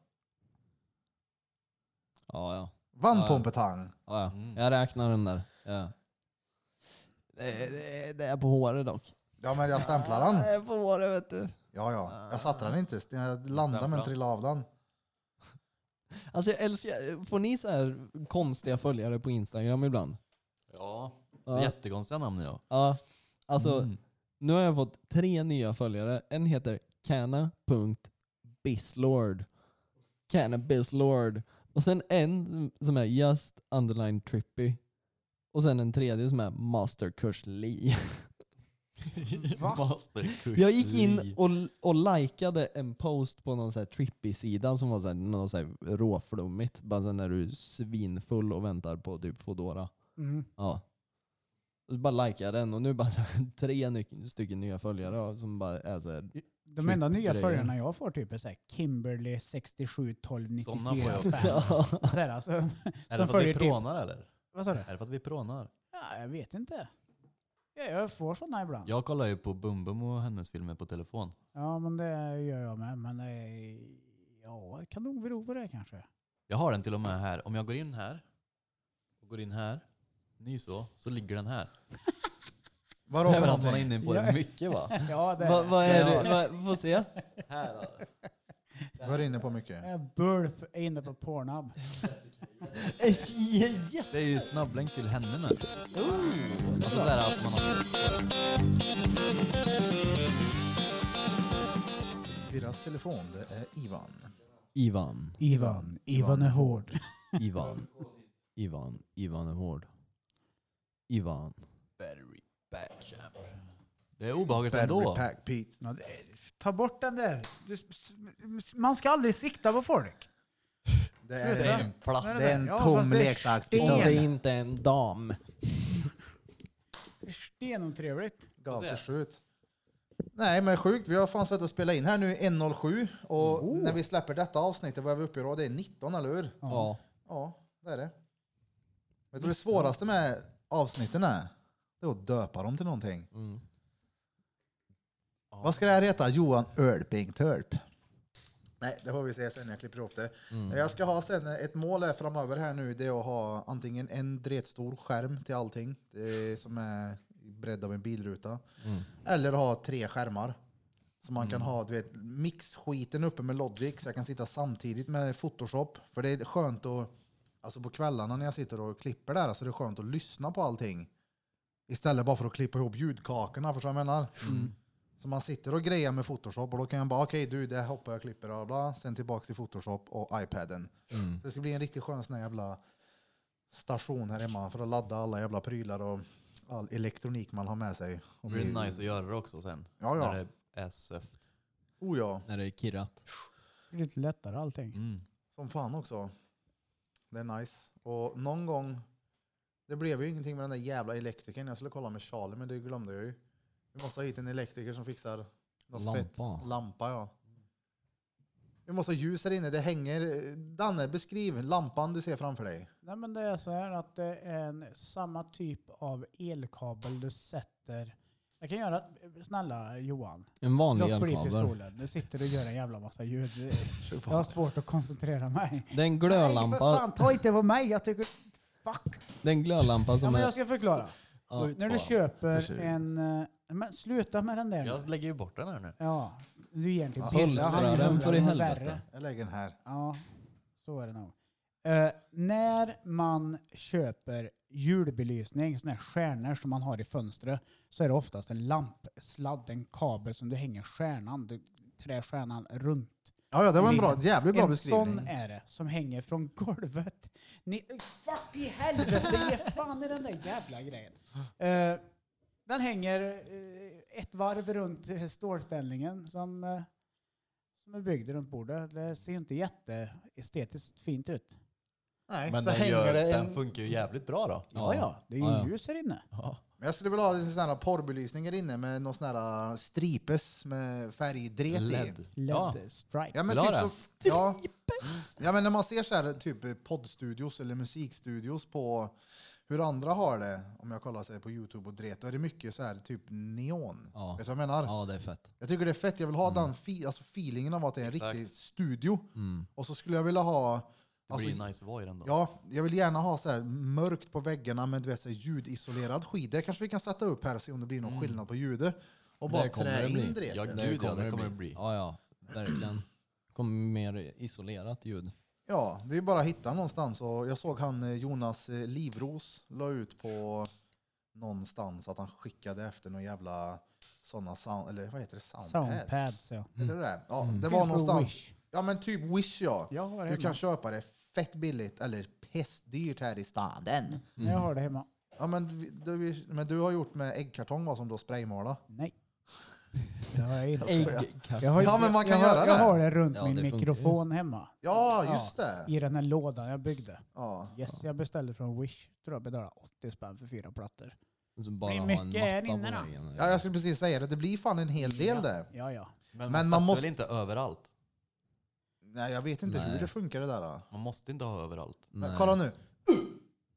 Speaker 4: ja. Ja, ja.
Speaker 2: Vannpompetang.
Speaker 4: Ja, ja.
Speaker 3: Mm.
Speaker 4: Jag räknar den där. Ja. Det, det, det är på håret dock.
Speaker 2: Ja, men jag stämplar den.
Speaker 4: Det är på håret vet du.
Speaker 2: Ja, ja. Jag satte den inte. Jag landade
Speaker 3: Stämpla.
Speaker 2: men trillade av den.
Speaker 4: Alltså jag älskar, får ni så här konstiga följare på Instagram ibland?
Speaker 3: Ja,
Speaker 4: Ja.
Speaker 3: jättekonstiga namn ja.
Speaker 4: Ja. Alltså,
Speaker 3: Mm.
Speaker 4: nu har jag fått tre nya följare. En heter canna.bislord. Cannabislord. Och sen en som är just underline trippy. Och sen en tredje som är masterkurs Lee.
Speaker 3: Masterkurs
Speaker 4: Jag gick
Speaker 3: Li.
Speaker 4: in och, och likade en post på någon så här trippy-sida som var så här, någon så här råflummigt. Bara sen när du är svinfull och väntar på typ Foodora.
Speaker 1: Mm.
Speaker 4: Ja. Och så bara likade jag den och nu bara så här, tre ny- stycken nya följare ja, som bara är så här,
Speaker 1: De enda nya
Speaker 4: Trippgrejer.
Speaker 1: följarna jag får typ är så här Kimberly 67 12
Speaker 3: Såna får jag
Speaker 1: 94
Speaker 3: också.
Speaker 1: 5. Så här, alltså,
Speaker 3: Är det
Speaker 1: som
Speaker 3: för att vi
Speaker 1: följer typ...
Speaker 3: prånar eller?
Speaker 1: Vad sa du?
Speaker 3: Är det för att vi prånar?
Speaker 1: Ja, jag vet inte. Ja, jag får sådana ibland. Ja.
Speaker 3: Jag kollar ju på Bum Bum och hennes filmer på telefon.
Speaker 1: men det gör jag med. Men det är, ja, det kan nog bero på det kanske.
Speaker 3: Jag har den till och med här. Om jag går in här och går in här, ny så, så ligger den här. Det
Speaker 2: Vadå
Speaker 3: är
Speaker 2: för
Speaker 3: väl att man
Speaker 2: någonting?
Speaker 3: är inne på
Speaker 1: Ja.
Speaker 3: det mycket va?
Speaker 1: Ja, det
Speaker 4: Vad vad är
Speaker 3: Ja.
Speaker 4: det? Vad- Få se.
Speaker 3: Här då.
Speaker 2: Var inne på mycket.
Speaker 1: är Burf är inne på Pornhub.
Speaker 3: Det är ju snabblänk till henne med. Alltså så här att man har...
Speaker 2: Birras telefon, det är Ivan.
Speaker 4: Ivan,
Speaker 1: Ivan. Ivan är hård.
Speaker 4: Ivan, Ivan, Ivan är hård. Ivan.
Speaker 3: Battery back champ. Det är obehagligt
Speaker 2: Battery
Speaker 3: ändå.
Speaker 2: pack Pete.
Speaker 1: Ja, det är- Ta bort den där. Du- Man ska aldrig sikta på folk.
Speaker 2: Det
Speaker 1: är
Speaker 3: Det är
Speaker 2: är,
Speaker 3: en plast.
Speaker 1: Men
Speaker 2: det är en
Speaker 1: Ja,
Speaker 2: tom
Speaker 1: fast det är
Speaker 2: leksakspistol.
Speaker 1: sten.
Speaker 2: Det
Speaker 4: inte en dam.
Speaker 1: Det är Stenotrevligt.
Speaker 2: gav till slut. Nej men sjukt, vi har fan suttit och spelat in här nu 1.07 och
Speaker 1: Oh.
Speaker 2: när vi släpper detta avsnittet, vad är vi uppe i då? Det är 19 eller hur?
Speaker 4: Ja.
Speaker 2: Ja, det är det. Vet du vad det svåraste med avsnitten är? Det är att döpa dem till någonting.
Speaker 4: Mm.
Speaker 2: Vad ska det här heta? Johan Ölping Törp? Nej, det får vi se sen när jag klipper ihop det. Jag ska ha sen ett mål här framöver här nu. Det är att ha antingen en dretstor skärm till allting eh, som är bredd av en bilruta. Eller ha tre skärmar. Så man
Speaker 3: Mm.
Speaker 2: kan ha du vet, mixskiten uppe med Logic så jag kan sitta samtidigt med Photoshop. För det är skönt att, alltså på kvällarna när jag sitter och klipper där, så är det skönt att lyssna på allting. Istället bara för att klippa ihop ljudkakorna, förstår du vad jag menar?
Speaker 3: Mm.
Speaker 2: Så man sitter och grejer med Photoshop och då kan jag bara, okej du, det hoppar jag och klipper och bla, sen tillbaks till Photoshop och iPaden.
Speaker 3: Mm.
Speaker 2: Så det ska bli en riktigt skön sån här jävla station här hemma för att ladda alla jävla prylar och all elektronik man har med sig. Och
Speaker 3: Det blir
Speaker 2: bli-
Speaker 3: nice att göra det också sen.
Speaker 2: Ja, ja.
Speaker 3: När det är söft.
Speaker 2: Oh ja,
Speaker 4: När det är kirrat.
Speaker 1: Det blir lite lättare allting.
Speaker 3: Mm.
Speaker 2: som fan också. Det är nice. Och någon gång, det blev ju ingenting med den där jävla elektrikern. Jag skulle kolla med Charlie, men det glömde jag ju. Vi måste ha hit en elektriker som fixar något
Speaker 4: Lampa.
Speaker 2: Fett. Lampa, ja. Vi måste ha ljus här inne. Det hänger. Danne, beskriv lampan du ser framför dig.
Speaker 1: Nej, men det är så här att det är en, samma typ av elkabel du sätter. Jag kan göra, snälla Johan,
Speaker 4: En vanlig
Speaker 1: låt bli
Speaker 4: elkabel.
Speaker 1: pistolen. Du sitter och gör en jävla massa ljud. Jag har svårt att koncentrera mig.
Speaker 4: Det är en
Speaker 1: Nej,
Speaker 4: glödlampa,
Speaker 1: för fan, ta inte på mig. Jag tycker... Fuck.
Speaker 4: det är en glödlampa
Speaker 1: Ja,
Speaker 4: som
Speaker 1: men
Speaker 4: är...
Speaker 1: jag ska förklara.
Speaker 4: Ja.
Speaker 1: När du köper en... eh, Men sluta med den där. nu.
Speaker 3: Jag lägger ju bort den här nu.
Speaker 1: Ja, du ger den till
Speaker 2: Ja,
Speaker 1: Birra.
Speaker 4: hölstra
Speaker 1: Han gör
Speaker 4: den för i
Speaker 1: den
Speaker 4: helvete.
Speaker 1: värre.
Speaker 2: Jag lägger den här.
Speaker 1: Ja, så är det nog. Eh, när man köper julbelysning, sådana här stjärnor som man har i fönstret, så är det oftast en lampsladd, en kabel som du hänger stjärnan, du trär stjärnan runt.
Speaker 2: Ja, ja, det var en bra,
Speaker 1: Lin.
Speaker 2: jävligt bra
Speaker 1: En
Speaker 2: beskrivning.
Speaker 1: sån är det, som hänger från golvet. Ni, fuck i helvete, ge fan i den där jävla grejen. Eh, den hänger eh, ett varv runt eh, stålställningen som, eh, som är byggd runt bordet. Det ser ju inte jätteestetiskt fint ut.
Speaker 2: Nej,
Speaker 3: Men
Speaker 2: så
Speaker 3: den,
Speaker 2: hänger
Speaker 3: gör,
Speaker 2: det
Speaker 3: den
Speaker 2: en-
Speaker 3: funkar ju jävligt bra då.
Speaker 1: Ja, ja, det är ju
Speaker 4: Ja, ja.
Speaker 1: ljus här inne.
Speaker 3: Ja.
Speaker 2: Men jag skulle vilja ha lite sån här porrbelysning här inne med någon sån här äh, stripes med färgdret i.
Speaker 3: LED. Ja.
Speaker 1: LED stripes.
Speaker 2: Ja men,
Speaker 3: Vill
Speaker 2: typ
Speaker 3: ha det?
Speaker 2: så, ja, ja men när man ser så här typ poddstudios eller musikstudios på hur andra har det, om jag kollar så här på Youtube och dret, då är det mycket så här typ neon.
Speaker 4: Ja.
Speaker 2: Vet du vad jag menar?
Speaker 4: Ja, det är fett.
Speaker 2: Jag tycker det är fett, jag vill ha
Speaker 3: Mm.
Speaker 2: den fi, alltså feelingen av att det är en
Speaker 3: Exakt.
Speaker 2: riktig studio.
Speaker 4: Mm.
Speaker 2: Och så skulle jag vilja ha alltså,
Speaker 3: Det blir ju nice att vara i den då.
Speaker 2: Ja, jag vill gärna ha så här mörkt på väggarna men du vet så här ljudisolerad skid. Det kanske vi kan sätta upp här och se om det blir någon
Speaker 3: Mm.
Speaker 2: skillnad på ljudet. Och
Speaker 4: Det
Speaker 2: bara
Speaker 4: kommer
Speaker 2: trä
Speaker 4: det bli.
Speaker 2: in det.
Speaker 3: Ja,
Speaker 2: eller?
Speaker 3: gud ja, det kommer det bli.
Speaker 4: Ja, ja. Verkligen. Kommer mer isolerat ljud.
Speaker 2: Ja, det är ju bara att hitta någonstans. Och jag såg han eh, Jonas eh, Livros la ut på någonstans att han skickade efter någon jävla sådana sound, eller vad heter det? Soundpads.
Speaker 1: Soundpads. Ja.
Speaker 2: Heter det det? Ja,
Speaker 4: Mm.
Speaker 2: det var
Speaker 1: Finns på
Speaker 2: någonstans.
Speaker 1: Wish.
Speaker 2: Ja, men typ Wish ja.
Speaker 1: Jag har det
Speaker 2: Du
Speaker 1: hemma.
Speaker 2: kan köpa det fett billigt eller pestdyrt här i staden.
Speaker 1: Jag har det hemma.
Speaker 2: Ja, men, vi- du, vi- men du har gjort med äggkartong vad som då spraymåla.
Speaker 1: Nej. Det har jag inte.
Speaker 4: Äggkaffe.
Speaker 1: Jag har,
Speaker 2: Ja, men man kan
Speaker 1: jag,
Speaker 2: göra
Speaker 1: har- jag
Speaker 2: det.
Speaker 1: har det runt
Speaker 4: Ja,
Speaker 1: min
Speaker 4: det funkar ju.
Speaker 1: mikrofon hemma.
Speaker 2: Ja, just det.
Speaker 1: I den här lådan jag byggde.
Speaker 2: Ja.
Speaker 1: Yes, jag beställde från Wish. Tror jag betalade 80 spänn för fyra plattor.
Speaker 4: Så bara
Speaker 1: Hur
Speaker 4: ha
Speaker 1: mycket är
Speaker 4: en
Speaker 1: inne
Speaker 4: matta
Speaker 1: då?
Speaker 4: på väggen.
Speaker 2: ja, jag skulle precis säga det. Det blir fan en hel del det.
Speaker 1: Ja, ja.
Speaker 3: Men
Speaker 2: Men
Speaker 3: man,
Speaker 2: man
Speaker 3: sätter
Speaker 2: måste-
Speaker 3: väl inte överallt?
Speaker 2: Nej, jag vet inte hur
Speaker 4: Nej.
Speaker 2: det funkar det där. Då.
Speaker 3: Man måste inte ha överallt.
Speaker 2: Men
Speaker 4: Nej.
Speaker 2: kolla nu. Uh!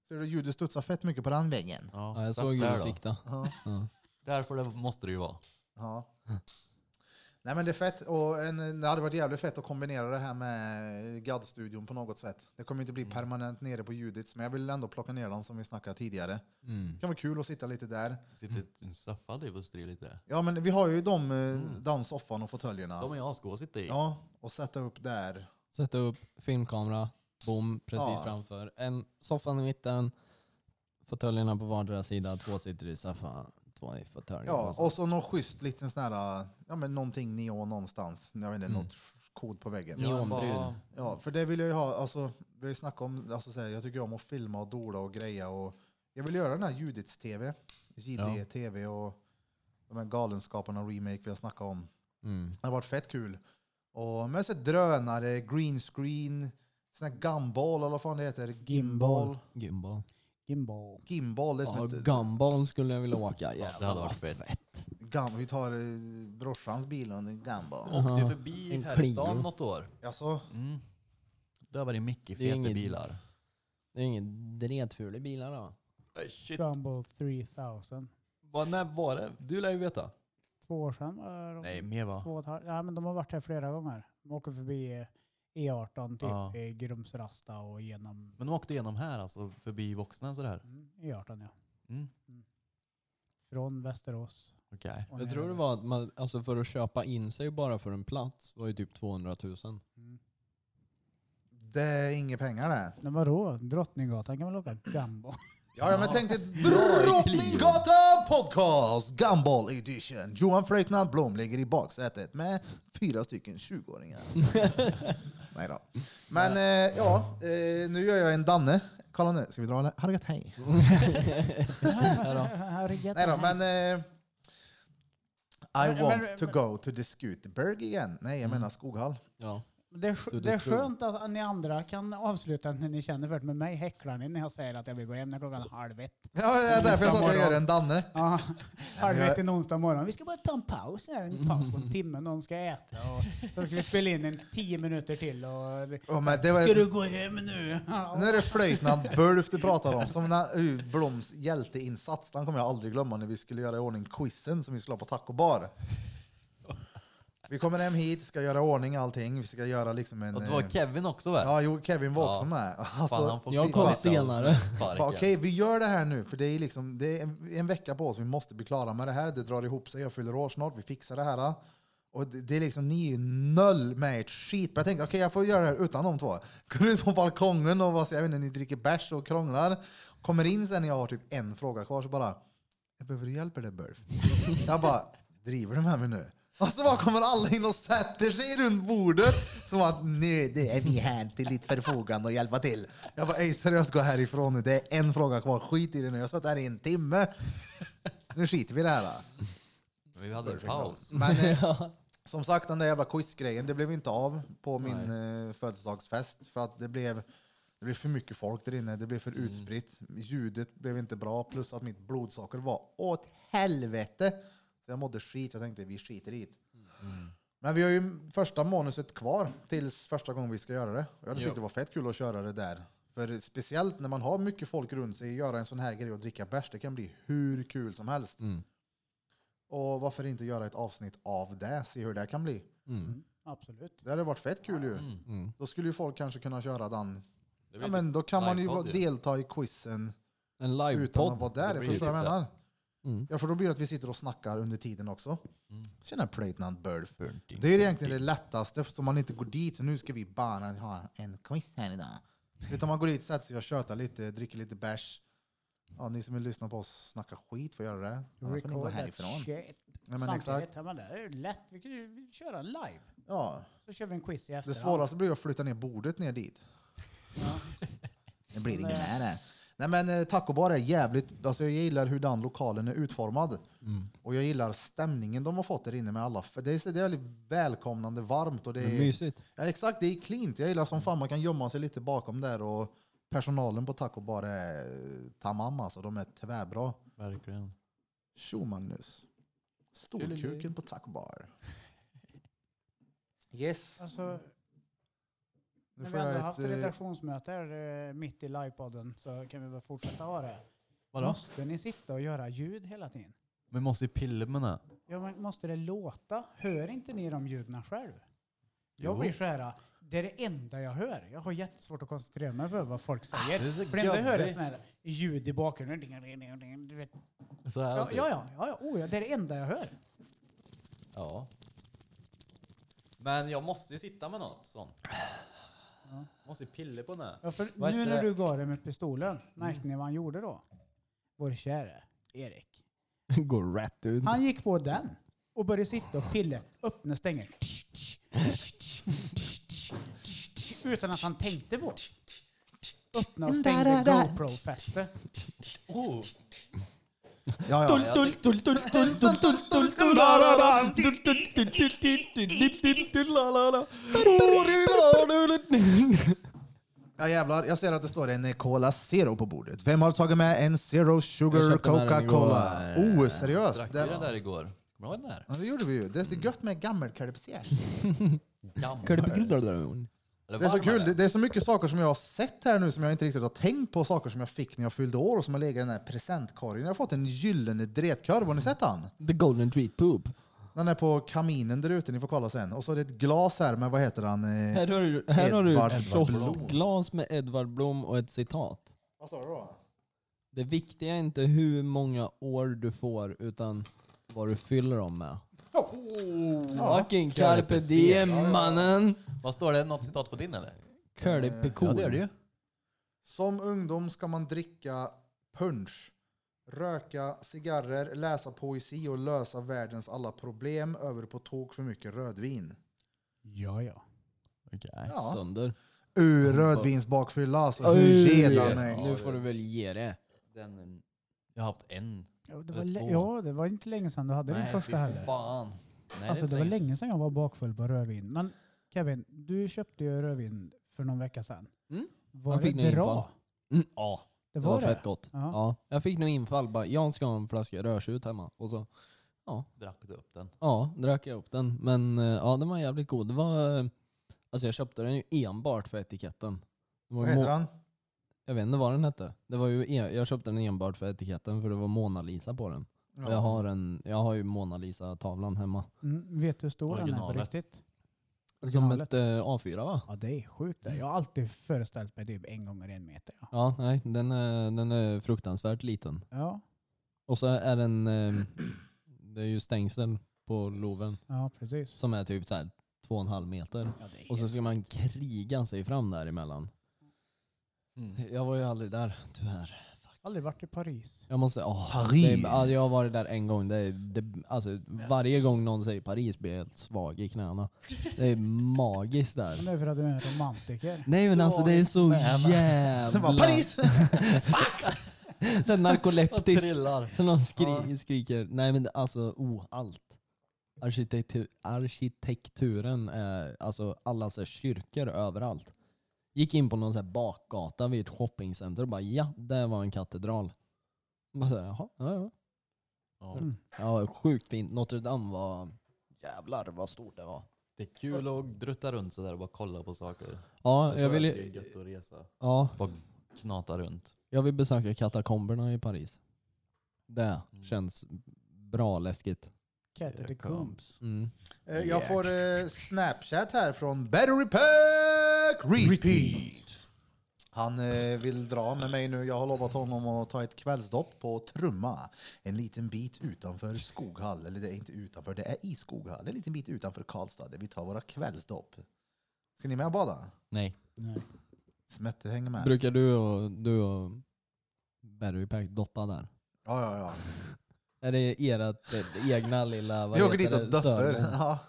Speaker 2: Ser du ljudet studsar fett mycket på den väggen?
Speaker 3: Ja,
Speaker 4: Ja, jag
Speaker 3: sätt
Speaker 4: såg ju
Speaker 3: där
Speaker 4: du
Speaker 3: då.
Speaker 4: sikta.
Speaker 2: Ja.
Speaker 4: Ja.
Speaker 3: Därför det måste det ju vara.
Speaker 2: ja. Nej men det är fett och en, det hade varit jävligt fett att kombinera det här med GAD-studion på något sätt. Det kommer inte bli permanent nere på Judits men jag vill ändå plocka ner den som vi snackade tidigare.
Speaker 4: Mm.
Speaker 2: Det kan vara kul att sitta lite där.
Speaker 3: Sitter i en soffa du och styr lite.
Speaker 2: Ja men vi har ju de, mm. den soffan och fåtöljerna.
Speaker 3: De är jag ska sitta i.
Speaker 2: Ja, och sätta upp där.
Speaker 4: Sätta upp filmkamera, bom, precis
Speaker 2: Ja.
Speaker 4: framför. En soffan i mitten, fåtöljerna på vardera sida, två sitter i soffan, två i fåtöljen.
Speaker 2: Ja, och så någon schysst liten sån här, ja men någonting neon någonstans. Jag vet inte,
Speaker 4: Mm.
Speaker 2: något kod på väggen.
Speaker 4: Ja.
Speaker 2: Ja.
Speaker 3: men bara-
Speaker 4: Neonbrun.
Speaker 2: för det vill jag ju ha, alltså vi har ju snackat om, alltså så här, jag tycker om att filma och dola och greja och jag vill göra den här Judits-TV, JD-TV och de här Galenskaparna remake vi har snackat om.
Speaker 4: Mm.
Speaker 2: Det har varit fett kul. Och med så här drönare, green screen, sån här gumball eller vad fan det heter, gimbal.
Speaker 4: Gumball.
Speaker 1: Gimbal.
Speaker 2: Gimbal, det är som
Speaker 4: Ja,
Speaker 2: ett-
Speaker 4: gumball skulle jag vilja åka.
Speaker 3: Ja,
Speaker 4: Jävlar,
Speaker 3: det hade
Speaker 4: vad
Speaker 3: varit fett.
Speaker 2: Gam, vi tar eh, brorsans bil under Gamba.
Speaker 4: Ja.
Speaker 3: Åkte ju förbi
Speaker 4: En
Speaker 3: här i
Speaker 4: Clio.
Speaker 3: stan något år.
Speaker 2: Alltså,
Speaker 3: Mm. Där var det mycket
Speaker 4: Det är
Speaker 3: feta
Speaker 4: ingen-
Speaker 3: bilar.
Speaker 4: Det är ingen dretful i bilar då.
Speaker 3: Ay, Shit.
Speaker 1: Gumball 3000.
Speaker 3: Vad, när var det? Du lär ju veta.
Speaker 1: Två år sedan var de.
Speaker 3: Nej, mer va?
Speaker 1: Två och ett halvt. Ja, men de har varit här flera gånger. De åker förbi eh, E18, typ
Speaker 3: Ja.
Speaker 1: i Grumsrasta och genom...
Speaker 3: Men de åkte igenom här alltså, förbi vuxna och sådär.
Speaker 1: Mm, E18 ja.
Speaker 3: Mm.
Speaker 1: Från Västerås.
Speaker 3: Okej.
Speaker 1: och
Speaker 4: Jag
Speaker 1: ner
Speaker 4: tror det
Speaker 1: över.
Speaker 4: var att man, alltså för att köpa in sig bara för en plats var ju typ 200 000.
Speaker 1: Mm.
Speaker 2: det är inga pengar det.
Speaker 1: Men vadå? Drottninggatan kan man åka gumball?
Speaker 2: Ja, ja men tänk dig
Speaker 4: Bra i Clio.
Speaker 2: Drottninggatan podcast Gumball edition. Johan Fröjtnant Blom ligger i baksätet med fyra stycken 20-åringar. Nej då. Men eh, ja, eh, nu gör jag en Danne. Kolla nu, ska vi dra eller? Har det gött, hej. Nej då, men... Eh, I
Speaker 1: Men-
Speaker 2: want
Speaker 1: men- Mm.
Speaker 2: to go to the Skuterberg igen. Nej, jag menar Skoghall.
Speaker 4: Ja.
Speaker 1: Det är, skö-
Speaker 4: Du-
Speaker 1: det är
Speaker 4: du tror-
Speaker 1: skönt att ni andra kan avsluta när ni känner för det. Med mig häcklar ni när jag säger att jag vill gå hem när klockan är halv ett.
Speaker 2: Ja, det är därför jag sa att jag gör en Danne.
Speaker 1: Ja, halv
Speaker 2: jag-
Speaker 1: ett en onsdag morgon. Vi ska bara ta en paus här. En paus på en timme. Någon ska äta. Och sen ska vi spela in en tio minuter till. Och...
Speaker 2: Ja, men det var,
Speaker 1: Ska du gå hem nu?
Speaker 2: Nu är det flöjtnant Bulf du pratar om. Som när, uh, Bloms hjälteinsats, den kommer jag aldrig glömma när vi skulle göra i ordning quizen som vi skulle ha på taco bar. Vi kommer hem hit, ska göra i ordning allting. Vi ska göra liksom en...
Speaker 3: Och det var
Speaker 2: eh,
Speaker 3: Kevin också va?
Speaker 2: Ja, jo, Kevin var också
Speaker 3: Ja.
Speaker 2: med. Alltså,
Speaker 3: Fan, han får
Speaker 4: Jag
Speaker 3: klippa
Speaker 4: kom
Speaker 3: sig
Speaker 4: senare.
Speaker 3: och sparka.
Speaker 2: bara, Okej, vi gör det här nu, för det är, liksom, det är en, en vecka på oss. Vi måste bli klara med det här. Det drar ihop sig, jag fyller år snart, vi fixar det här. Och det, det är liksom, ni är ju noll med ett skit. Men jag tänkte, okej jag får göra det här utan de två. Går ut på balkongen och vad, jag vet inte, ni dricker bärs och krånglar. Kommer in sen när jag har typ en fråga kvar så bara, jag behöver hjälp eller Burf? jag bara, driver du med mig nu? Och så bara kommer alla in och sätter sig runt bordet som att nu, nu är vi här till ditt förfogande och hjälpa till. Jag bara, ej seriöst gå härifrån nu. Det är en fråga kvar. Skit i det nu. Jag har suttit här i en timme. Nu skiter vi i det här. Då.
Speaker 3: Vi hade en paus.
Speaker 2: Men eh, som sagt, den där jävla quizgrejen, det blev inte av på min eh, födelsedagsfest. För att det blev, det blev för mycket folk där inne, det blev för
Speaker 3: Mm.
Speaker 2: utspritt. Ljudet blev inte bra, plus att mitt blodsocker var åt helvete. Så jag mådde skit, jag tänkte vi skiter i det.
Speaker 3: Mm.
Speaker 2: Men vi har ju första manuset kvar tills första gången vi ska göra det. Och Jag
Speaker 3: Jo.
Speaker 2: tyckte det var fett kul att köra det där. För speciellt när man har mycket folk runt sig, göra en sån här grej och dricka bärs, det kan bli hur kul som helst.
Speaker 4: Mm.
Speaker 2: Och varför inte göra ett avsnitt av det? Se hur det kan bli.
Speaker 4: Mm.
Speaker 1: Absolut.
Speaker 2: Det hade varit fett kul ju.
Speaker 4: Mm.
Speaker 2: Då skulle ju folk kanske kunna köra den.
Speaker 3: Det
Speaker 2: Ja,
Speaker 3: blir
Speaker 2: men då kan man ju
Speaker 3: livepodd
Speaker 2: vara-
Speaker 3: ju.
Speaker 2: delta i quizen
Speaker 4: En
Speaker 2: utan att
Speaker 4: livepodd.
Speaker 2: vara där.
Speaker 3: Det blir
Speaker 2: Förstår du vad jag
Speaker 3: lite-
Speaker 2: menar?
Speaker 4: Mm.
Speaker 2: Ja, för då blir det att vi sitter och snackar under tiden också.
Speaker 3: Mm.
Speaker 2: Tjena plöjtnant Burf.
Speaker 3: typ-
Speaker 2: Det är ju egentligen det lättaste eftersom man inte går dit. Så nu ska vi bara ha en quiz här idag. Utan man går dit, sätter sig och tjötar lite, dricker lite bärs. Ja, ni som vill lyssna på oss snacka skit får göra det. Annars får ni gå
Speaker 1: Record that
Speaker 2: härifrån.
Speaker 1: shit.
Speaker 2: Nej, men
Speaker 1: Samtidigt,
Speaker 2: exakt.
Speaker 1: ja, men det är ju lätt. Vi kan ju vi köra en live.
Speaker 2: Ja,
Speaker 1: Så kör vi en quiz i
Speaker 2: Det
Speaker 1: efterhand.
Speaker 2: svåraste blir att flytta ner bordet ner dit.
Speaker 1: Ja.
Speaker 2: Det blir ingen med det. Nej men eh, tacobar är jävligt, alltså jag gillar hur den lokalen är utformad. Och jag gillar stämningen de har fått där inne med alla. För det är, så- det är väldigt välkomnande, varmt och det
Speaker 4: Det är
Speaker 2: är,
Speaker 4: mysigt.
Speaker 2: ja, exakt, det är cleant. Jag gillar som fan man kan gömma sig lite bakom där och personalen på tacobar är eh, tamam alltså. De är tvärbra.
Speaker 3: Verkligen.
Speaker 2: Tjo Magnus. Storkuken på tacobar. Yes.
Speaker 1: Alltså,
Speaker 2: Nu
Speaker 1: när
Speaker 2: får
Speaker 1: vi ändå
Speaker 2: jag
Speaker 1: haft
Speaker 2: ett, eh,
Speaker 1: redaktionsmöte här, eh, mitt i livepodden så kan vi väl fortsätta ha det.
Speaker 3: Vadå?
Speaker 1: Måste ni sitta och göra ljud hela tiden?
Speaker 3: Vi måste ju pilla med det.
Speaker 1: Ja, men måste det låta? Hör inte ni de ljuden själv? Jag
Speaker 3: Jo.
Speaker 1: blir så här, det är det enda jag hör. Jag har jättesvårt att koncentrera mig på vad folk säger.
Speaker 3: Ah, Det är så
Speaker 1: För det enda jag hör är
Speaker 3: gubbigt.
Speaker 1: sådana här ljud i bakgrunden. Ding, ding, ding, ding, Du vet.
Speaker 3: Så här
Speaker 1: Ja,
Speaker 3: typ.
Speaker 1: ja, ja, ja, oh, ja, det är det enda jag hör.
Speaker 3: Ja. Men jag måste ju sitta med något sånt. Måste ju pilla på det.
Speaker 1: Ja, för
Speaker 3: Vad
Speaker 1: nu
Speaker 3: heter
Speaker 1: när
Speaker 3: det? Mm.
Speaker 1: du gav dig med pistolen, märkte ni vad han gjorde då? Vår käre Erik.
Speaker 4: Går rätt ut.
Speaker 1: Han gick på den och började sitta och pilla. Öppna och stänger. Utan att han tänkte på. Öppna och stängde GoPro-fäste.
Speaker 3: Oh.
Speaker 2: ja, ja. Ja jävlar, jag ser att det står en eh, Cola Zero på bordet. Vem har tagit med en Zero
Speaker 4: Jag
Speaker 2: Sugar
Speaker 4: köpte med den
Speaker 2: Coca-Cola?
Speaker 4: igår.
Speaker 2: Oh, seriöst?
Speaker 3: Drack vi
Speaker 2: Den-
Speaker 3: den där igår? Kommer du ihåg den där?
Speaker 2: Ja, det gjorde vi ju. Det är så gött med gammelkölpser.
Speaker 3: Gammal. Eller
Speaker 2: Det är så
Speaker 3: varm
Speaker 2: kul.
Speaker 3: är
Speaker 2: Det-
Speaker 3: den?
Speaker 2: Det är så mycket saker som jag har sett här nu som jag inte riktigt har tänkt på. Saker som jag fick när jag fyllde år och som har legat i den här presentkorgen. Jag har fått en gyllene dretkorv. Har ni sett han?
Speaker 4: The golden treat poop.
Speaker 2: Den är på kaminen där ute. Ni får kolla sen. Och så är det ett glas här med, vad heter han? Eh,
Speaker 4: Här har du, här har du
Speaker 2: Edvard
Speaker 4: ett
Speaker 2: Blom.
Speaker 4: tjockt glas med Edvard Blom och ett citat.
Speaker 2: Vad sa du då?
Speaker 4: Det viktiga är inte hur många år du får, utan vad du fyller dem med. Fucking carpe diem mannen!
Speaker 3: Vad står det? Något citat på din eller?
Speaker 4: Curly
Speaker 3: Ja det är det ju.
Speaker 2: Som ungdom ska man dricka punch, röka cigarrer, läsa poesi och lösa världens alla problem över på tok för mycket rödvin.
Speaker 1: Ja, ja.
Speaker 2: Ja.
Speaker 4: Sönder.
Speaker 2: Ur rödvinsbakfylla alltså. Hur redan mig.
Speaker 4: Nu får du väl ge det.
Speaker 3: Den, jag har haft en.
Speaker 1: Ja, det
Speaker 3: Det
Speaker 1: var,
Speaker 3: var
Speaker 1: lä-
Speaker 3: två.
Speaker 1: ja, det var inte länge sedan du hade din
Speaker 3: fy
Speaker 1: första heller.
Speaker 3: fan. Nej,
Speaker 1: Alltså det var
Speaker 3: länge.
Speaker 1: länge sedan jag var bakfull på rödvin. Men Kevin, du köpte ju rödvin för någon vecka sedan.
Speaker 4: Mm.
Speaker 1: Var
Speaker 4: Man fick
Speaker 1: det
Speaker 4: nog
Speaker 1: bra?
Speaker 4: infall. Mm, ja,
Speaker 1: Det
Speaker 4: det
Speaker 1: var
Speaker 4: var
Speaker 1: det?
Speaker 4: fett gott.
Speaker 1: Ja.
Speaker 4: Ja. Jag fick nog infall bara, jag ska ha en flaska rödtjut hemma. Och så
Speaker 3: Drack du upp den?
Speaker 4: Ja, drack jag upp den. Men eh, ja, den var jävligt god. Det var, eh, alltså jag köpte den ju enbart för etiketten. Det var
Speaker 2: Vad
Speaker 4: ju
Speaker 2: heter
Speaker 4: Mo-
Speaker 2: han?
Speaker 4: Jag vet inte vad den hette. Det var ju e- jag köpte den enbart för etiketten för det var Mona Lisa på den. Och jag, har en, jag har ju Mona Lisa-tavlan hemma.
Speaker 1: Mm, vet du hur stor den är på
Speaker 3: Originalet.
Speaker 1: riktigt?
Speaker 4: Som
Speaker 1: Originalet.
Speaker 4: ett eh, A4 va?
Speaker 1: Ja, det är sjukt. det. Jag har alltid föreställt mig typ en gånger en meter. Ja.
Speaker 4: Ja, nej, den är, den är fruktansvärt liten.
Speaker 1: ja.
Speaker 4: Och så ehm, är den, eh, det är ju stängsel på Loven
Speaker 1: Ja, precis.
Speaker 4: som är typ så här två och en halv meter.
Speaker 1: Ja, det är
Speaker 4: Och så
Speaker 1: helt-
Speaker 4: ska man kriga sig fram däremellan.
Speaker 3: Mm.
Speaker 4: Jag var ju aldrig där, tyvärr.
Speaker 1: Aldrig varit i Paris.
Speaker 4: Jag måste, åh,
Speaker 2: Paris.
Speaker 4: det är- ja, jag har varit där en gång. Det är, det, alltså, varje gång någon säger Paris blir jag helt svag i knäna. Det är magiskt där.
Speaker 1: Men det är för att du är en romantiker.
Speaker 4: Nej men alltså det är så jävla...
Speaker 2: Det var Paris!
Speaker 4: Det är narkoleptisk.
Speaker 3: Trillar.
Speaker 4: Så någon skri skriker. Nej men alltså, oh, allt. Arkitektur, arkitekturen är, alltså alla så här kyrkor överallt. Gick in på någon så här bakgata vid ett shoppingcenter och bara ja, där var en katedral. Man säger jaha, ja ja.
Speaker 3: Ja.
Speaker 1: Mm.
Speaker 4: Ja, sjukt fint. Notre Dame var, jävlar vad stort det var.
Speaker 3: Det är kul att drutta runt sådär och bara kolla på saker.
Speaker 4: Ja,
Speaker 3: Det är
Speaker 4: jag
Speaker 3: så
Speaker 4: vill,
Speaker 3: att Alltså, det är
Speaker 4: ju-
Speaker 3: gött att resa.
Speaker 4: ja,
Speaker 3: Bara knata runt.
Speaker 4: jag vill besöka katakomberna i Paris. Det
Speaker 3: Mm.
Speaker 4: känns bra läskigt.
Speaker 1: Catacombs.
Speaker 4: Mm.
Speaker 2: Eh, Jag får eh, snapchat här från Battery Pack Repeat. Han eh, vill dra med mig nu. Jag har lovat honom att ta ett kvällsdopp på Trumma. En liten bit utanför Skoghall. Eller det är inte utanför, det är i Skoghall. En liten bit utanför Karlstad där vi tar våra kvällsdopp. Ska ni med och bada?
Speaker 4: Nej.
Speaker 1: Nej.
Speaker 2: Smette hänger med.
Speaker 4: Brukar du och, du och Barry Pack doppa där?
Speaker 2: ja, ja, ja.
Speaker 4: Är det ert eh, egna lilla, vad
Speaker 2: Vi åker dit och
Speaker 4: heter det,
Speaker 2: döpper.
Speaker 4: sörmon?
Speaker 2: Ja,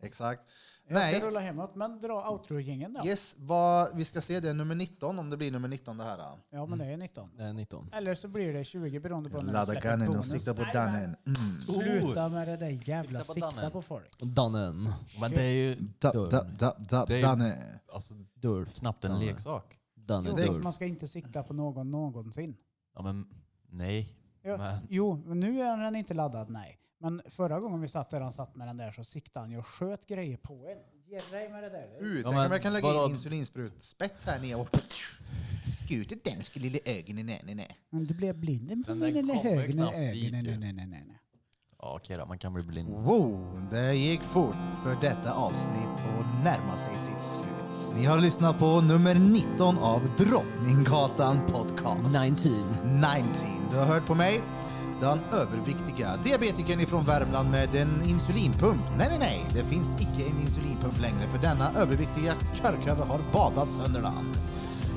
Speaker 2: exakt.
Speaker 1: Jag
Speaker 2: Nej.
Speaker 1: ska rulla hemåt, men dra outro-jingeln då.
Speaker 2: Yes, vad, vi ska se det är nummer 19 om det blir nummer 19 det här. då.
Speaker 1: Ja, men det är 19.
Speaker 4: Det är 19.
Speaker 1: Eller så blir det 20 beroende på när
Speaker 2: Ladda
Speaker 1: du släpper
Speaker 2: gunnen och
Speaker 1: bonus.
Speaker 2: sikta på
Speaker 1: Nej,
Speaker 2: dannen. Mm.
Speaker 1: men Sluta med det där jävla
Speaker 3: Sikta på
Speaker 1: sikta
Speaker 3: dannen.
Speaker 1: på folk.
Speaker 4: Dannen.
Speaker 3: Men det är ju
Speaker 2: Da, da, da, da,
Speaker 3: Det är-
Speaker 2: Danne.
Speaker 3: alltså,
Speaker 4: Durf.
Speaker 3: knappt en
Speaker 4: Ja.
Speaker 3: leksak.
Speaker 4: Danne
Speaker 1: Jo,
Speaker 4: Durf.
Speaker 1: man ska inte sikta på någon någonsin.
Speaker 3: Ja men nej.
Speaker 1: Ja,
Speaker 3: Men-
Speaker 1: Jo, men nu är den inte laddad, nej. Men förra gången vi satt där han satt med den där så siktade han ju och sköt grejer på en. Ge dig med det där. du.
Speaker 2: Uh, tänk
Speaker 3: men
Speaker 2: om jag kan lägga
Speaker 3: vadå?
Speaker 2: in insulinsprutspets här nere och skutet den skulle lille ögonen nej, nej, nej.
Speaker 1: Men du blev blind.
Speaker 3: den
Speaker 1: Blind i
Speaker 3: kommer
Speaker 1: högen i
Speaker 3: knappt dit
Speaker 1: ögonen.
Speaker 3: ju.
Speaker 1: Nej, nej, nej, nej.
Speaker 3: Ja, okej då, man kan bli blind.
Speaker 2: Wow, det gick fort för detta avsnitt och närma sig sitt slut. Ni har lyssnat på nummer 19 av Drottninggatan Podcast.
Speaker 4: 19.
Speaker 2: 19. Du har hört på mig, den överviktiga diabetikern ifrån Värmland med en insulinpump. Nej, nej, nej, det finns icke en insulinpump längre för denna överviktiga körköve har badat sönder den.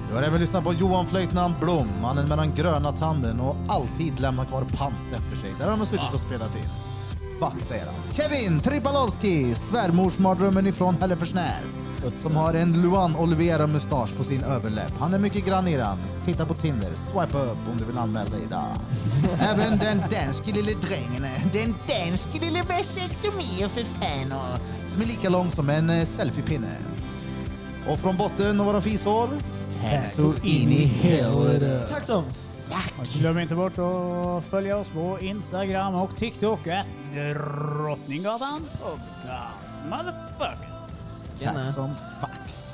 Speaker 2: Du har även lyssnat på Johan Flöjtnant Blom, mannen med den gröna tanden och alltid lämnar kvar pant efter sig. Där har han slutat att spela till. Va, säger han. Kevin Tripalowski, svärmorsmardrömmen ifrån Hälleforsnäs. Som har en Luan Olivera-mustasch på sin överläpp. Han är mycket grann i den. Titta på Tinder, swipa upp om du vill anmäla dig där. Även den danske lille drängen, den danske lille vasektomi för fan och- Som är lika lång som en eh, selfiepinne. Och från botten av våra fishål, tack så in i helvete.
Speaker 4: Tack så
Speaker 1: Och glöm inte bort att följa oss på Instagram och TikTok. Att Drottninggatan podcast. Motherfuckers.
Speaker 2: Tack som fuck.